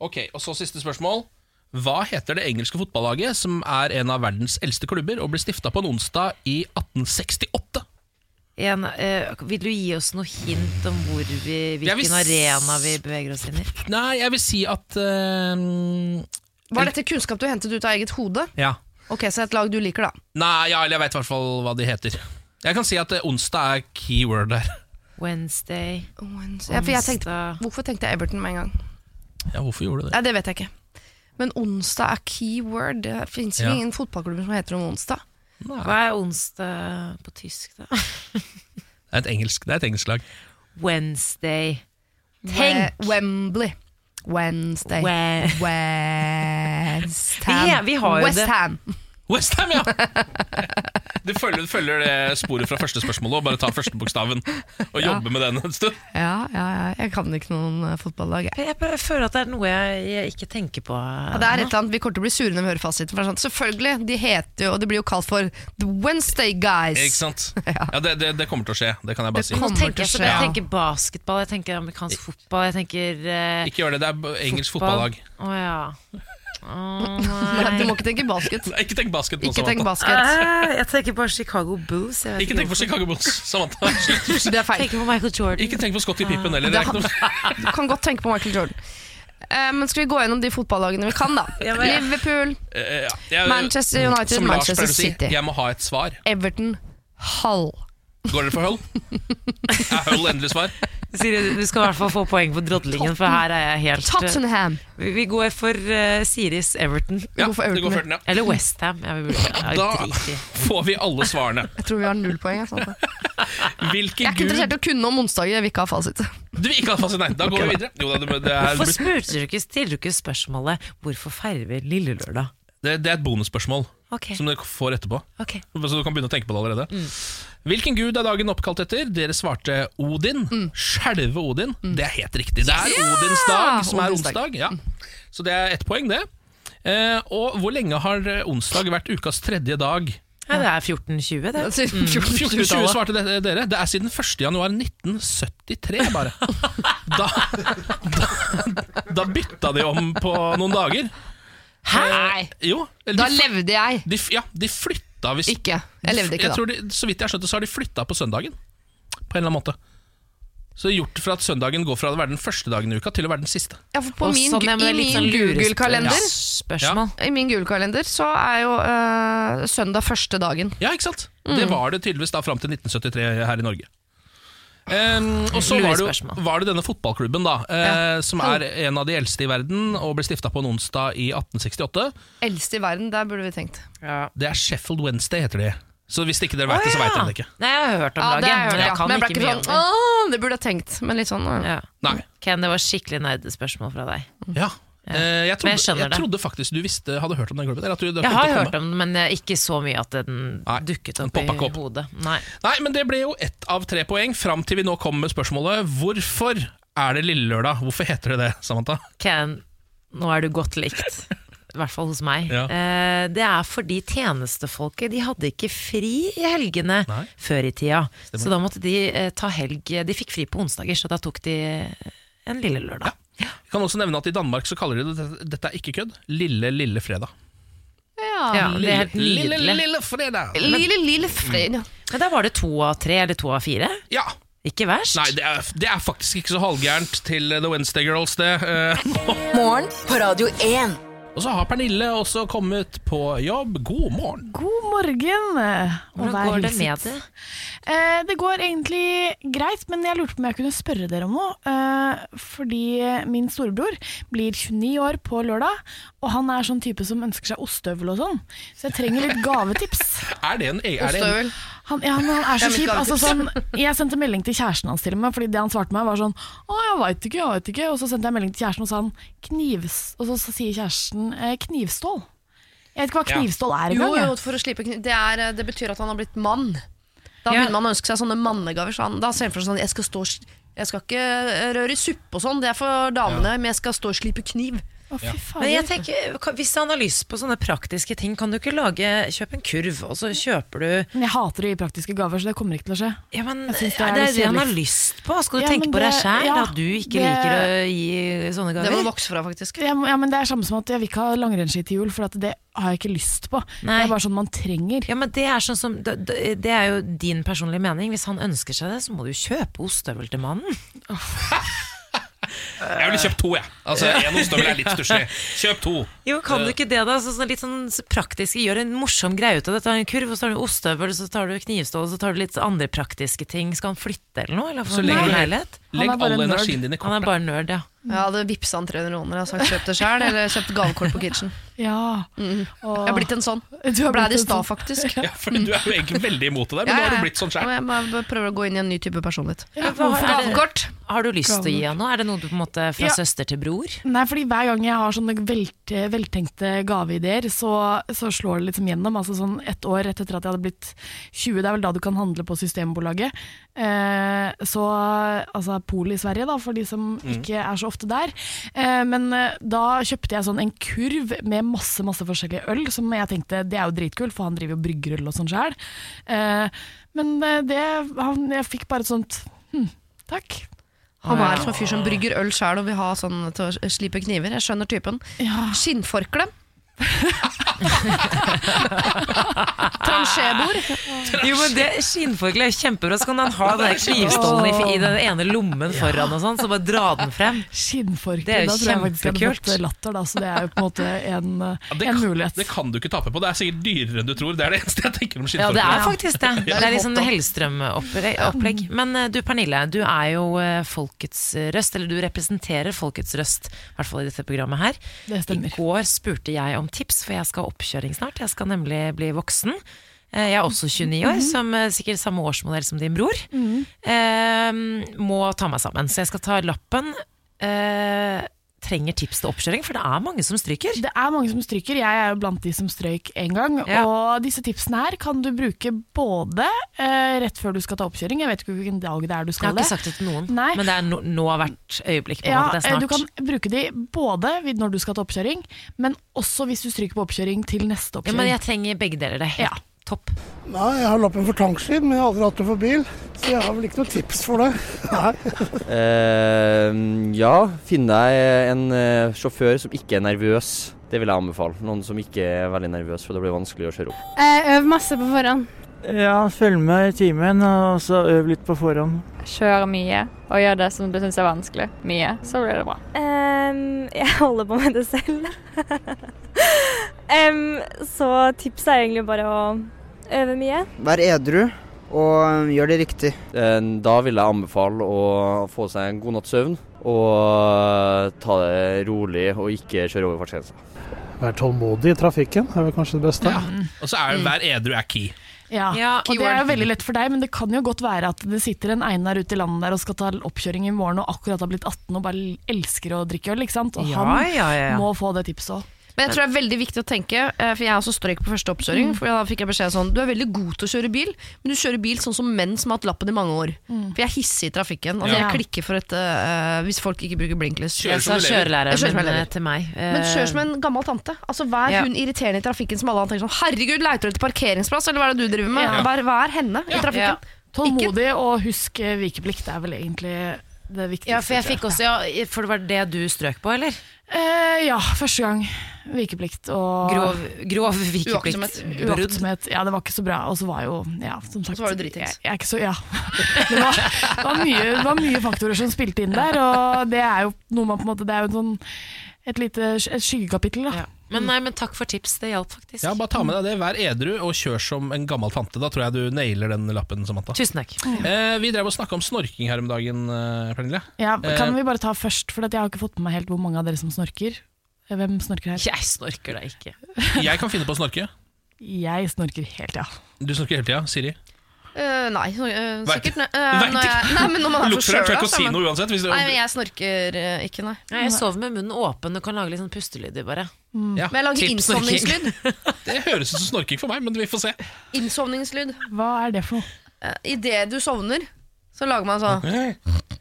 Speaker 1: Ok, og så siste spørsmål. Hva heter det engelske fotballaget som er en av verdens eldste klubber og ble stifta på en onsdag i 1868?
Speaker 2: En, eh, vil du gi oss noe hint om hvor vi,
Speaker 1: Jeg vil
Speaker 2: hvilken
Speaker 1: s-
Speaker 2: arena vi beveger oss inn i?
Speaker 1: Nei, jeg vil si at eh,
Speaker 3: Var dette kunnskap du hentet ut av eget hode?
Speaker 1: Ja.
Speaker 3: Ok, Så et lag du liker, da.
Speaker 1: Nei, ja, eller jeg veit i hvert fall hva de heter. Jeg kan si at eh, onsdag er keyword der.
Speaker 2: Wednesday
Speaker 3: Ja, for jeg tenkte,
Speaker 2: Onsdag.
Speaker 3: hvorfor tenkte jeg Everton med en gang?
Speaker 1: Ja, hvorfor gjorde du det?
Speaker 3: Nei, Det vet jeg ikke. Men onsdag er keyword. Det fins
Speaker 1: Ja.
Speaker 3: ingen fotballklubber som heter om onsdag.
Speaker 2: Hva er onsdag på tysk, da?
Speaker 1: Det er et engelsk, det er et engelsk lag.
Speaker 2: Wednesday Tenk!
Speaker 3: Eh, Wembley. Wednesday.
Speaker 2: Wed-
Speaker 3: [LAUGHS] West
Speaker 2: Vi he-
Speaker 3: Ham.
Speaker 2: vi har jo
Speaker 3: West
Speaker 2: det.
Speaker 3: Ham.
Speaker 1: Westham, ja! [LAUGHS] Du følger, følger det sporet fra første spørsmål og bare tar første bokstaven og jobber med den en stund.
Speaker 3: Ja, ja, ja. Jeg kan ikke noen eh, fotballag, jeg.
Speaker 2: Jeg, bare føler at det er noe jeg, jeg ikke tenker på.
Speaker 3: Ja, det er et eller annet, Vi kommer til å bli sure når vi hører fasiten. For det er sånn, selvfølgelig, De heter jo, og de blir jo kalt for The Wednesday Guys.
Speaker 1: Ikke sant?
Speaker 3: Ja.
Speaker 1: Ja, det, det, det kommer til å skje. Det kan jeg bare si.
Speaker 3: Det
Speaker 2: Nå
Speaker 3: kommer
Speaker 2: tenker jeg,
Speaker 3: til å
Speaker 2: så jeg
Speaker 3: skje.
Speaker 2: tenker basketball, jeg tenker amerikansk fotball, jeg tenker eh,
Speaker 1: Ikke gjør det. Det er b- engelsk
Speaker 2: fotball.
Speaker 1: fotballag.
Speaker 2: Å ja.
Speaker 3: [LAUGHS]
Speaker 2: Å
Speaker 3: Nei, Du
Speaker 2: nei.
Speaker 3: må ikke tenke basket.
Speaker 1: Nei, Ikke tenk basket nå,
Speaker 3: Ikke tenk
Speaker 1: Samantha.
Speaker 3: basket.
Speaker 2: Eh, Jeg tenker bare Chicago Bulls. Jeg vet
Speaker 1: Ikke tenk på
Speaker 2: hvorfor.
Speaker 1: Chicago Bulls, Samantha. Slutt.
Speaker 3: Det er feil.
Speaker 2: Tenker på Michael Jordan.
Speaker 1: [LAUGHS] Ikke tenk på Scotty Pippen heller. Det
Speaker 3: Det
Speaker 1: er ikke noe
Speaker 3: Du kan godt tenke på Michael Jordan. Eh, men skal vi gå gjennom de fotballagene vi kan, da? [LAUGHS]
Speaker 2: Ja, men-
Speaker 3: Liverpool,
Speaker 1: Eh, ja. Jeg-
Speaker 3: Manchester United,
Speaker 1: som Lars
Speaker 3: Manchester
Speaker 1: pleier å si,
Speaker 3: City.
Speaker 1: Jeg må ha et svar.
Speaker 3: Everton, Hull.
Speaker 1: Går dere for
Speaker 3: [LAUGHS]
Speaker 1: Hull? Er Hull endelig svar?
Speaker 2: Siri, du skal i hvert fall få poeng for drodlingen, for her er jeg helt eh,
Speaker 3: Tottenham.
Speaker 2: Vi vi går for eh, Siris Everton.
Speaker 1: Ja,
Speaker 3: går for
Speaker 1: det går
Speaker 3: Everton,
Speaker 1: for Everton, ja.
Speaker 2: Eller Westham. Jeg vil bruke
Speaker 1: Da
Speaker 2: drit i.
Speaker 1: får vi alle svarene.
Speaker 3: [LAUGHS] Jeg tror vi har null poeng. Jeg, sant? jeg
Speaker 1: Hvilken
Speaker 3: er ikke interessert
Speaker 1: gud
Speaker 3: i å kunne om onsdager. Jeg vil ikke ha fasit.
Speaker 1: Du ikke har fasit, nei. Da går vi videre. Jo, da, det, det, er,
Speaker 2: Hvorfor spurte du ikke, stiller du ikke spørsmålet 'Hvorfor feirer vi lille lørdag'?
Speaker 1: det, det er et bonusspørsmål
Speaker 2: Ok,
Speaker 1: som dere får etterpå.
Speaker 2: ok
Speaker 1: Så du kan begynne å tenke på det allerede.
Speaker 3: Mm.
Speaker 1: Hvilken gud er dagen oppkalt etter? Dere svarte Odin.
Speaker 3: Mm.
Speaker 1: Skjelve Odin. Det er helt riktig. Det er Odins dag, som er
Speaker 3: Odins dag. Mm.
Speaker 1: onsdag. Ja. Så det er ett poeng, det. Eh, og hvor lenge har eh, onsdag vært ukas tredje dag?
Speaker 2: ja, Det er 14.20, det.
Speaker 3: Altså, [LAUGHS]
Speaker 1: 1420
Speaker 3: 14-20
Speaker 1: svarte det- dere. Det er siden 1. januar 1973,
Speaker 3: [LAUGHS]
Speaker 1: bare. Da, da, da bytta de om på noen dager.
Speaker 2: Hæ?
Speaker 1: Jo, eller
Speaker 3: Da
Speaker 1: de,
Speaker 3: levde jeg
Speaker 1: de, ja, de flytta visst
Speaker 3: ikke. Jeg levde ikke
Speaker 1: jeg
Speaker 3: da.
Speaker 1: tror de, Så vidt jeg har skjønt det, så har de flytta på søndagen. På en eller annen måte. Så det er gjort for at søndagen går fra å være den første dagen i uka til å være den siste.
Speaker 3: Ja, for på
Speaker 2: Og
Speaker 3: min,
Speaker 2: sånn, ja, men det
Speaker 3: I
Speaker 2: er litt
Speaker 3: min
Speaker 2: sånn lurespørsmål.
Speaker 3: Google-kalender
Speaker 2: Spørsmål.
Speaker 3: I min Google-kalender så er jo eh, søndag første dagen.
Speaker 1: Ja, ikke sant? Det
Speaker 2: Mm.
Speaker 1: var det tydeligvis da fram til 1973 her i Norge. Em, og så var det, jo,
Speaker 2: Lurespørsmål.
Speaker 1: var det denne fotballklubben, da. eh, Som er en av de eldste i verden, og ble stifta på en onsdag i 1868.
Speaker 3: Eldste i verden, der burde vi tenkt.
Speaker 2: Ja.
Speaker 1: Det er Sheffield Wednesday, heter de. Så hvis ikke dere veit det, så veit dere det ikke.
Speaker 2: Nei, jeg har hørt om
Speaker 3: Ja, det
Speaker 2: laget,
Speaker 3: har jeg hørt,
Speaker 2: men jeg
Speaker 3: ja.
Speaker 2: kan
Speaker 3: Men jeg ble
Speaker 2: ikke
Speaker 3: ikke
Speaker 2: mye om
Speaker 3: sånn
Speaker 2: det.
Speaker 3: Åh, det burde jeg tenkt, men litt sånn ja.
Speaker 2: Ja.
Speaker 1: Nei.
Speaker 2: Ken, det var skikkelig nerdespørsmål fra deg.
Speaker 1: Ja. Eh, jeg,
Speaker 2: Men jeg
Speaker 1: trodde, jeg,
Speaker 2: skjønner det.
Speaker 1: trodde faktisk du visste, hadde hørt om den klubben. eller at du- det
Speaker 2: Jeg
Speaker 1: kom
Speaker 2: har
Speaker 1: til å komme.
Speaker 2: hørt om den, men eh, ikke så mye at den
Speaker 1: Nei,
Speaker 2: dukket
Speaker 1: den
Speaker 2: opp
Speaker 1: poppa ikke
Speaker 2: i
Speaker 1: opp.
Speaker 2: hodet. Nei.
Speaker 1: Nei, men det ble jo ett av tre poeng fram til vi nå kommer med spørsmålet Hvorfor er det Lille Lørdag? Hvorfor heter det det, Samantha?
Speaker 2: Ken, nå er du godt likt. I hvert fall hos meg.
Speaker 1: [LAUGHS] Ja.
Speaker 2: Eh, det er fordi tjenestefolket de hadde ikke fri i helgene
Speaker 1: Nei.
Speaker 2: før i tida. Så da måtte de eh, ta helg De fikk fri på onsdager, så da tok de eh, en lille lørdag.
Speaker 1: Jeg kan også nevne at i Danmark så kaller de det Dette er ikke kødd Lille Lille Fredag
Speaker 2: Ja, det er helt
Speaker 1: Lille,
Speaker 2: nydelig.
Speaker 1: lille, lille Fredag
Speaker 3: Lille, lille fredag.
Speaker 2: Men da var det to av tre, eller to av fire.
Speaker 1: Ja,
Speaker 2: Ikke verst.
Speaker 1: nei, det er, det er faktisk ikke så halvgærent til The Wednesday Girls det Eh,
Speaker 4: Morgen på Radio 1.
Speaker 1: Og så har Pernille også kommet på jobb God morgen
Speaker 8: God morgen. og
Speaker 2: Hvordan
Speaker 8: vær
Speaker 2: går det
Speaker 8: hilset.
Speaker 2: med det?
Speaker 8: Eh, det går egentlig greit, men jeg lurte på om jeg kunne spørre dere om noe. Eh, fordi min storebror blir 29 år på lørdag, og han er sånn type som ønsker seg ostehøvel og sånn. Så jeg trenger litt gavetips.
Speaker 1: Er det en, e- er sånn. det en
Speaker 3: Ostehøvel.
Speaker 8: Han, ja, men han er så
Speaker 3: Det er mitt
Speaker 8: kjip. Altså,
Speaker 3: gavetips.
Speaker 8: sånn, jeg sendte melding til kjæresten hans til og med, fordi det han svarte meg var sånn Å, jeg veit ikke, jeg veit ikke. Og så sendte jeg melding til kjæresten, og, sa han, knivs, og så, så sier kjæresten eh, knivstål. Jeg vet ikke hva
Speaker 1: Ja.
Speaker 8: knivstål er
Speaker 3: Jo,
Speaker 8: engang. jeg.
Speaker 3: jo, for å slipe kniv. Det, er, eh, det betyr at han har blitt mann. Da
Speaker 2: Ja.
Speaker 3: begynner man å ønske seg sånne mannegaver. Så han, da ser han for seg sånn Jeg skal, stå, og sl- jeg skal ikke eh, røre i suppe og sånn, det er for damene, men jeg skal stå og slipe kniv.
Speaker 8: Å, fy faen.
Speaker 2: Men jeg tenker, kan- Hvis han har lyst på sånne praktiske ting, kan du ikke lage Kjøp en kurv, og så kjøper du
Speaker 8: Men jeg hater å gi praktiske gaver, så det kommer ikke til å skje.
Speaker 2: Ja, men
Speaker 8: Jeg
Speaker 2: Det
Speaker 8: synes det
Speaker 2: er
Speaker 8: er
Speaker 2: det
Speaker 8: litt
Speaker 2: han har
Speaker 8: kjedelig.
Speaker 2: lyst på. Skal du
Speaker 8: Ja,
Speaker 2: tenke
Speaker 8: men
Speaker 2: på deg
Speaker 8: det-
Speaker 2: sjæl?
Speaker 8: ja,
Speaker 2: at du ikke
Speaker 8: det-
Speaker 2: liker å gi sånne
Speaker 3: Det må du
Speaker 2: gaver?
Speaker 3: vokse fra, faktisk.
Speaker 8: Jeg, må- ja, men det er samme som at jeg vil ikke ha langrennsski til jul, for at det har jeg ikke lyst på.
Speaker 2: Nei.
Speaker 8: Det er bare sånn man trenger.
Speaker 2: Ja, men det er, sånn som, det, det det er jo din personlige mening. Hvis han ønsker seg det, så må du kjøpe ostehøvel til mannen.
Speaker 1: Jeg ville kjøpt to, jeg Altså, en ostehøvel er litt
Speaker 2: [LAUGHS]
Speaker 1: stusslig Kjøp to
Speaker 2: Jo, Kan du ikke det, da? Så, sånn litt sånn praktisk, Gjør en morsom greie ut av det. Ta en kurv, og så tar du ostehøvel, så tar du knivstål, og så tar du litt andre praktiske ting. Skal han flytte eller noe? Eller
Speaker 1: Så
Speaker 2: få en
Speaker 1: legger
Speaker 2: egen
Speaker 1: du-
Speaker 2: leilighet?
Speaker 1: Legg
Speaker 8: bare
Speaker 1: all
Speaker 8: en nerd.
Speaker 1: energien din i
Speaker 2: Han er
Speaker 1: kortet
Speaker 2: bare nerd, ja.
Speaker 3: Jeg hadde vippsa han 300 kroner altså. og sagt kjøp det sjøl, eller kjøpt gavekort på Kitchen.
Speaker 8: Ja.
Speaker 2: Mm.
Speaker 8: Og-
Speaker 3: Jeg har blitt en sånn.
Speaker 8: Du
Speaker 3: Blei
Speaker 8: har blitt
Speaker 3: det i
Speaker 8: en
Speaker 3: stad,
Speaker 8: sånn-
Speaker 3: faktisk.
Speaker 1: Ja, [LAUGHS] for du er jo egentlig veldig imot det der, men nå har du blitt sånn
Speaker 3: Ja,
Speaker 1: sjæl.
Speaker 3: ja. Jeg må- prøver å gå inn i en ny type personlighet.
Speaker 8: Ja,
Speaker 2: hva
Speaker 8: hvorfor-
Speaker 2: er det-
Speaker 3: Gavekort!
Speaker 2: Har du lyst til å gi han noe? Er det noe du på en måte fra
Speaker 8: Ja.
Speaker 2: søster til bror?
Speaker 8: Nei, fordi hver gang jeg har sånne velte, veltenkte gaveideer, så, så slår det liksom gjennom. Altså sånn et år rett etter at jeg hadde blitt 20, det er vel da du kan handle på Systembolaget. Eh, så altså Pol i Sverige, da, for de som ikke er så ofte der. Eh, men eh, da kjøpte jeg sånn en kurv med masse, masse forskjellige øl, som jeg tenkte det er jo dritkult, for han driver jo og brygger øl og sånn sjæl. Eh, men eh, det han, Jeg fikk bare et sånt hm, takk.
Speaker 3: Han er som en fyr som brygger øl sjæl og vil ha sånn til å slipe kniver. Jeg skjønner typen.
Speaker 8: Ja.
Speaker 3: Skinnforkle. Transjebord.
Speaker 2: Jo, men det Skinnforkle er kjempebra. Så kan han ha den der knivstålen i, i den ene lommen foran, og sånn, så bare dra den frem. Det
Speaker 8: Skinnforkle,
Speaker 2: er jo
Speaker 8: da tror jeg faktisk jeg hadde
Speaker 2: kjempekult.
Speaker 8: fått latter, da, så det er jo på en måte
Speaker 2: [LAUGHS]
Speaker 8: en,
Speaker 1: Ja, det
Speaker 8: en
Speaker 1: kan-
Speaker 8: mulighet.
Speaker 1: Det kan du ikke tape på. Det er sikkert dyrere enn du tror. Det er det eneste jeg tenker om
Speaker 2: Ja, det er
Speaker 1: skinnforkle.
Speaker 2: faktisk det. Det er litt sånn Hellstrøm-opplegg. Men eh, du Pernille, du er jo eh, folkets røst, eller du representerer folkets røst, i hvert fall i dette programmet her.
Speaker 8: Det stemmer.
Speaker 2: I går spurte jeg om tips, for jeg skal ha oppkjøring snart. Jeg skal nemlig bli voksen. Eh, Jeg er også 29 år, som eh, sikkert samme årsmodell som din bror. Eh, må ta meg sammen. Så jeg skal ta lappen. Eh, trenger tips til oppkjøring, for det er mange som stryker.
Speaker 8: Det er mange som stryker, jeg er jo blant de som strøyk en gang.
Speaker 2: Ja.
Speaker 8: Og disse tipsene her kan du bruke både eh, rett før du skal ta oppkjøring, jeg vet ikke hvilken dag det er du
Speaker 2: Jeg har
Speaker 8: skal det.
Speaker 2: ikke sagt det til noen,
Speaker 8: Nei.
Speaker 2: men det er no, nå hvert øyeblikk. på en måte, det er
Speaker 8: eh,
Speaker 2: snart.
Speaker 8: Du kan bruke de både vid- når du skal ta oppkjøring, men også hvis du stryker på oppkjøring til neste
Speaker 2: Ja, men
Speaker 8: oppkjøring.
Speaker 2: jeg trenger begge deler. Det er helt
Speaker 8: Ja.
Speaker 2: topp.
Speaker 9: Nei, jeg har lappen for tankskip, men jeg har aldri hatt det for bil. Så jeg har vel ikke noe tips for det. Nei.
Speaker 10: Eh, ja, finn deg en eh, sjåfør som ikke er nervøs. Det vil jeg anbefale. Noen som ikke er veldig nervøs, for det blir vanskelig å kjøre opp.
Speaker 11: Øv masse på forhånd.
Speaker 9: Ja, følg med i timen, og så øv litt på forhånd.
Speaker 11: Kjør mye, og gjør det som du syns er vanskelig. Mye. Så blir det bra. jeg holder på med det selv. [LAUGHS] Em, så tipset er egentlig bare å øve mye.
Speaker 9: Vær edru, og gjør det riktig.
Speaker 10: Eh, da vil jeg anbefale å få seg en god natts søvn og ta det rolig og ikke kjøre over fartsgrensa.
Speaker 9: Vær tålmodig i trafikken, er vel kanskje det beste.
Speaker 1: Og så er jo hver edru er key.
Speaker 8: Ja.
Speaker 2: Ja,
Speaker 8: og Det er jo veldig lett for deg, men det kan jo godt være at det sitter en Einar ute i landet der og skal ta oppkjøring i morgen, og akkurat har blitt 18 og bare elsker å drikke øl, ikke sant? Og
Speaker 2: Ja,
Speaker 8: han
Speaker 2: ja, ja, ja.
Speaker 8: må få det tipset òg.
Speaker 3: Men jeg tror det er veldig viktig å tenke, eh, for jeg er også strøyk på første oppkjøring. For da fikk jeg beskjed sånn Du er veldig god til å kjøre bil, men du kjører bil sånn som menn som har hatt lappen i mange år. For jeg er hissig i trafikken. Altså,
Speaker 8: Ja.
Speaker 3: Jeg klikker for et eh, Hvis folk ikke bruker blinklys.
Speaker 1: Kjører
Speaker 2: Jeg sa
Speaker 1: som du lever.
Speaker 2: kjørelæreren
Speaker 3: Jeg kjører som jeg
Speaker 2: min,
Speaker 3: lever.
Speaker 2: eh, til meg.
Speaker 3: Men kjør som en gammel tante. Altså Vær
Speaker 2: Ja.
Speaker 3: hun irriterende i trafikken som alle andre tenker sånn Herregud, leiter du etter parkeringsplass, eller hva er det du driver med?
Speaker 1: Ja.
Speaker 3: Vær, vær henne i trafikken.
Speaker 8: Tålmodig og husk eh, vikeplikt er vel egentlig det viktigste.
Speaker 2: Ja, for Eh, jeg fikk
Speaker 8: tror jeg.
Speaker 2: også ja, For det var det du strøk på, eller?
Speaker 8: Eh, ja, første gang. Vikeplikt og
Speaker 2: Grov, grov vikepliktbrudd.
Speaker 8: uaktsomhet. Ja, det var ikke så bra. Og så var jo ja, som sagt,
Speaker 3: så var du dritings.
Speaker 8: Jeg, jeg er ikke så, ja. [LAUGHS] Det var, det var, mye, det var mye faktorer som spilte inn der, og det er jo noe man på en måte Det er jo en sånn et lite sk- et skyggekapittel, da.
Speaker 2: Ja. Men, nei, men takk for tips, det hjalp faktisk.
Speaker 1: Ja, Bare ta med deg det. Vær edru og kjør som en gammel tante. Da tror jeg du nailer den lappen, Samantha.
Speaker 2: Tusen takk.
Speaker 1: Eh, vi drev og snakka om snorking her om dagen, eh, Pernille.
Speaker 8: Ja,
Speaker 1: Eh,
Speaker 8: kan vi bare ta først, for at jeg har ikke fått med meg helt hvor mange av dere som snorker. Hvem snorker her?
Speaker 2: Jeg snorker da ikke.
Speaker 1: Jeg kan finne på å snorke.
Speaker 8: Jeg snorker helt, ja.
Speaker 1: Du snorker hele tida, Siri.
Speaker 3: Eh, nei, så, eh,
Speaker 1: Veit
Speaker 3: sikkert
Speaker 1: ikke.
Speaker 3: ne- eh,
Speaker 1: Veit
Speaker 3: når
Speaker 1: ikke.
Speaker 3: jeg- Nei, men når man er
Speaker 1: Lukter
Speaker 3: for
Speaker 1: deg, tør
Speaker 3: sjøl,
Speaker 1: ikke å si noe uansett. Hvis du,
Speaker 3: Nei, men jeg snorker eh, ikke, nei.
Speaker 2: Nei, jeg sover med munnen åpen og kan lage litt sånn pustelyder, bare.
Speaker 1: ja,
Speaker 3: Men jeg lager
Speaker 2: Typ snorking.
Speaker 3: innsovningslyd.
Speaker 1: det høres ut som snorking for meg, men vi får se.
Speaker 3: Innsovningslyd.
Speaker 8: Hva er det for noe?
Speaker 3: Idet du sovner, så lager man sånn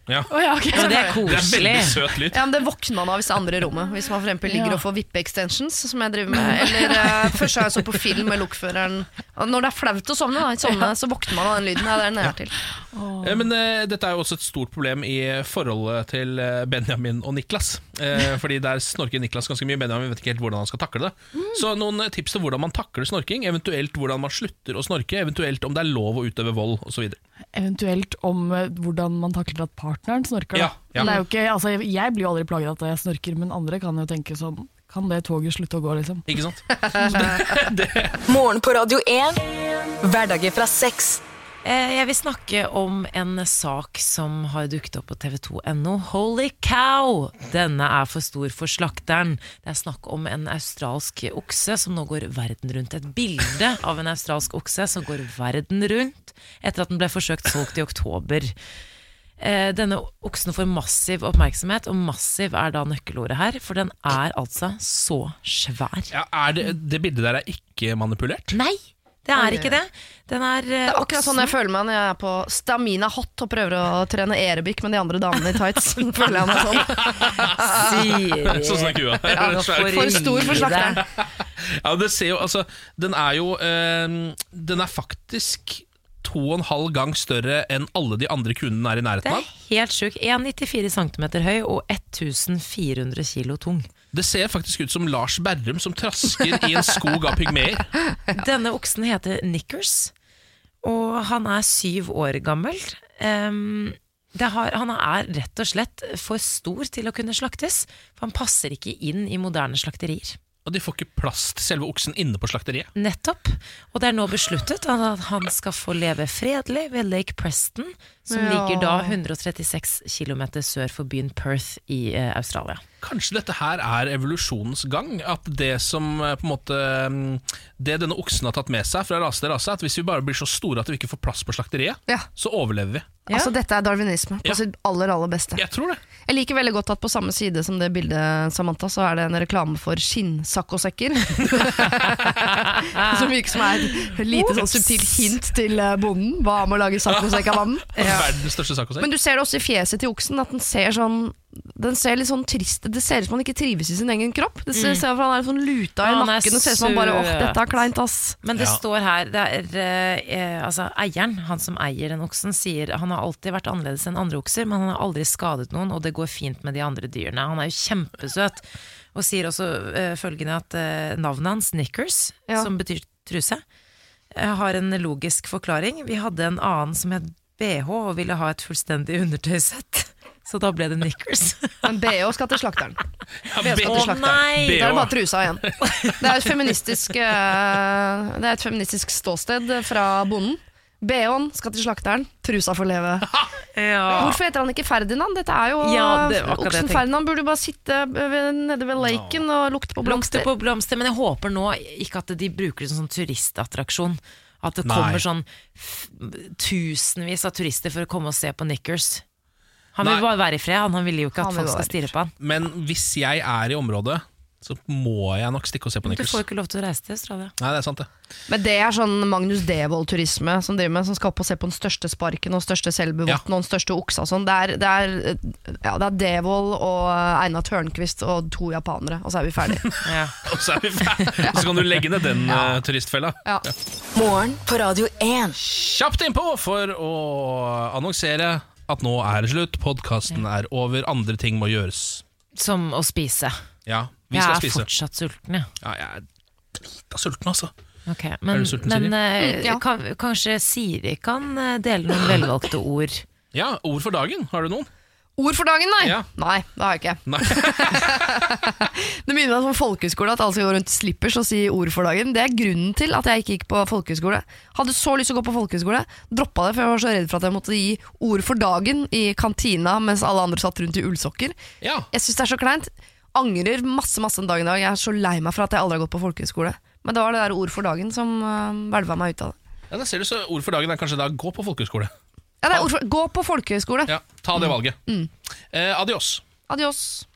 Speaker 8: Å ja, ok.
Speaker 2: Men det er
Speaker 1: Det er
Speaker 2: koselig.
Speaker 1: veldig søt lyd.
Speaker 3: Ja, men Det våkner man av hvis det er andre i rommet. Hvis man for eksempel ligger
Speaker 8: Ja.
Speaker 3: og får vippe-extensions, som jeg driver med. Eller eh, først har jeg så på film med lokføreren. Og når det er flaut å sovne, da, ikke sovne så våkner man av den lyden. Ja, det er den jeg er til.
Speaker 1: Eh, Men eh, dette er jo også et stort problem i forholdet til eh, Benjamin og Niklas. Eh, fordi der snorker Niklas ganske mye. Benjamin vet ikke helt hvordan han skal takle det. Så noen eh, tips til hvordan man takler snorking, eventuelt hvordan man slutter å snorke, eventuelt om det er lov å utøve vold osv.
Speaker 8: Eventuelt om eh, hvordan man takler at partneren snorker. da.
Speaker 1: Ja, ja.
Speaker 8: Det er jo ikke, altså, jeg- jeg blir jo aldri plaget av at jeg snorker, men andre kan jo tenke sånn Kan det toget slutte å gå, liksom?
Speaker 1: Ikke sant?
Speaker 4: Morgen på Radio 1. Hverdager fra seks.
Speaker 2: Eh, Jeg vil snakke om en sak som har dukket opp på tv2.no. Holy cow! Denne er for stor for slakteren. Det er snakk om en australsk okse som nå går verden rundt. Et bilde av en australsk okse som går verden rundt etter at den ble forsøkt solgt i oktober. Eh, Denne oksen får massiv oppmerksomhet, og massiv er da nøkkelordet her, for den er altså så svær.
Speaker 1: Ja, er det, det bildet der er ikke manipulert?
Speaker 3: [LAUGHS]
Speaker 2: Nei, det er ikke det. Den er eh, Det
Speaker 3: er akkurat sånn jeg føler meg når jeg er på Stamina Hot og prøver å trene aerobic med de andre damene i tights. [LAUGHS] føler jeg meg
Speaker 8: [LAUGHS]
Speaker 3: sånn.
Speaker 1: Sånn snakker hun.
Speaker 3: Ja, nå får For stor for slakteren.
Speaker 1: [LAUGHS] Ja, det ser jo, altså, den er jo eh, Den er faktisk to og en halv gang større enn alle de andre kunden er i
Speaker 2: Det
Speaker 1: nærheten
Speaker 2: er
Speaker 1: av.
Speaker 2: helt sjukt. 1,94 cm høy og 1400 kg tung.
Speaker 1: Det ser faktisk ut som Lars Berrum som trasker i en skog av pygmeer.
Speaker 2: Denne oksen heter Nickers, og han er syv år gammel. Em, det har, han er rett og slett for stor til å kunne slaktes, for han passer ikke inn i moderne slakterier.
Speaker 1: Og de får ikke plass til selve oksen inne på slakteriet.
Speaker 2: Nettopp. Og det er nå besluttet at han skal få leve fredelig ved Lake Preston, som
Speaker 1: Ja.
Speaker 2: ligger da 136 km sør for byen Perth i eh, Australia.
Speaker 1: Kanskje dette her er evolusjonens gang? At det som eh, på en måte mm, Det denne oksen har tatt med seg fra rase til rase, at hvis vi bare blir så store at vi ikke får plass på slakteriet, så overlever vi.
Speaker 3: Altså Dette er darwinisme på
Speaker 1: Ja.
Speaker 3: sitt aller aller beste.
Speaker 1: Jeg tror det
Speaker 3: Jeg liker veldig godt at på samme side som det bildet, Samantha, så er det en reklame for skinnsakkosekker. [LAUGHS] som virker som er et lite sånn subtilt hint til eh, bonden. Hva med å lage saccosekk [LAUGHS] av vann?
Speaker 1: Verdens største sakkosekk.
Speaker 3: Men du ser det også i fjeset til oksen, at den ser sånn den ser litt sånn trist Det ser ut som han ikke trives i sin egen kropp. Det ser,
Speaker 2: Mm.
Speaker 3: ser ut som han er sånn luta i
Speaker 2: Han er
Speaker 3: nakken. Det ser ut som han bare åh,
Speaker 2: søt."
Speaker 3: dette er kleint, ass.
Speaker 2: Men det
Speaker 3: Ja.
Speaker 2: står her det er, eh, eh, altså, Eieren, han som eier den oksen, sier han har alltid vært annerledes enn andre okser, men han har aldri skadet noen, og det går fint med de andre dyrene. Han er jo kjempesøt. Og sier også eh, følgende at eh, navnet hans, Nickers, som betyr truse, eh, har en logisk forklaring. Vi hadde en annen som het BH og ville ha et fullstendig undertøysett. [LAUGHS] Så da ble det Nickers.
Speaker 3: Men BH skal til slakteren.
Speaker 2: BH
Speaker 3: BH skal til
Speaker 2: Å,
Speaker 3: slakteren.
Speaker 2: nei!
Speaker 3: Da er det
Speaker 2: BH.
Speaker 3: bare trusa [LAUGHS] igjen. Det er et feministisk, eh, det er et feministisk ståsted fra bonden. BH-en skal til slakteren, trusa får leve. Hvorfor heter han ikke Ferdinand? Dette er jo eh,
Speaker 2: Ja, det var akkurat det jeg
Speaker 3: Oksen
Speaker 2: tenkte.
Speaker 3: Ferdinand burde jo bare sitte eh, ved, nede ved laken og lukte på blomster.
Speaker 2: Blomster på blomster, men jeg håper nå ikke at de bruker det som sånn turistattraksjon. At det
Speaker 1: Nei.
Speaker 2: kommer sånn f- tusenvis av turister for å komme og se på Nickers. Han
Speaker 1: Nei.
Speaker 2: vil bare være i fred, han, han vil jo ikke
Speaker 1: Han
Speaker 2: at
Speaker 1: vil
Speaker 2: folk skal
Speaker 1: være
Speaker 2: stirre på han.
Speaker 1: Men hvis jeg er i området, så må jeg nok stikke og se på
Speaker 2: Du
Speaker 1: Nickels.
Speaker 2: får jo ikke lov til å reise til Australia.
Speaker 1: Nei, det er sant, det.
Speaker 3: Men det er sånn Magnus Devold-turisme som driver med, som skal opp og se på den største sparken og den største selbuvotten og den største oksa og sånn. Det er, det er, eh, ja, det er Devold og eh, Einar Tørnquist og to japanere, og så er vi ferdige. [LAUGHS]
Speaker 1: Og så er vi ferdig. Og Så kan du legge ned den eh, turistfella.
Speaker 3: Ja.
Speaker 4: Morgen på Radio 1.
Speaker 1: Kjapt innpå for å annonsere at nå er det slutt, podkasten er over, andre ting må gjøres.
Speaker 2: Som å spise.
Speaker 1: Ja, vi
Speaker 2: Jeg
Speaker 1: skal
Speaker 2: er
Speaker 1: spise.
Speaker 2: fortsatt sulten, jeg.
Speaker 1: Ja, jeg er drita sulten, altså.
Speaker 2: Ok, Men,
Speaker 1: er du sulten,
Speaker 2: men
Speaker 1: Siri?
Speaker 2: eh, kan, kanskje Siri kan eh, dele noen velvalgte ord?
Speaker 1: Ja, ord for dagen. Har du noen?
Speaker 3: Ord for dagen, nei?
Speaker 1: Ja.
Speaker 3: Nei, det har jeg ikke.
Speaker 1: Nei.
Speaker 3: [LAUGHS] det minner meg om folkehøyskole, at alle som går rundt slippers å si ord for dagen. Det er grunnen til at jeg ikke gikk på folkehøyskole. Hadde så lyst til å gå på folkehøyskole, droppa det, for jeg var så redd for at jeg måtte gi ord for dagen i kantina mens alle andre satt rundt i ullsokker.
Speaker 1: Ja.
Speaker 3: Jeg syns det er så kleint. Angrer masse masse en dag i dag. Jeg er så lei meg for at jeg aldri har gått på folkehøyskole. Men det var det der ord for dagen som øh, hvelva meg ut av det.
Speaker 1: Ja, da ser du så Ord for dagen er kanskje da gå på folkehøyskole.
Speaker 3: Ja, det er ord for, gå på folkehøyskole.
Speaker 1: Ja, ta det valget.
Speaker 3: Mm.
Speaker 1: Eh, adios.
Speaker 3: Adios.